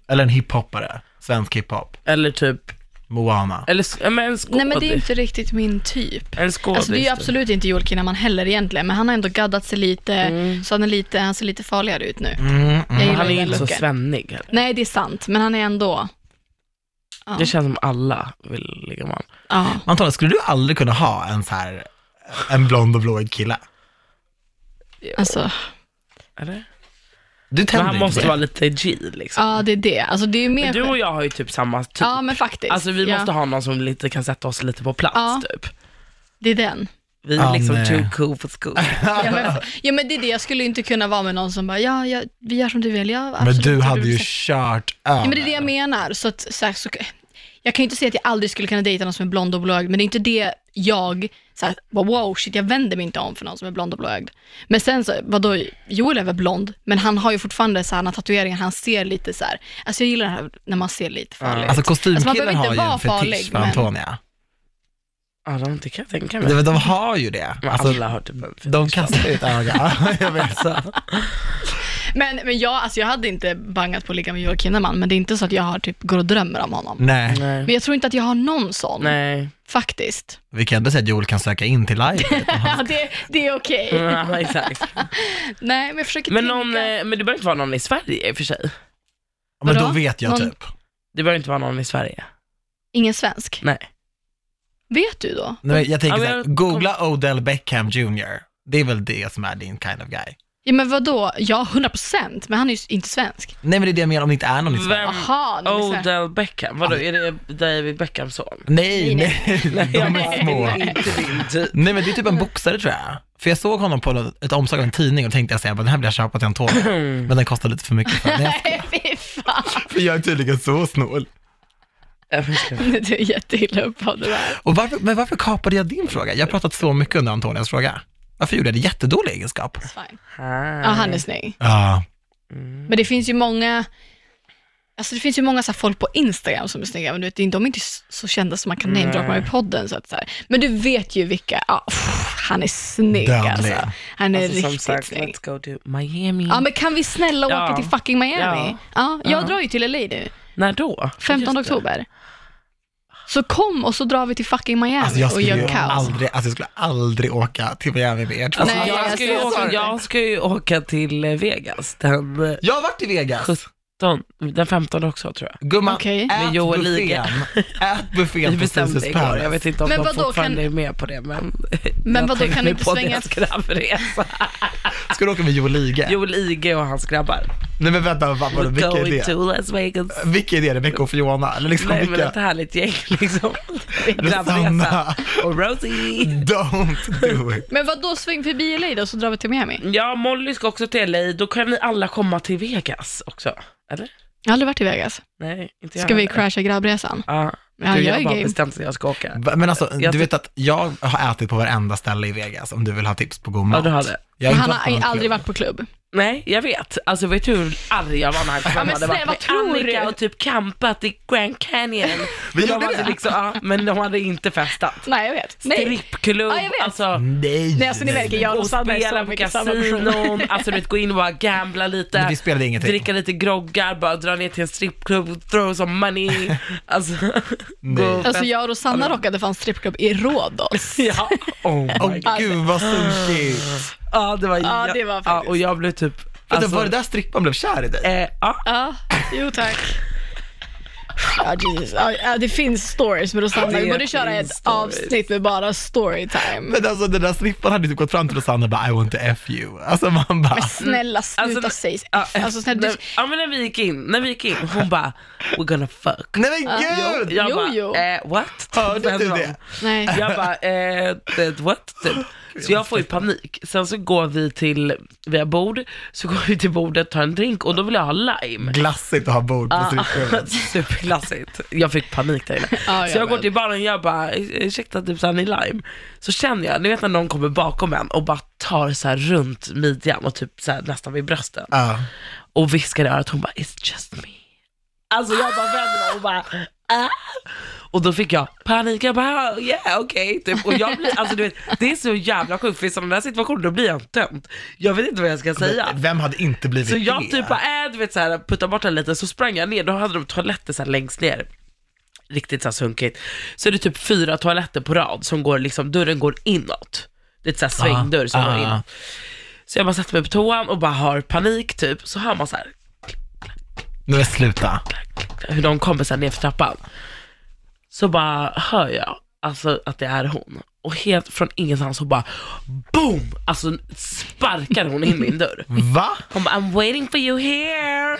[SPEAKER 1] Eller en hiphoppare. Svensk hiphop.
[SPEAKER 3] Eller typ,
[SPEAKER 1] Moana.
[SPEAKER 3] eller s- ja, men en skådis.
[SPEAKER 2] Nej, men det är inte riktigt min typ.
[SPEAKER 3] En skådis.
[SPEAKER 2] Alltså det är ju
[SPEAKER 3] typ.
[SPEAKER 2] absolut inte Joel Kinnaman heller egentligen, men han har ändå gaddat sig lite,
[SPEAKER 3] Mm.
[SPEAKER 2] så han, är lite, han ser lite farligare ut nu.
[SPEAKER 1] Mm,
[SPEAKER 2] Jag
[SPEAKER 1] mm.
[SPEAKER 2] gillar
[SPEAKER 3] Han är
[SPEAKER 2] ju
[SPEAKER 3] ju
[SPEAKER 2] den
[SPEAKER 3] inte så
[SPEAKER 2] looken.
[SPEAKER 3] svennig heller.
[SPEAKER 2] Nej, det är sant, men han är ändå... Ja.
[SPEAKER 3] Det känns som alla vill ligga med honom.
[SPEAKER 2] Ja.
[SPEAKER 1] Antonija, skulle du aldrig kunna ha en så här, en blond och blåögd kille?
[SPEAKER 2] Alltså,
[SPEAKER 3] Eller?
[SPEAKER 1] Du
[SPEAKER 3] Men
[SPEAKER 1] tänder
[SPEAKER 3] han
[SPEAKER 1] inte på
[SPEAKER 3] måste
[SPEAKER 1] det.
[SPEAKER 3] vara lite G liksom.
[SPEAKER 2] Ja, det är det. Alltså det är mer...
[SPEAKER 3] Men du och jag har ju typ samma typ.
[SPEAKER 2] Ja, men faktiskt.
[SPEAKER 3] Alltså vi
[SPEAKER 2] ja.
[SPEAKER 3] måste ha någon som lite kan sätta oss lite på plats
[SPEAKER 2] Ja.
[SPEAKER 3] typ.
[SPEAKER 2] Det är den.
[SPEAKER 3] Vi
[SPEAKER 1] Ja,
[SPEAKER 3] är liksom
[SPEAKER 1] nej.
[SPEAKER 3] too cool for school.
[SPEAKER 2] Ja men, ja, men det är det. Jag skulle inte kunna vara med någon som bara, ja, ja vi gör som du vill. Ja,
[SPEAKER 1] Men
[SPEAKER 2] absolut,
[SPEAKER 1] du
[SPEAKER 2] så
[SPEAKER 1] hade ju
[SPEAKER 2] vill
[SPEAKER 1] kört över.
[SPEAKER 2] Ja, men det är det jag menar. Så att, så här, så, jag kan ju inte säga att jag aldrig skulle kunna dejta någon som är blond och blåögd, men det är inte det jag, så här, bara, wow, shit, jag vänder mig inte om för någon som är blond och blåögd. Men sen så, vadå, Joel är väl blond, men han har ju fortfarande så här, han har tatueringar, han ser lite så här, alltså jag gillar det här när man ser lite farlig.
[SPEAKER 1] Alltså
[SPEAKER 2] Alltså, man
[SPEAKER 1] kostymkillen
[SPEAKER 2] behöver inte
[SPEAKER 1] har ju en
[SPEAKER 2] vara
[SPEAKER 1] fetisch
[SPEAKER 2] farlig,
[SPEAKER 1] för
[SPEAKER 2] men-
[SPEAKER 1] Antonia.
[SPEAKER 3] Ja, de- det kan jag tänka
[SPEAKER 1] De,
[SPEAKER 3] mig.
[SPEAKER 1] de har ju det.
[SPEAKER 3] Men
[SPEAKER 1] Alltså,
[SPEAKER 3] alla har typ en
[SPEAKER 1] de
[SPEAKER 3] fetisch.
[SPEAKER 1] kastar ju ett öga. jag vet så.
[SPEAKER 2] Men, men jag, alltså jag hade inte bangat på att ligga med Joel Kinnaman, men det är inte så att jag har, typ, går och drömmer om honom.
[SPEAKER 1] Nej,
[SPEAKER 3] Nej.
[SPEAKER 2] Men jag tror inte att jag har någon sån,
[SPEAKER 3] Nej.
[SPEAKER 2] faktiskt.
[SPEAKER 1] vi kan ändå säga att Joel kan söka in till live.
[SPEAKER 2] Ja, det, det är okej.
[SPEAKER 3] Ja, exakt.
[SPEAKER 2] Nej, men jag försöker
[SPEAKER 3] Mm. Men,
[SPEAKER 2] tänka.
[SPEAKER 3] någon, eh, men det behöver inte vara någon i Sverige i och för sig.
[SPEAKER 1] Men
[SPEAKER 2] Vadå?
[SPEAKER 1] då vet jag
[SPEAKER 2] Någon-
[SPEAKER 1] typ.
[SPEAKER 3] Det behöver inte vara någon i Sverige.
[SPEAKER 2] Ingen svensk?
[SPEAKER 3] Nej.
[SPEAKER 2] Vet du då?
[SPEAKER 1] Nej, men jag tänker
[SPEAKER 3] Ja, men
[SPEAKER 1] såhär,
[SPEAKER 3] jag-
[SPEAKER 1] googla Odell Beckham Jr. Det är väl det som är din kind of guy.
[SPEAKER 2] Ja men vadå? Ja, 100 procent, men han är ju inte svensk.
[SPEAKER 1] Nej men det är det jag menar om det inte är någon i Sverige.
[SPEAKER 3] Vem?
[SPEAKER 2] Aha, nu
[SPEAKER 3] Oh,
[SPEAKER 2] är det så här.
[SPEAKER 3] Odell Beckham, vadå är det David Beckhams son?
[SPEAKER 1] Nej,
[SPEAKER 2] Nej,
[SPEAKER 1] nej, de är små.
[SPEAKER 3] Inte din typ.
[SPEAKER 1] Nej men det är typ en boxare tror jag. För jag såg honom på något- ett omslag av en tidning och tänkte jag säga, den här blir jag köpa till Antonio. Men den kostar lite för mycket för Nej, jag-
[SPEAKER 2] Nej, fy fan.
[SPEAKER 1] För jag är tydligen så snål.
[SPEAKER 3] Jag förstår.
[SPEAKER 2] Nu är du jätteilla upp av det där.
[SPEAKER 1] Och varför, men varför kapade jag din fråga? Jag har pratat så mycket under Antonias fråga. Varför gjorde jag det? Jättedålig egenskap.
[SPEAKER 2] It's fine.
[SPEAKER 3] Ah.
[SPEAKER 2] Ja, han är snygg.
[SPEAKER 1] Ja.
[SPEAKER 2] Men det finns ju många, alltså det finns ju många så här folk på Instagram som är snygga, men du vet, de är inte så kända som man kan namedroppa dem i podden. Så att, så här. Men du vet ju vilka, ja, pff, han är snygg
[SPEAKER 1] Dödlig.
[SPEAKER 2] alltså. Han är
[SPEAKER 3] Alltså, som
[SPEAKER 2] riktigt
[SPEAKER 3] sagt,
[SPEAKER 2] snygg.
[SPEAKER 3] let's go to Miami.
[SPEAKER 2] Ja men kan vi snälla åka
[SPEAKER 3] Ja.
[SPEAKER 2] till fucking Miami?
[SPEAKER 3] Ja.
[SPEAKER 2] Ja, jag
[SPEAKER 3] Ja.
[SPEAKER 2] drar ju till LA nu.
[SPEAKER 3] När då?
[SPEAKER 2] 15
[SPEAKER 3] Just det.
[SPEAKER 2] oktober. Så kom och så drar vi till fucking Miami
[SPEAKER 1] Alltså jag
[SPEAKER 2] och
[SPEAKER 1] skulle ju
[SPEAKER 2] gör kaos.
[SPEAKER 1] aldrig, alltså jag skulle aldrig åka till Miami med er två.
[SPEAKER 3] Alltså,
[SPEAKER 2] Nej,
[SPEAKER 3] jag,
[SPEAKER 2] jag
[SPEAKER 3] ska ju
[SPEAKER 2] ser
[SPEAKER 3] åka,
[SPEAKER 2] det.
[SPEAKER 3] jag ska ju åka till eh, Vegas den, eh,
[SPEAKER 1] Jag har varit i Vegas.
[SPEAKER 3] 17, den 15 också tror jag.
[SPEAKER 1] Gumman,
[SPEAKER 2] Okej.
[SPEAKER 1] ät,
[SPEAKER 3] Men Joel
[SPEAKER 1] buffén,
[SPEAKER 3] Liga.
[SPEAKER 1] ät buffén på Caesars
[SPEAKER 3] Vi bestämde igår,
[SPEAKER 1] Palace.
[SPEAKER 3] jag vet inte om
[SPEAKER 2] Men
[SPEAKER 3] de
[SPEAKER 2] vadå,
[SPEAKER 3] fortfarande
[SPEAKER 2] kan- Mm.
[SPEAKER 3] är med på det men
[SPEAKER 2] Men
[SPEAKER 3] jag
[SPEAKER 2] vadå,
[SPEAKER 3] tänkte
[SPEAKER 2] kan du inte
[SPEAKER 3] på
[SPEAKER 2] svänga-
[SPEAKER 3] deras grabbresa.
[SPEAKER 1] Ska du åka med Joel Liga?
[SPEAKER 3] Joel Ige och hans grabbar.
[SPEAKER 1] Nej men vänta, vad, vad,
[SPEAKER 3] We're
[SPEAKER 1] vilka är
[SPEAKER 3] going
[SPEAKER 1] det?
[SPEAKER 3] to Las Vegas.
[SPEAKER 1] Vilka är det? Rebecca och Fiona? Eller liksom
[SPEAKER 3] Nej men
[SPEAKER 1] vilka?
[SPEAKER 3] ett härligt gäng liksom. Grabbresa.
[SPEAKER 1] Rosanna.
[SPEAKER 3] Och Rosie.
[SPEAKER 1] Don't do it.
[SPEAKER 2] Men vad då sväng förbi LA då så drar vi till Miami?
[SPEAKER 3] Ja, Molly ska också till LA, då kan ni alla komma till Vegas också. Eller?
[SPEAKER 2] Jag har aldrig varit i Vegas.
[SPEAKER 3] Nej, inte jag
[SPEAKER 2] Ska vi
[SPEAKER 3] heller.
[SPEAKER 2] crasha grabbresan?
[SPEAKER 3] Ja,
[SPEAKER 2] Ja,
[SPEAKER 3] du,
[SPEAKER 2] jag
[SPEAKER 3] jag
[SPEAKER 2] är
[SPEAKER 3] har bara
[SPEAKER 2] game.
[SPEAKER 3] bestämt att jag ska åka.
[SPEAKER 1] Va- Men alltså,
[SPEAKER 3] Jag
[SPEAKER 1] du
[SPEAKER 3] ty-
[SPEAKER 1] vet att jag har ätit på varenda ställe i Vegas om du vill ha tips på god
[SPEAKER 3] Ja,
[SPEAKER 1] mat.
[SPEAKER 3] du hade.
[SPEAKER 1] Jag
[SPEAKER 2] han
[SPEAKER 1] inte varit på
[SPEAKER 2] har
[SPEAKER 1] någon
[SPEAKER 2] aldrig
[SPEAKER 1] klubb.
[SPEAKER 2] varit på klubb.
[SPEAKER 3] Nej, jag vet. Alltså vet du hur arg jag var när han kom?
[SPEAKER 2] Ja, men snälla,
[SPEAKER 3] hade varit
[SPEAKER 2] vad
[SPEAKER 3] med
[SPEAKER 2] tror
[SPEAKER 3] Annika
[SPEAKER 2] du?
[SPEAKER 3] och typ campat i Grand Canyon.
[SPEAKER 1] Vi
[SPEAKER 3] men, de
[SPEAKER 1] gjorde
[SPEAKER 3] hade
[SPEAKER 1] det.
[SPEAKER 3] liksom, ja, men de hade inte festat.
[SPEAKER 2] Nej, jag vet. Nej.
[SPEAKER 3] Strippklubb,
[SPEAKER 2] Ja, jag vet.
[SPEAKER 3] alltså.
[SPEAKER 1] Mm. Nej.
[SPEAKER 2] Nej, alltså ni märker, jag och
[SPEAKER 3] Och
[SPEAKER 2] Rosanna är
[SPEAKER 3] spela
[SPEAKER 2] så
[SPEAKER 3] på
[SPEAKER 2] mycket samma person.
[SPEAKER 3] kasinon, alltså du vet gå in och bara gambla
[SPEAKER 1] Men
[SPEAKER 3] lite.
[SPEAKER 1] vi spelade ingenting.
[SPEAKER 3] Dricka lite groggar, bara dra ner till en strippklubb, throw some money. Alltså,
[SPEAKER 1] Nej.
[SPEAKER 3] gå och
[SPEAKER 2] Alltså
[SPEAKER 3] festa.
[SPEAKER 2] jag och Rosanna råkade fan strippklubb i Rhodos.
[SPEAKER 3] Ja, oh
[SPEAKER 1] Åh
[SPEAKER 3] my god.
[SPEAKER 1] gud vad sunkigt.
[SPEAKER 3] Ja, det var,
[SPEAKER 2] Ja,
[SPEAKER 3] jag-
[SPEAKER 2] det var
[SPEAKER 3] ja,
[SPEAKER 2] faktiskt-
[SPEAKER 3] och jag blev typ,
[SPEAKER 1] Vänta, var det där strippan blev kär i dig?
[SPEAKER 3] eh, ja,
[SPEAKER 2] Ja, jo tack. Ja, Jesus. Ja, Ja, det finns stories med Rosanna. Vi
[SPEAKER 3] Det
[SPEAKER 2] borde köra
[SPEAKER 3] finns
[SPEAKER 2] ett
[SPEAKER 3] stories.
[SPEAKER 2] avsnitt med bara storytime.
[SPEAKER 1] Men alltså den där strippan hade typ gått fram till Rosanna och bara I want to F you. Alltså man bara,
[SPEAKER 2] Snälla
[SPEAKER 3] Alltså,
[SPEAKER 2] sluta
[SPEAKER 3] men-
[SPEAKER 2] säg F.
[SPEAKER 3] ja,
[SPEAKER 2] Alltså, snälla, du,
[SPEAKER 3] när- ja men när vi gick in, när vi gick in, hon bara, we're gonna fuck.
[SPEAKER 1] nej men gud!
[SPEAKER 3] Jag
[SPEAKER 2] Jo,
[SPEAKER 3] bara,
[SPEAKER 2] jo.
[SPEAKER 3] Eh, what?
[SPEAKER 1] Hörde du
[SPEAKER 3] Vem var-
[SPEAKER 1] det?
[SPEAKER 2] nej.
[SPEAKER 3] Jag bara, eh, det- what? Typ. Så jag får ju panik. Sen så går vi till, vi har bord, så går vi till bordet, tar en drink och då vill jag ha lime.
[SPEAKER 1] Glassigt att ha bord
[SPEAKER 3] Ah.
[SPEAKER 1] på stripklubben.
[SPEAKER 3] Superklassigt. Jag fick panik där inne.
[SPEAKER 2] Ja,
[SPEAKER 3] så
[SPEAKER 2] jag
[SPEAKER 3] jag går
[SPEAKER 2] med.
[SPEAKER 3] till baren och jag bara, ursäkta typ såhär, ni lime? Så känner jag, ni vet när någon kommer bakom en och bara tar så här runt midjan och typ så här nästan vid brösten
[SPEAKER 1] Ja.
[SPEAKER 3] och viskar i örat, hon bara, it's just me. Alltså jag bara vänder mig och bara, ah. Och då fick jag panik, jag bara, "Ah, yeah okej, typ. Och jag blir, alltså du vet, det är så jävla sjukt, för i sådana där situationer då blir jag en tönt. Jag vet inte vad jag ska säga.
[SPEAKER 1] Vem hade inte blivit
[SPEAKER 3] Så jag
[SPEAKER 1] det?
[SPEAKER 3] typ bara, äh, du vet såhär, putta bort den lite, så sprang jag ner, då hade de toaletter såhär längst ner. Riktigt såhär sunkigt. Så är det typ fyra toaletter på rad som går liksom, dörren går inåt. Det är ett såhär svängdörr som
[SPEAKER 1] Ah,
[SPEAKER 3] går
[SPEAKER 1] ah,
[SPEAKER 3] inåt. Så jag bara sätter mig på toan och bara har panik typ, så hör man såhär
[SPEAKER 1] Nej men sluta.
[SPEAKER 3] hur de kommer såhär nerför trappan. Så bara hör jag alltså att det är hon. och helt från ingenstans så bara boom! Alltså sparkar hon in min dörr.
[SPEAKER 1] Va?
[SPEAKER 3] Hon bara I'm waiting for you here.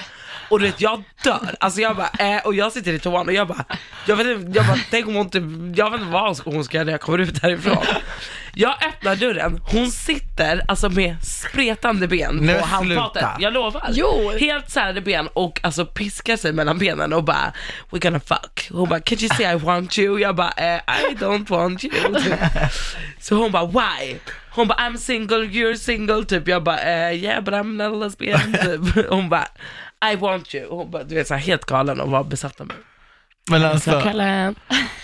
[SPEAKER 3] Och du vet jag dör, alltså jag bara, eh, och jag sitter i toan och jag bara, jag vet inte, jag bara, tänk om hon typ, jag vet inte vad hon ska göra när jag kommer ut härifrån. Jag öppnar dörren, hon sitter alltså med spretande ben
[SPEAKER 1] Nej,
[SPEAKER 3] på
[SPEAKER 1] men
[SPEAKER 3] handfatet.
[SPEAKER 1] sluta.
[SPEAKER 3] Jag lovar.
[SPEAKER 2] Jo.
[SPEAKER 3] Helt särade ben och alltså piskar sig mellan benen och bara, we're gonna fuck. Hon bara, can't you say I want you? Jag bara, eh, I don't want you. Typ. Så hon bara, why? Hon bara, I'm single, you're single, typ. Jag bara, eh, yeah but I'm not a lesbian, typ. Hon bara, I want you. Hon bara, du vet såhär helt galen och var besatt av mig.
[SPEAKER 1] Men alltså,
[SPEAKER 3] Kalle.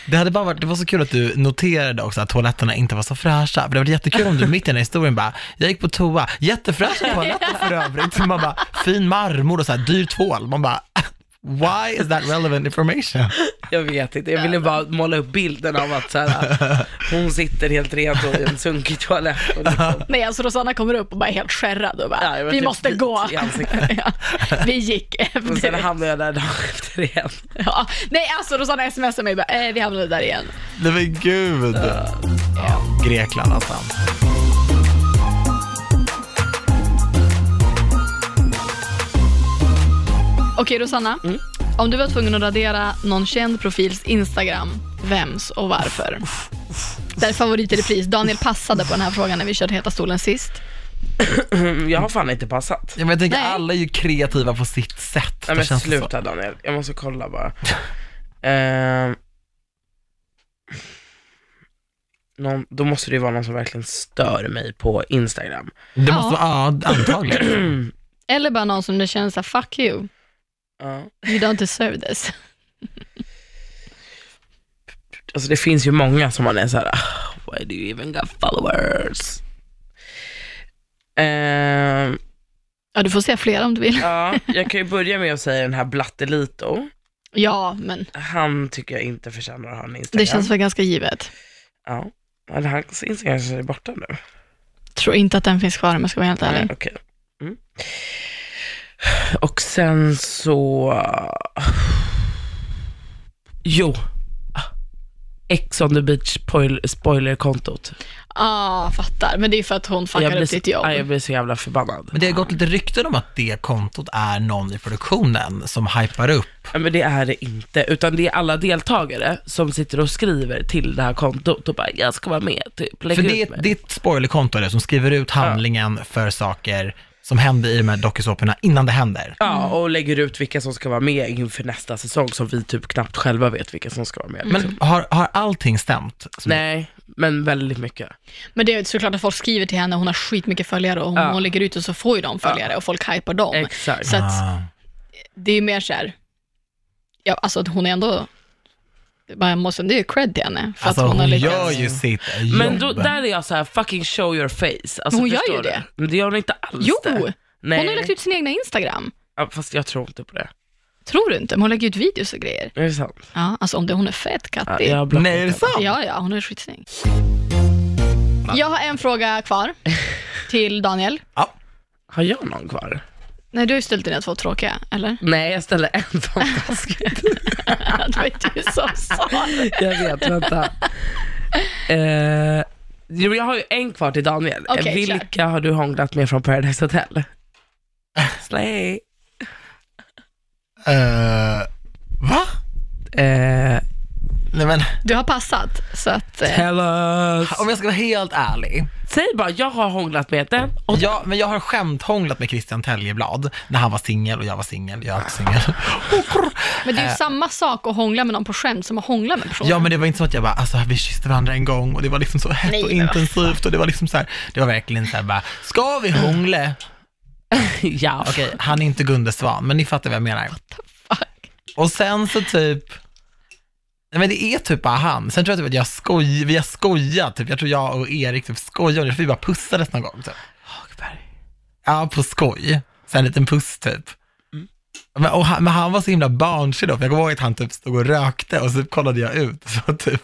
[SPEAKER 1] det hade bara varit, det var så kul att du noterade också att toaletterna inte var så fräscha. För det hade varit jättekul om du mitt i den här historien bara, jag gick på toa, jättefräscha toaletter för övrigt. Man bara, fin marmor och så här dyr tvål. Man bara, why is that relevant information?
[SPEAKER 3] Jag vet inte, jag ville bara måla upp bilden av att såhär, hon sitter helt rent och i en sunkig toalett. Och liksom,
[SPEAKER 2] Nej, alltså Rosanna kommer upp och bara är helt skärrad och bara,
[SPEAKER 3] Ja, jag var
[SPEAKER 2] vi
[SPEAKER 3] typ
[SPEAKER 2] måste
[SPEAKER 3] vit
[SPEAKER 2] gå.
[SPEAKER 3] i ansiktet.
[SPEAKER 2] ja, vi gick
[SPEAKER 3] och sen
[SPEAKER 2] efter.
[SPEAKER 3] hamnade jag där dagen efter igen.
[SPEAKER 2] Ja. Nej, alltså Rosanna smsar mig bara, eh, vi hamnade där igen.
[SPEAKER 1] Nej men gud. Ja, Grekland alltså.
[SPEAKER 2] Okej Rosanna,
[SPEAKER 3] Mm.
[SPEAKER 2] om du var tvungen att radera någon känd profils Instagram, vems och varför? Där är favorit i repris. Daniel passade på den här frågan när vi körde Heta stolen sist.
[SPEAKER 3] Mm, Jag har fan inte passat.
[SPEAKER 1] Ja, men jag tänker
[SPEAKER 2] Nej.
[SPEAKER 1] alla är ju kreativa på sitt sätt.
[SPEAKER 3] Nej
[SPEAKER 1] Det
[SPEAKER 3] men
[SPEAKER 1] känns så.
[SPEAKER 3] sluta Daniel, jag måste kolla bara. Ehm. någon, då måste det ju vara någon som verkligen stör mig på Instagram.
[SPEAKER 1] Det måste vara, ja antagligen.
[SPEAKER 2] Eller bara någon som det känns såhär, fuck you,
[SPEAKER 3] Ja.
[SPEAKER 2] you don't deserve this.
[SPEAKER 3] Alltså det finns ju många som man är såhär, "Ah, why do you even got followers? Ehm,
[SPEAKER 2] Ja, du får se flera om du vill.
[SPEAKER 3] ja, jag kan ju börja med att säga den här Blattelito.
[SPEAKER 2] Ja, men
[SPEAKER 3] Han tycker jag inte förtjänar att ha en Instagram.
[SPEAKER 2] det känns väl ganska givet.
[SPEAKER 3] Ja, men hans Instagram kanske är borta nu.
[SPEAKER 2] Tror inte att den finns kvar om jag ska vara helt
[SPEAKER 3] Nej,
[SPEAKER 2] ärlig.
[SPEAKER 3] Okej. Mm. Och sen så... Jo. Ex on the beach spoil- spoilerkontot.
[SPEAKER 2] Ja, ah, fattar. Men det är för att hon fuckar
[SPEAKER 3] blir,
[SPEAKER 2] upp
[SPEAKER 3] så-
[SPEAKER 2] ditt jobb.
[SPEAKER 3] Ja, jag blir så jävla förbannad.
[SPEAKER 1] Men det har gått lite rykten om att det kontot är någon i produktionen som hypar upp.
[SPEAKER 3] Ja, men det är det inte, utan det är alla deltagare som sitter och skriver till det här kontot och bara “jag ska vara med”, typ. Lägg
[SPEAKER 1] För
[SPEAKER 3] ut
[SPEAKER 1] det är
[SPEAKER 3] mig.
[SPEAKER 1] ett- det är ett spoilerkonto där, som skriver ut handlingen för saker som händer i de här dokusåporna innan det händer.
[SPEAKER 3] Ja, och lägger ut vilka som ska vara med inför nästa säsong som vi typ knappt själva vet vilka som ska vara med.
[SPEAKER 2] Mm.
[SPEAKER 1] Men har, har allting stämt? Som-
[SPEAKER 3] Nej, men väldigt mycket.
[SPEAKER 2] Men det är ju såklart att folk skriver till henne, hon har skitmycket följare och hon,
[SPEAKER 3] Ja.
[SPEAKER 2] hon lägger ut och så får ju de följare och folk hypar dem.
[SPEAKER 3] Exakt.
[SPEAKER 2] Så att
[SPEAKER 1] Ah.
[SPEAKER 2] det är ju mer så här, ja, alltså att hon är ändå, man måste, det är ju cred till henne. För
[SPEAKER 1] Alltså
[SPEAKER 2] att hon,
[SPEAKER 1] hon,
[SPEAKER 2] har lyckats.
[SPEAKER 1] gör ju sitt jobb.
[SPEAKER 3] Men då, där är jag så här: fucking show your face. Alltså,
[SPEAKER 2] hon gör
[SPEAKER 3] förstår
[SPEAKER 2] ju
[SPEAKER 3] du?
[SPEAKER 2] det.
[SPEAKER 3] Men det gör hon inte alls
[SPEAKER 2] Jo,
[SPEAKER 3] det. Nej.
[SPEAKER 2] hon har lagt ut sin egna Instagram.
[SPEAKER 3] ja, fast jag tror inte på det.
[SPEAKER 2] Tror du inte? Men hon lägger ut videos och grejer.
[SPEAKER 3] Är det sant?
[SPEAKER 2] Ja, alltså om det, hon är fett
[SPEAKER 3] Ja,
[SPEAKER 2] kattig.
[SPEAKER 3] jag
[SPEAKER 2] Ja,
[SPEAKER 3] har blockat
[SPEAKER 1] Nej, är det
[SPEAKER 3] henne.
[SPEAKER 1] sant?
[SPEAKER 2] ja, hon är skitsnygg. Jag har en fråga kvar till Daniel.
[SPEAKER 1] Ja.
[SPEAKER 3] Har jag någon kvar?
[SPEAKER 2] Nej, du har ju ställt dina två tråkiga, eller?
[SPEAKER 3] Nej, jag ställer en fantastisk.
[SPEAKER 2] det var ju du som sa det.
[SPEAKER 3] jag vet, vänta. Eh, jo, jag har ju en kvar till Daniel.
[SPEAKER 2] Okej, kör.
[SPEAKER 3] Vilka har du hånglat med från Paradise Hotel? Slay.
[SPEAKER 1] Eh, va?
[SPEAKER 3] Uh,
[SPEAKER 1] Nej men,
[SPEAKER 2] Du har passat, så att... Eh,
[SPEAKER 3] tell us.
[SPEAKER 1] om jag ska vara helt ärlig.
[SPEAKER 3] Säg bara, jag har hånglat med den. Och
[SPEAKER 1] Jag, men jag har skämthånglat med Christian Teljeblad när han var singel och jag var singel, jag är också singel.
[SPEAKER 2] men det är ju samma sak att hångla med någon på skämt som att hångla med personen.
[SPEAKER 1] Ja men det var inte så att jag bara, alltså vi kysste varandra en gång och det var liksom så hett
[SPEAKER 2] Nej,
[SPEAKER 1] och
[SPEAKER 2] men vad
[SPEAKER 1] intensivt och det var liksom så här, det var verkligen så här bara, ska vi hångla?
[SPEAKER 3] ja.
[SPEAKER 1] Okej, han är inte Gunde Svan, men ni fattar vad jag menar.
[SPEAKER 2] Fuck.
[SPEAKER 1] Och sen så typ, nej men det är typ bara han. Sen tror jag typ att jag skoj, vi har skojat, typ. jag tror jag och Erik typ skojade om det, för vi bara pussades någon gång typ.
[SPEAKER 3] Hagberg.
[SPEAKER 1] Ja, på skoj. Så en liten puss typ. Men, och han, men han var så himla barnslig då, för jag kommer ihåg att han typ stod och rökte och så kollade jag ut. Så typ.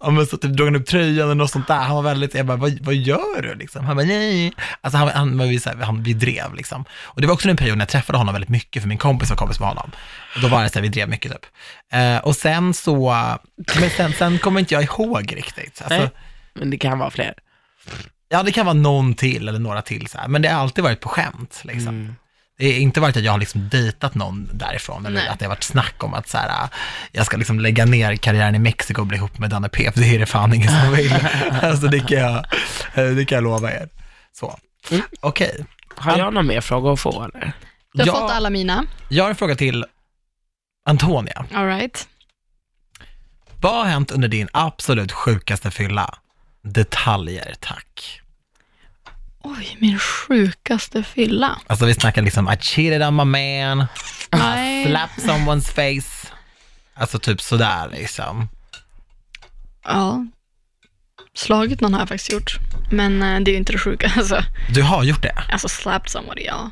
[SPEAKER 1] Ja, men så typ drog han upp tröjan och något sånt där. Han var väldigt, jag bara, vad, vad gör du liksom? Han bara, nej. Alltså han, han, var ju så här, han, vi drev liksom. Och det var också en period när jag träffade honom väldigt mycket, för min kompis var kompis med honom. Och då var det så här, vi drev mycket typ. Eh, och sen så, men sen, sen kommer inte jag ihåg riktigt. Alltså,
[SPEAKER 3] Nej. Men det kan vara fler.
[SPEAKER 1] ja, det kan vara någon till eller några till så här, men det har alltid varit på skämt liksom.
[SPEAKER 3] Mm.
[SPEAKER 1] Det har inte varit att jag har liksom dejtat någon därifrån, eller
[SPEAKER 2] Nej.
[SPEAKER 1] att det har varit snack om att så här, jag ska liksom lägga ner karriären i Mexiko och bli ihop med Danne P, för det är det fan ingen som vill. alltså det kan jag, det kan jag lova er. Så, okej.
[SPEAKER 3] Har jag någon mer fråga att få eller?
[SPEAKER 2] Du har
[SPEAKER 1] Jag-
[SPEAKER 2] fått alla mina.
[SPEAKER 1] Jag har en fråga till Antonia.
[SPEAKER 2] All right.
[SPEAKER 1] Vad har hänt under din absolut sjukaste fylla? Detaljer, tack.
[SPEAKER 2] Oj, min sjukaste fylla.
[SPEAKER 1] Alltså vi snackar liksom, I cheated on my man,
[SPEAKER 2] Nej.
[SPEAKER 1] slap someone's face. Alltså typ sådär liksom.
[SPEAKER 2] Ja. Slagit någon har jag faktiskt gjort. Men eh, det är ju inte det sjuka. Alltså,
[SPEAKER 1] Du har gjort det?
[SPEAKER 2] alltså slapped somebody, ja.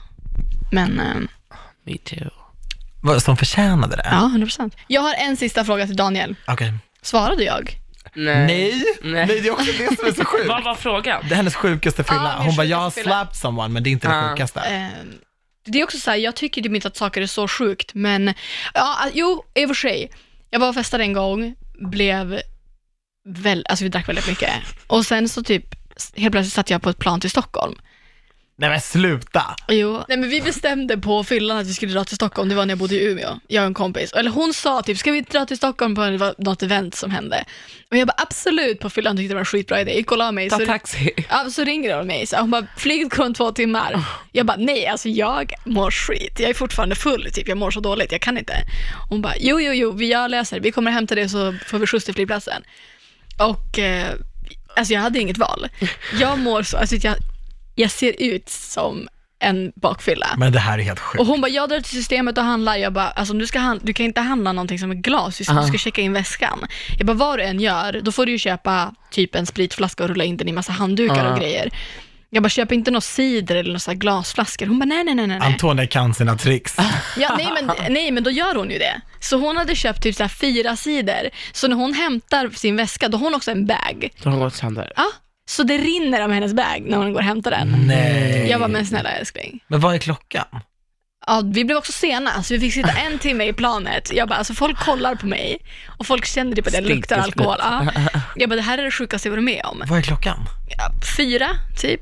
[SPEAKER 2] Men eh,
[SPEAKER 3] Me too.
[SPEAKER 1] Vad, Som förtjänade det?
[SPEAKER 2] ja, 100%. Jag har en sista fråga till Daniel.
[SPEAKER 1] Okej.
[SPEAKER 2] Svarade jag?
[SPEAKER 1] Nej. Nej,
[SPEAKER 3] Nej.
[SPEAKER 1] det är också det som är så sjukt.
[SPEAKER 3] Vad var frågan?
[SPEAKER 1] Det är hennes sjukaste fylla.
[SPEAKER 2] Ja, min
[SPEAKER 1] Hon bara, jag har
[SPEAKER 2] sjukaste fylla."
[SPEAKER 1] slapped someone, men det är inte det
[SPEAKER 3] Ja.
[SPEAKER 1] sjukaste.
[SPEAKER 2] Eh, det är också så här, jag tycker typ inte att saker är så sjukt, men ja, ah, jo, i och för sig. Jag var och festade en gång, blev väl, alltså vi drack väldigt mycket och sen så typ helt plötsligt satt jag på ett plan till Stockholm.
[SPEAKER 1] Nej men sluta.
[SPEAKER 2] Jo. Nej men vi bestämde på fyllan att vi skulle dra till Stockholm, det var när jag bodde i Umeå, jag och en kompis. Eller hon sa typ, ska vi dra till Stockholm på det var något event som hände? Och jag bara absolut på fyllan tyckte det var en skitbra idé, gick och la mig.
[SPEAKER 3] Ta
[SPEAKER 2] så-
[SPEAKER 3] taxi.
[SPEAKER 2] Ja, så ringer hon mig så hon bara, flyget går om två timmar. Jag bara, nej alltså jag mår skit, jag är fortfarande full, typ. jag mår så dåligt, jag kan inte. Hon bara, jo jo jo, vi- jag löser det. vi kommer hämta dig så får vi skjuts till flygplatsen. Och eh, alltså jag hade inget val. Jag mår så, alltså jag, jag ser ut som en bakfylla.
[SPEAKER 1] Men det här är helt
[SPEAKER 2] Och
[SPEAKER 1] sjukt.
[SPEAKER 2] hon bara, jag drar till systemet och handlar. Jag bara, alltså, du, ska handla, du kan inte handla någonting som är glas, du ska, du ska checka in väskan. Jag bara, vad du än gör, då får du ju köpa typ en spritflaska och rulla in den i massa handdukar och
[SPEAKER 3] Ja.
[SPEAKER 2] grejer. Jag bara, köp inte någon cider eller några så här glasflaskor. Hon bara, nej, nej, nej, nej. Ah. nej.
[SPEAKER 1] Antonia kan sina tricks.
[SPEAKER 2] Ja, nej, men, nej, men då gör hon ju det. Så hon hade köpt typ så här fyra sidor. Så när hon hämtar sin väska, då har hon också en bag.
[SPEAKER 3] Då har hon gått sönder.
[SPEAKER 2] Ja, så det rinner av hennes bag när hon går och hämtar den.
[SPEAKER 1] Nej.
[SPEAKER 2] Jag bara, men snälla älskling.
[SPEAKER 1] Men vad är klockan?
[SPEAKER 2] Ja, vi blev också sena, så vi fick sitta en timme i planet. Jag bara, alltså folk kollar på mig och folk känner typ att jag
[SPEAKER 3] Stinker
[SPEAKER 2] luktar alkohol. Ja. Jag bara, det här är det sjukaste jag varit med om.
[SPEAKER 1] Vad är klockan?
[SPEAKER 2] Ja, Fyra, typ?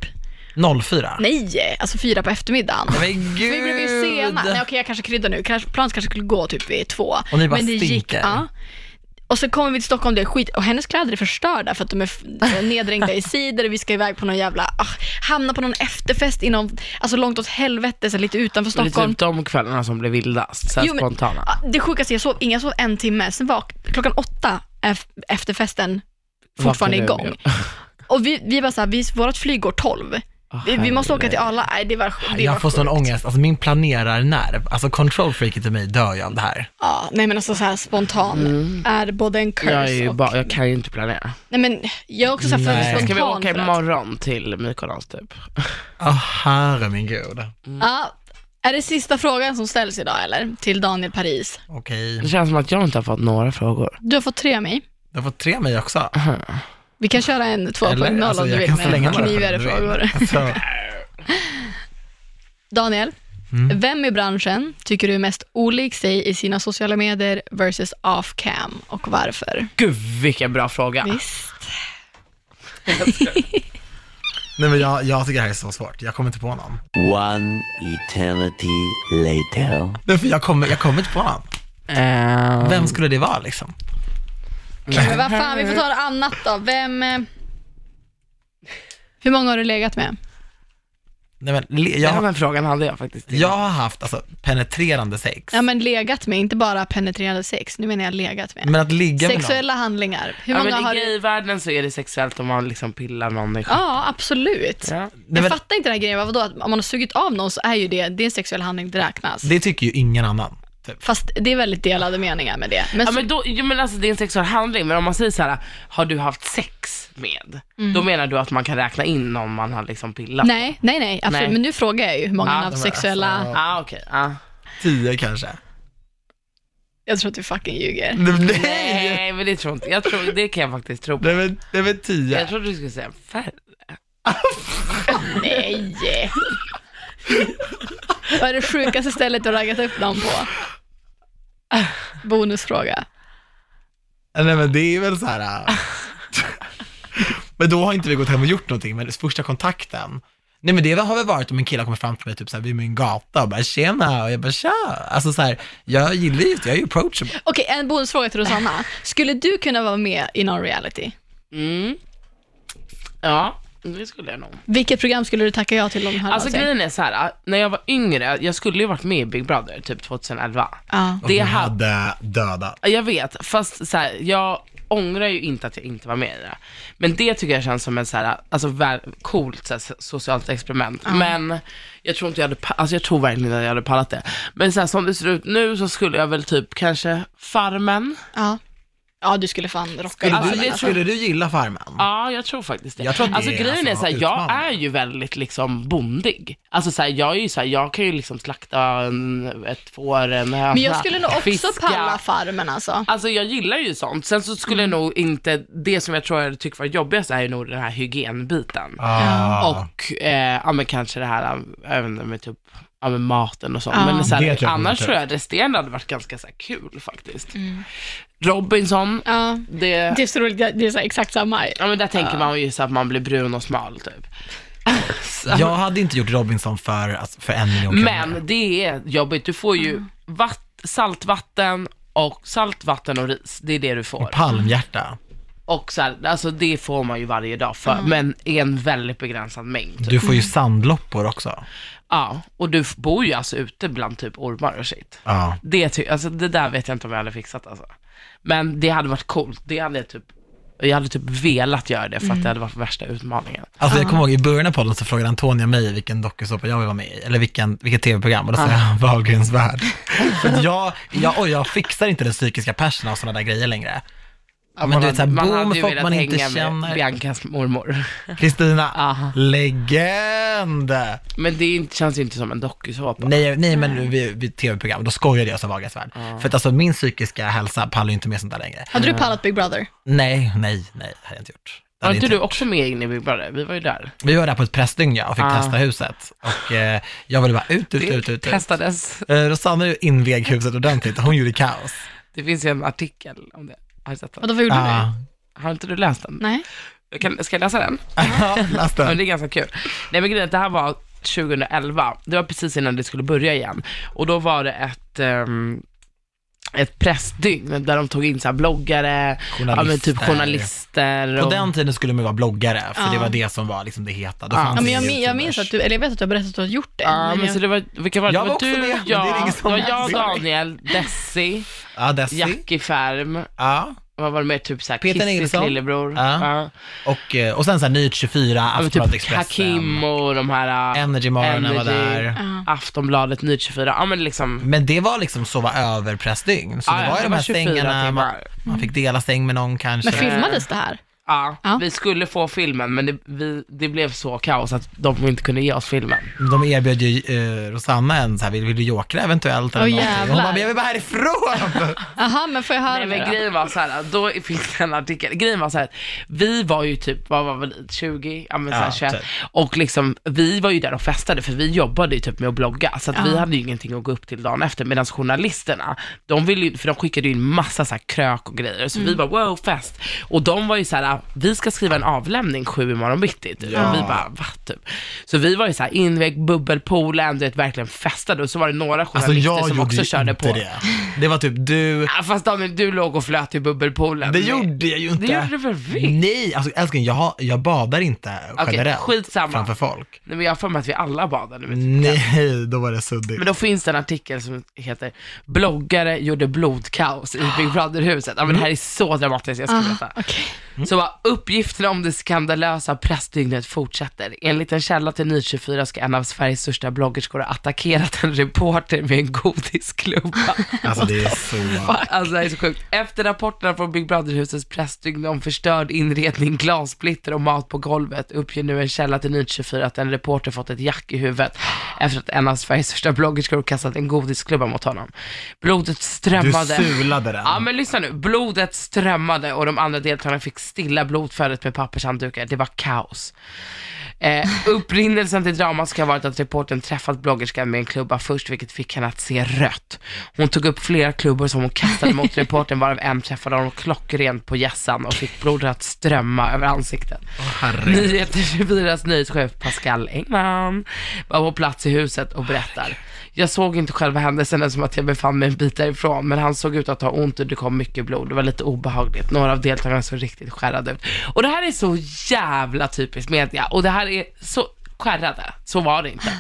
[SPEAKER 1] 04?
[SPEAKER 2] Nej, alltså fyra på eftermiddagen.
[SPEAKER 1] Men gud!
[SPEAKER 2] För vi blev ju sena. Nej, okej, jag kanske kryddar nu. Kanske- Planet kanske skulle gå typ vid två.
[SPEAKER 1] Och ni bara
[SPEAKER 2] men det gick.
[SPEAKER 1] stinker.
[SPEAKER 2] Ja. Och så kommer vi till Stockholm, det är skit. Och hennes kläder är förstörda för att de är f- nedringda i sidor och vi ska iväg på någon jävla, ah, hamna på någon efterfest i någon, alltså långt åt helvete, så här lite utanför
[SPEAKER 3] Men det är
[SPEAKER 2] Stockholm.
[SPEAKER 3] typ de kvällarna som blir vildast, såhär
[SPEAKER 2] Jo, men-
[SPEAKER 3] spontana.
[SPEAKER 2] Ja, Det sjukaste, jag sov, inga, jag sov en timme, sen var klockan åtta ef- efter festen fortfarande
[SPEAKER 3] Vaknar du
[SPEAKER 2] igång.
[SPEAKER 3] nu?
[SPEAKER 2] Och vi, vi bara såhär, vi, vårt flyg går tolv.
[SPEAKER 3] Åh,
[SPEAKER 2] Vi, vi måste åka till
[SPEAKER 3] herregud.
[SPEAKER 2] Arla, nej det var det var
[SPEAKER 1] Jag får sån
[SPEAKER 2] sjukt.
[SPEAKER 1] ångest, alltså min planerarnerv, alltså control-freaket i mig dör ju av det här.
[SPEAKER 2] Ja, nej men alltså såhär spontan
[SPEAKER 1] Mm.
[SPEAKER 2] är både en curse
[SPEAKER 3] Jag, är ju
[SPEAKER 2] och...
[SPEAKER 3] bara, jag kan ju inte planera.
[SPEAKER 2] Nej men jag är också såhär
[SPEAKER 1] Nej.
[SPEAKER 2] för
[SPEAKER 3] Ska vi
[SPEAKER 2] spontan
[SPEAKER 3] åka
[SPEAKER 2] för att-
[SPEAKER 3] imorgon till Mykonos typ?
[SPEAKER 1] Åh herre min gud.
[SPEAKER 2] Ja, är det sista frågan som ställs idag eller? Till Daniel Paris.
[SPEAKER 1] Okej,
[SPEAKER 3] Det känns som att jag inte har fått några frågor.
[SPEAKER 2] Du har fått tre av mig.
[SPEAKER 1] du har fått tre av mig också.
[SPEAKER 2] Vi kan köra en 2.0
[SPEAKER 1] alltså,
[SPEAKER 2] om du
[SPEAKER 1] jag
[SPEAKER 2] vill
[SPEAKER 1] kan slänga
[SPEAKER 2] med
[SPEAKER 1] några
[SPEAKER 2] knivigare
[SPEAKER 1] om du vill.
[SPEAKER 2] frågor.
[SPEAKER 1] Alltså,
[SPEAKER 2] Daniel,
[SPEAKER 1] Mm.
[SPEAKER 2] vem i branschen tycker du är mest olik sig i sina sociala medier versus off cam och varför?
[SPEAKER 3] Gud vilken bra fråga.
[SPEAKER 2] Visst.
[SPEAKER 3] Ah.
[SPEAKER 1] nej men jag, jag tycker det här är så svårt, jag kommer inte på någon.
[SPEAKER 4] One eternity later.
[SPEAKER 1] Nej, för jag, kommer, jag kommer inte på någon.
[SPEAKER 3] Ehm,
[SPEAKER 2] Mm.
[SPEAKER 1] Vem skulle det vara liksom?
[SPEAKER 2] Okej, men vad fan, vi får ta något annat då. Vem... eh, Hur många har du legat med?
[SPEAKER 1] Nej, men, le-
[SPEAKER 3] Ja,
[SPEAKER 1] jag,
[SPEAKER 3] men frågan hade jag faktiskt.
[SPEAKER 1] jag har haft alltså, penetrerande sex,
[SPEAKER 2] Ja men legat med, inte bara penetrerande sex. Nu menar jag legat med.
[SPEAKER 1] men att ligga med någon.
[SPEAKER 2] Sexuella handlingar. Hur
[SPEAKER 3] Ja,
[SPEAKER 2] många
[SPEAKER 3] men
[SPEAKER 2] har
[SPEAKER 3] I
[SPEAKER 2] du?
[SPEAKER 3] gayvärlden så är det sexuellt om man liksom pillar någon i stjärten.
[SPEAKER 2] Ja, absolut.
[SPEAKER 3] Ja.
[SPEAKER 1] Nej,
[SPEAKER 2] Jag
[SPEAKER 1] men,
[SPEAKER 2] fattar inte den här grejen, vadå? Att om man har sugit av någon så är ju det, det är en sexuell handling, det räknas.
[SPEAKER 1] det tycker ju ingen annan. Typ.
[SPEAKER 2] Fast det är väldigt delade meningar med det. Men
[SPEAKER 3] Ja,
[SPEAKER 2] så-
[SPEAKER 3] men då, jo, men alltså, det är en sexuell handling, men om man säger så här, har du haft sex med? Då menar du att man kan räkna in någon man har liksom pillat?
[SPEAKER 2] Nej, nej, nej, absolut.
[SPEAKER 3] Nej.
[SPEAKER 2] Men nu frågar jag ju hur många
[SPEAKER 3] Ja, alltså-
[SPEAKER 2] han har haft
[SPEAKER 1] de är-
[SPEAKER 2] sexuella...
[SPEAKER 1] alltså,
[SPEAKER 3] Ah, okej. Ah.
[SPEAKER 1] Tio kanske.
[SPEAKER 2] Jag tror att du fucking
[SPEAKER 3] Mm.
[SPEAKER 2] ljuger.
[SPEAKER 1] Nej!
[SPEAKER 3] Nej, men det tror jag inte jag. Tror, det kan jag faktiskt tro på.
[SPEAKER 1] Det är väl- det är väl tio?
[SPEAKER 3] Jag trodde du skulle säga färre.
[SPEAKER 2] Nej! Vad är det sjukaste stället du har raggat upp någon på? Bonusfråga.
[SPEAKER 1] Nej men det är väl så här. äh. men då har inte vi gått hem och gjort någonting, men första kontakten. Nej men det har väl varit om en kille kommer fram till mig typ såhär vid min gata och bara tjena och jag bara tja. Alltså såhär, jag gillar ju jag är ju approachable.
[SPEAKER 2] Okej, en bonusfråga till Rosanna. Skulle du kunna vara med i någon reality?
[SPEAKER 3] Mm. Ja, det skulle jag nog.
[SPEAKER 2] Vilket program skulle du tacka ja till om du hörde
[SPEAKER 3] Alltså
[SPEAKER 2] av sig?
[SPEAKER 3] grejen är så här, när jag var yngre, jag skulle ju varit med i Big Brother typ 2011.
[SPEAKER 2] Ja.
[SPEAKER 1] Och
[SPEAKER 3] Det
[SPEAKER 1] hon
[SPEAKER 3] hade
[SPEAKER 1] hade dödat.
[SPEAKER 3] Jag vet, fast så här, jag ångrar ju inte att jag inte var med i det. Men det tycker jag känns som ett så här, alltså, väl, coolt så här, socialt experiment. Men jag tror inte jag hade, pa- alltså jag tror verkligen inte att jag hade pallat det. Men så här, som det ser ut nu så skulle jag väl typ kanske Farmen.
[SPEAKER 2] ja. Ja, du skulle fan rocka
[SPEAKER 1] Skulle,
[SPEAKER 2] den
[SPEAKER 1] du,
[SPEAKER 2] alltså.
[SPEAKER 1] skulle du gilla Farmen?
[SPEAKER 3] Ja, jag tror faktiskt det.
[SPEAKER 1] Jag tror att det
[SPEAKER 3] alltså
[SPEAKER 1] är
[SPEAKER 3] grejen är
[SPEAKER 1] alltså
[SPEAKER 3] så här, jag
[SPEAKER 1] utmanande.
[SPEAKER 3] är ju väldigt liksom bondig. Alltså så här, jag är ju så här, jag kan ju liksom slakta en, ett får, en höna,
[SPEAKER 2] Men jag skulle nog också
[SPEAKER 3] fiska.
[SPEAKER 2] palla Farmen alltså.
[SPEAKER 3] Alltså jag gillar ju sånt. Sen så skulle
[SPEAKER 1] Mm.
[SPEAKER 3] jag nog inte, det som jag tror jag tycker var jobbigast är ju nog den här hygienbiten.
[SPEAKER 1] Ah.
[SPEAKER 3] Och eh, ja, men kanske det här, jag vet inte, med typ ja, med maten och sånt.
[SPEAKER 2] Ja.
[SPEAKER 3] Men så
[SPEAKER 1] Ah. Det
[SPEAKER 3] här,
[SPEAKER 1] tror jag
[SPEAKER 3] annars
[SPEAKER 1] kommer Mm.
[SPEAKER 3] tror jag resterande hade varit ganska så här kul faktiskt. Robinson,
[SPEAKER 1] Ah.
[SPEAKER 2] Ja.
[SPEAKER 3] det,
[SPEAKER 2] Det är så roligt, det är så här exakt samma.
[SPEAKER 3] ja men där tänker
[SPEAKER 1] Ah.
[SPEAKER 3] man ju så att man blir brun och smal typ. Så-
[SPEAKER 1] Jag hade inte gjort Robinson för, alltså, för en miljon kronor.
[SPEAKER 3] Men det är jobbigt, du får
[SPEAKER 1] Mm.
[SPEAKER 3] ju vatt, saltvatten och saltvatten och ris, det är det du får.
[SPEAKER 1] Palmhjärta.
[SPEAKER 3] Och så här, alltså det får man ju varje dag för, men i en väldigt begränsad mängd. typ.
[SPEAKER 1] Mm. Du får ju sandloppor också.
[SPEAKER 3] Ja, och du f- bor ju alltså ute bland typ ormar och shit.
[SPEAKER 1] Ja.
[SPEAKER 3] Det, ty- alltså, det där vet jag inte om jag hade fixat alltså. Men det hade varit coolt, det hade jag typ jag hade typ velat göra det för
[SPEAKER 1] Mm.
[SPEAKER 3] att det hade varit värsta utmaningen.
[SPEAKER 1] Alltså jag kommer ihåg i början av podden så frågade Antonia mig vilken dokusåpa jag vill vara med i, eller vilken, vilket tv-program, och då sa jag Wahlgrens värld. För att jag, jag, och jag fixar inte den psykiska persen av sådana där grejer längre.
[SPEAKER 3] Ja,
[SPEAKER 1] men du vet, så här,
[SPEAKER 3] man
[SPEAKER 1] bo
[SPEAKER 3] hade
[SPEAKER 1] med
[SPEAKER 3] ju
[SPEAKER 1] folk
[SPEAKER 3] velat
[SPEAKER 1] man
[SPEAKER 3] hänga
[SPEAKER 1] inte
[SPEAKER 3] med
[SPEAKER 1] känner.
[SPEAKER 3] Biancas mormor.
[SPEAKER 1] Kristina,
[SPEAKER 3] Aha.
[SPEAKER 1] legend!
[SPEAKER 3] Men det är inte- känns ju inte som en dokusåpa.
[SPEAKER 1] Nej, nej men vi, vi, tv-program, då skojade jag som Wahlgrens värld. För att alltså min psykiska hälsa pallar ju inte med sånt där längre.
[SPEAKER 2] Hade du pallat Big Brother?
[SPEAKER 1] Nej, nej, nej, hade jag inte typ- gjort. Det
[SPEAKER 3] Var
[SPEAKER 1] hade
[SPEAKER 3] inte
[SPEAKER 1] jag
[SPEAKER 3] du också med in i Big Brother? Vi var ju där.
[SPEAKER 1] Vi var där på ett pressdygn ja, och fick
[SPEAKER 3] Ah.
[SPEAKER 1] testa huset. Och eh, jag ville bara ut, ut, ut, ut. ut.
[SPEAKER 3] testades.
[SPEAKER 1] Eh, Rosanna ju invig huset ordentligt, hon gjorde kaos.
[SPEAKER 3] Det finns ju en artikel om det. Har du sett den?
[SPEAKER 2] Vadå, vad gjorde
[SPEAKER 1] Ja,
[SPEAKER 3] Har inte du läst den?
[SPEAKER 2] du? Nej.
[SPEAKER 3] Jag Kan, ska jag läsa den?
[SPEAKER 1] Ja, läs
[SPEAKER 3] Men
[SPEAKER 1] den.
[SPEAKER 3] det är ganska kul. Nej men grejen är att det här var 2011, det var precis innan det skulle börja igen. Och då var det ett, ehm, ett pressdygn där de tog in så här bloggare, ja, men typ journalister.
[SPEAKER 1] På
[SPEAKER 3] Och,
[SPEAKER 1] den tiden skulle man ju vara bloggare, för
[SPEAKER 2] Ja.
[SPEAKER 1] det var det som var liksom det heta. Då
[SPEAKER 3] Ja.
[SPEAKER 1] fanns
[SPEAKER 2] Ja, men
[SPEAKER 1] ingen
[SPEAKER 2] jag, min, jag minns
[SPEAKER 1] YouTubers.
[SPEAKER 2] att du, eller jag vet att du har berättat att du har gjort det.
[SPEAKER 3] Alltså, Ja,
[SPEAKER 2] men
[SPEAKER 3] men
[SPEAKER 2] jag-
[SPEAKER 3] så det var, vilka var det?
[SPEAKER 1] Jag var
[SPEAKER 3] det
[SPEAKER 1] också
[SPEAKER 3] du,
[SPEAKER 1] med, men det är
[SPEAKER 3] jag,
[SPEAKER 1] ingen som
[SPEAKER 3] det var
[SPEAKER 1] minns.
[SPEAKER 3] jag,
[SPEAKER 1] Sorry.
[SPEAKER 3] Daniel, Desi,
[SPEAKER 1] Ja, Desi.
[SPEAKER 3] Jackie Färm,
[SPEAKER 1] Ja.
[SPEAKER 3] vad var det mer, typ såhär
[SPEAKER 1] Peter
[SPEAKER 3] Kissis
[SPEAKER 1] Nilsson.
[SPEAKER 3] lillebror.
[SPEAKER 1] Ja.
[SPEAKER 3] Ja.
[SPEAKER 1] Och, eh, och sen så här Nyhet 24,
[SPEAKER 3] Ja, men
[SPEAKER 1] Aftonbladet
[SPEAKER 3] typ
[SPEAKER 1] Expressen.
[SPEAKER 3] Hakim och de här, äh,
[SPEAKER 1] Energy Morgonen var
[SPEAKER 3] Energy.
[SPEAKER 1] där.
[SPEAKER 3] Aftonbladet, Nytt 24, ja men liksom
[SPEAKER 1] Men det var liksom sova över pressdygn, så
[SPEAKER 3] Ja,
[SPEAKER 1] det
[SPEAKER 3] ja,
[SPEAKER 1] var ju
[SPEAKER 3] det
[SPEAKER 1] de
[SPEAKER 3] var
[SPEAKER 1] här
[SPEAKER 3] 24
[SPEAKER 1] sängarna, man,
[SPEAKER 3] timmar.
[SPEAKER 1] man fick dela säng med någon kanske.
[SPEAKER 2] Men filmades det här?
[SPEAKER 3] Ja,
[SPEAKER 2] Ja.
[SPEAKER 3] vi skulle få filmen men det, vi, det blev så kaos att de inte kunde ge oss filmen.
[SPEAKER 1] De erbjöd ju eh, Rosanna en så här, vill, vill du jokra eventuellt eller
[SPEAKER 2] Åh,
[SPEAKER 1] någonting? Hon
[SPEAKER 2] jävlar.
[SPEAKER 1] bara, men jag vill bara härifrån!
[SPEAKER 2] Aha, men får jag höra
[SPEAKER 3] Nej,
[SPEAKER 2] det
[SPEAKER 3] men
[SPEAKER 2] då?
[SPEAKER 3] grejen var så här, då finns det en artikel. Grejen var så här, vi var ju typ, vad var vi, 20, ja men så här,
[SPEAKER 1] Ja,
[SPEAKER 3] 21.
[SPEAKER 1] typ.
[SPEAKER 3] Och liksom, vi var ju där och festade för vi jobbade ju typ med att blogga. Så att vi hade ju ingenting att gå upp till dagen efter. Medan journalisterna, de ville ju, för de skickade ju in massa så här krök och grejer. Så
[SPEAKER 1] Mm.
[SPEAKER 3] vi bara, wow, fest. Och de var ju så här, vi ska skriva en avlämning sju imorgon bitti. Typ. Och vi bara, va? Typ. Så vi var ju så här, inväg, bubbelpoolen, du vet, verkligen festade. Och så var det några
[SPEAKER 1] Alltså
[SPEAKER 3] journalister
[SPEAKER 1] jag
[SPEAKER 3] som
[SPEAKER 1] gjorde
[SPEAKER 3] också
[SPEAKER 1] ju
[SPEAKER 3] körde
[SPEAKER 1] inte
[SPEAKER 3] på.
[SPEAKER 1] det. Det var typ du,
[SPEAKER 3] Ja, fast Daniel, du låg och flöt i bubbelpoolen.
[SPEAKER 1] det
[SPEAKER 3] Men-
[SPEAKER 1] gjorde jag ju inte.
[SPEAKER 3] gjorde du väl visst?
[SPEAKER 1] Nej, alltså älskling jag, har- jag badar inte
[SPEAKER 3] Okej,
[SPEAKER 1] generellt
[SPEAKER 3] skitsamma.
[SPEAKER 1] framför folk.
[SPEAKER 3] Nej, men jag har för mig att vi alla badade. Men,
[SPEAKER 1] Nej, då var det suddigt.
[SPEAKER 3] men då finns det en artikel som heter “Bloggare gjorde blodkaos i Big Brother-huset”. Ja, men det här är så dramatiskt, jag
[SPEAKER 2] Ah.
[SPEAKER 3] ska berätta.
[SPEAKER 2] Okej.
[SPEAKER 3] Så bara, uppgifterna om det skandalösa pressdygnet fortsätter. Enligt en källa till Nyhet24 ska en av Sveriges största bloggerskor ha attackerat en reporter med en godisklubba.
[SPEAKER 1] Alltså Alltså det är så...
[SPEAKER 3] Alltså det här är så sjukt. Efter rapporterna från Big Brother-husets pressdygn om förstörd inredning, glassplitter och mat på golvet uppger nu en källa till Nyhet24 att en reporter fått ett jack i huvudet efter att en av Sveriges största bloggerskor kastat en godisklubba mot honom. Blodet
[SPEAKER 1] Du
[SPEAKER 3] strömmade.
[SPEAKER 1] sulade den.
[SPEAKER 3] Ja men lyssna nu, blodet strömmade och de andra deltagarna fick stilla blodflödet med pappershanddukar. Det var kaos. Eh, upprinnelsen till dramat ska ha varit att reportern träffat bloggerskan med en klubba först, vilket fick henne att se rött. Hon tog upp flera klubbor som hon kastade mot reportern, varav en träffade honom klockrent på hjässan och fick blodet att strömma över ansiktet.
[SPEAKER 1] Herregud.
[SPEAKER 3] Nyheter 24s nyhetschef Pascal Engman var på plats i huset och berättar. Jag såg inte själva händelsen eftersom att jag befann mig en bit därifrån, men han såg ut att ha ont och det kom mycket blod. Det var lite obehagligt. Några av deltagarna såg riktigt skärrade ut. Och det här är så jävla typiskt media och det här är så skärrade. Så var det inte.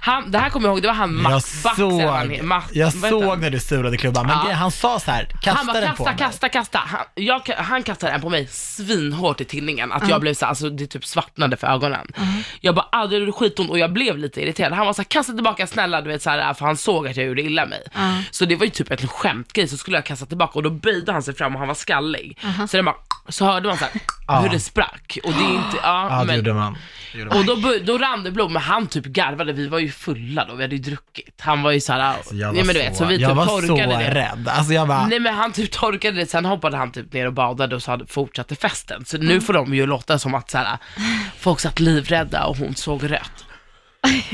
[SPEAKER 3] Han, det här kommer jag ihåg, det var han
[SPEAKER 1] Jag
[SPEAKER 3] Max Bax, eller vad han
[SPEAKER 1] såg,
[SPEAKER 3] heter. Max-
[SPEAKER 1] jag
[SPEAKER 3] vad heter han?
[SPEAKER 1] såg när du sulade klubban, men
[SPEAKER 3] Ja.
[SPEAKER 1] grejen- han sa så här, kasta
[SPEAKER 3] han bara,
[SPEAKER 1] den
[SPEAKER 3] kasta,
[SPEAKER 1] på mig.
[SPEAKER 3] kasta, kasta. Han, jag, han kastade en på mig svinhårt i tinningen. Att jag blev så här, alltså det typ svartnade för ögonen. Jag bara, ah, det gjorde skitont och jag blev lite irriterad. Han var så här, kasta tillbaka snälla, du vet så här, för han såg att jag gjorde illa mig. Så det var ju typ en skämtgrej, så skulle jag kasta tillbaka och då böjde han sig fram och han var skallig. Så, det bara, så hörde man så här, hur det sprack. Och det är inte, ja,
[SPEAKER 1] Ja, det
[SPEAKER 3] men,
[SPEAKER 1] gjorde man. Det gjorde man.
[SPEAKER 3] och då, bör- då rann det blod, men han typ garvade, vi var ju fulla då, vi hade ju druckit. Han var ju såhär, alltså,
[SPEAKER 1] Jag var
[SPEAKER 3] nej men du
[SPEAKER 1] så,
[SPEAKER 3] vet, så vi
[SPEAKER 1] jag
[SPEAKER 3] typ
[SPEAKER 1] var så
[SPEAKER 3] torkade det.
[SPEAKER 1] rädd. Alltså jag bara,
[SPEAKER 3] Nej men han typ torkade det, sen hoppade han typ ner och badade och så hade, fortsatte festen. Så nu får de ju låta som att så här, folk satt livrädda och hon såg rött.
[SPEAKER 1] nej,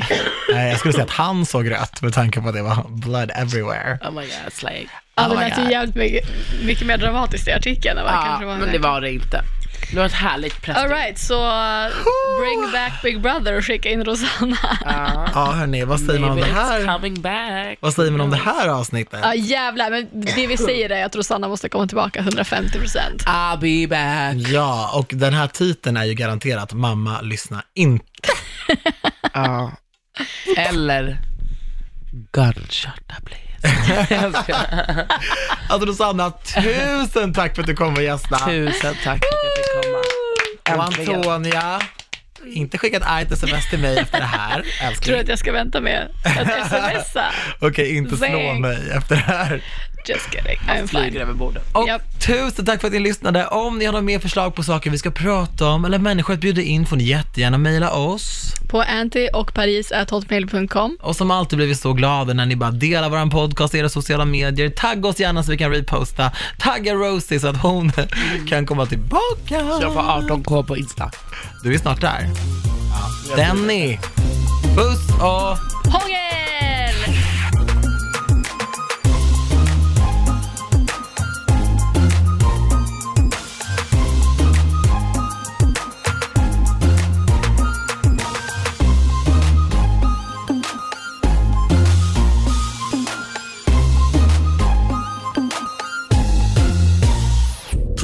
[SPEAKER 1] eh, jag skulle säga att han såg rött med tanke på att det var blood everywhere.
[SPEAKER 3] Oh my god, slaying.
[SPEAKER 2] Ja, det
[SPEAKER 1] Oh my
[SPEAKER 2] lät ju
[SPEAKER 1] God.
[SPEAKER 2] jävligt mycket, mycket mer dramatiskt i artikeln än vad det
[SPEAKER 3] Ja,
[SPEAKER 2] kanske var.
[SPEAKER 3] men det var det inte. Det var ett härligt
[SPEAKER 2] All
[SPEAKER 3] pressbild.
[SPEAKER 2] right, så uh, bring back Big Brother och skicka in Rosanna.
[SPEAKER 3] Ja.
[SPEAKER 1] Ja hörni, vad säger man om det
[SPEAKER 3] Ah, Maybe it's
[SPEAKER 1] här?
[SPEAKER 3] coming back.
[SPEAKER 1] Vad säger man om det här avsnittet?
[SPEAKER 2] Ja jävlar, men det vi säger är att Rosanna måste komma tillbaka 150 procent.
[SPEAKER 3] I'll be back.
[SPEAKER 1] Ja, och den här titeln är ju garanterat mamma lyssna inte.
[SPEAKER 3] Ja. Eller Gunshot please. Jag skojar.
[SPEAKER 1] Alltså Rosanna, tusen tack för att du kom och gästade.
[SPEAKER 3] Tusen tack för att jag fick komma.
[SPEAKER 1] Och
[SPEAKER 3] Äntligen.
[SPEAKER 1] Antonia, inte skicka ett argt sms till mig efter det här,
[SPEAKER 2] Tror du
[SPEAKER 1] älskling.
[SPEAKER 2] att jag ska vänta med att smsa?
[SPEAKER 1] Okej, inte slå
[SPEAKER 2] Zing.
[SPEAKER 1] mig efter det här.
[SPEAKER 2] Just kidding, I'm
[SPEAKER 3] Flyger
[SPEAKER 2] fine.
[SPEAKER 3] över bordet.
[SPEAKER 1] Och
[SPEAKER 2] Japp.
[SPEAKER 1] tusen tack för att ni lyssnade. Om ni har några mer förslag på saker vi ska prata om eller människor att bjuda in får ni jättegärna mejla oss.
[SPEAKER 2] På anti och paris at hotmail.com.
[SPEAKER 1] Och som alltid blir vi så glada när ni bara delar våran podcast i era sociala medier. Tagga oss gärna så vi kan reposta. Tagga Rosie så att hon kan komma tillbaka.
[SPEAKER 3] Jag får 18k på Insta.
[SPEAKER 1] Du är snart där. Denny, puss och...
[SPEAKER 2] Hångel!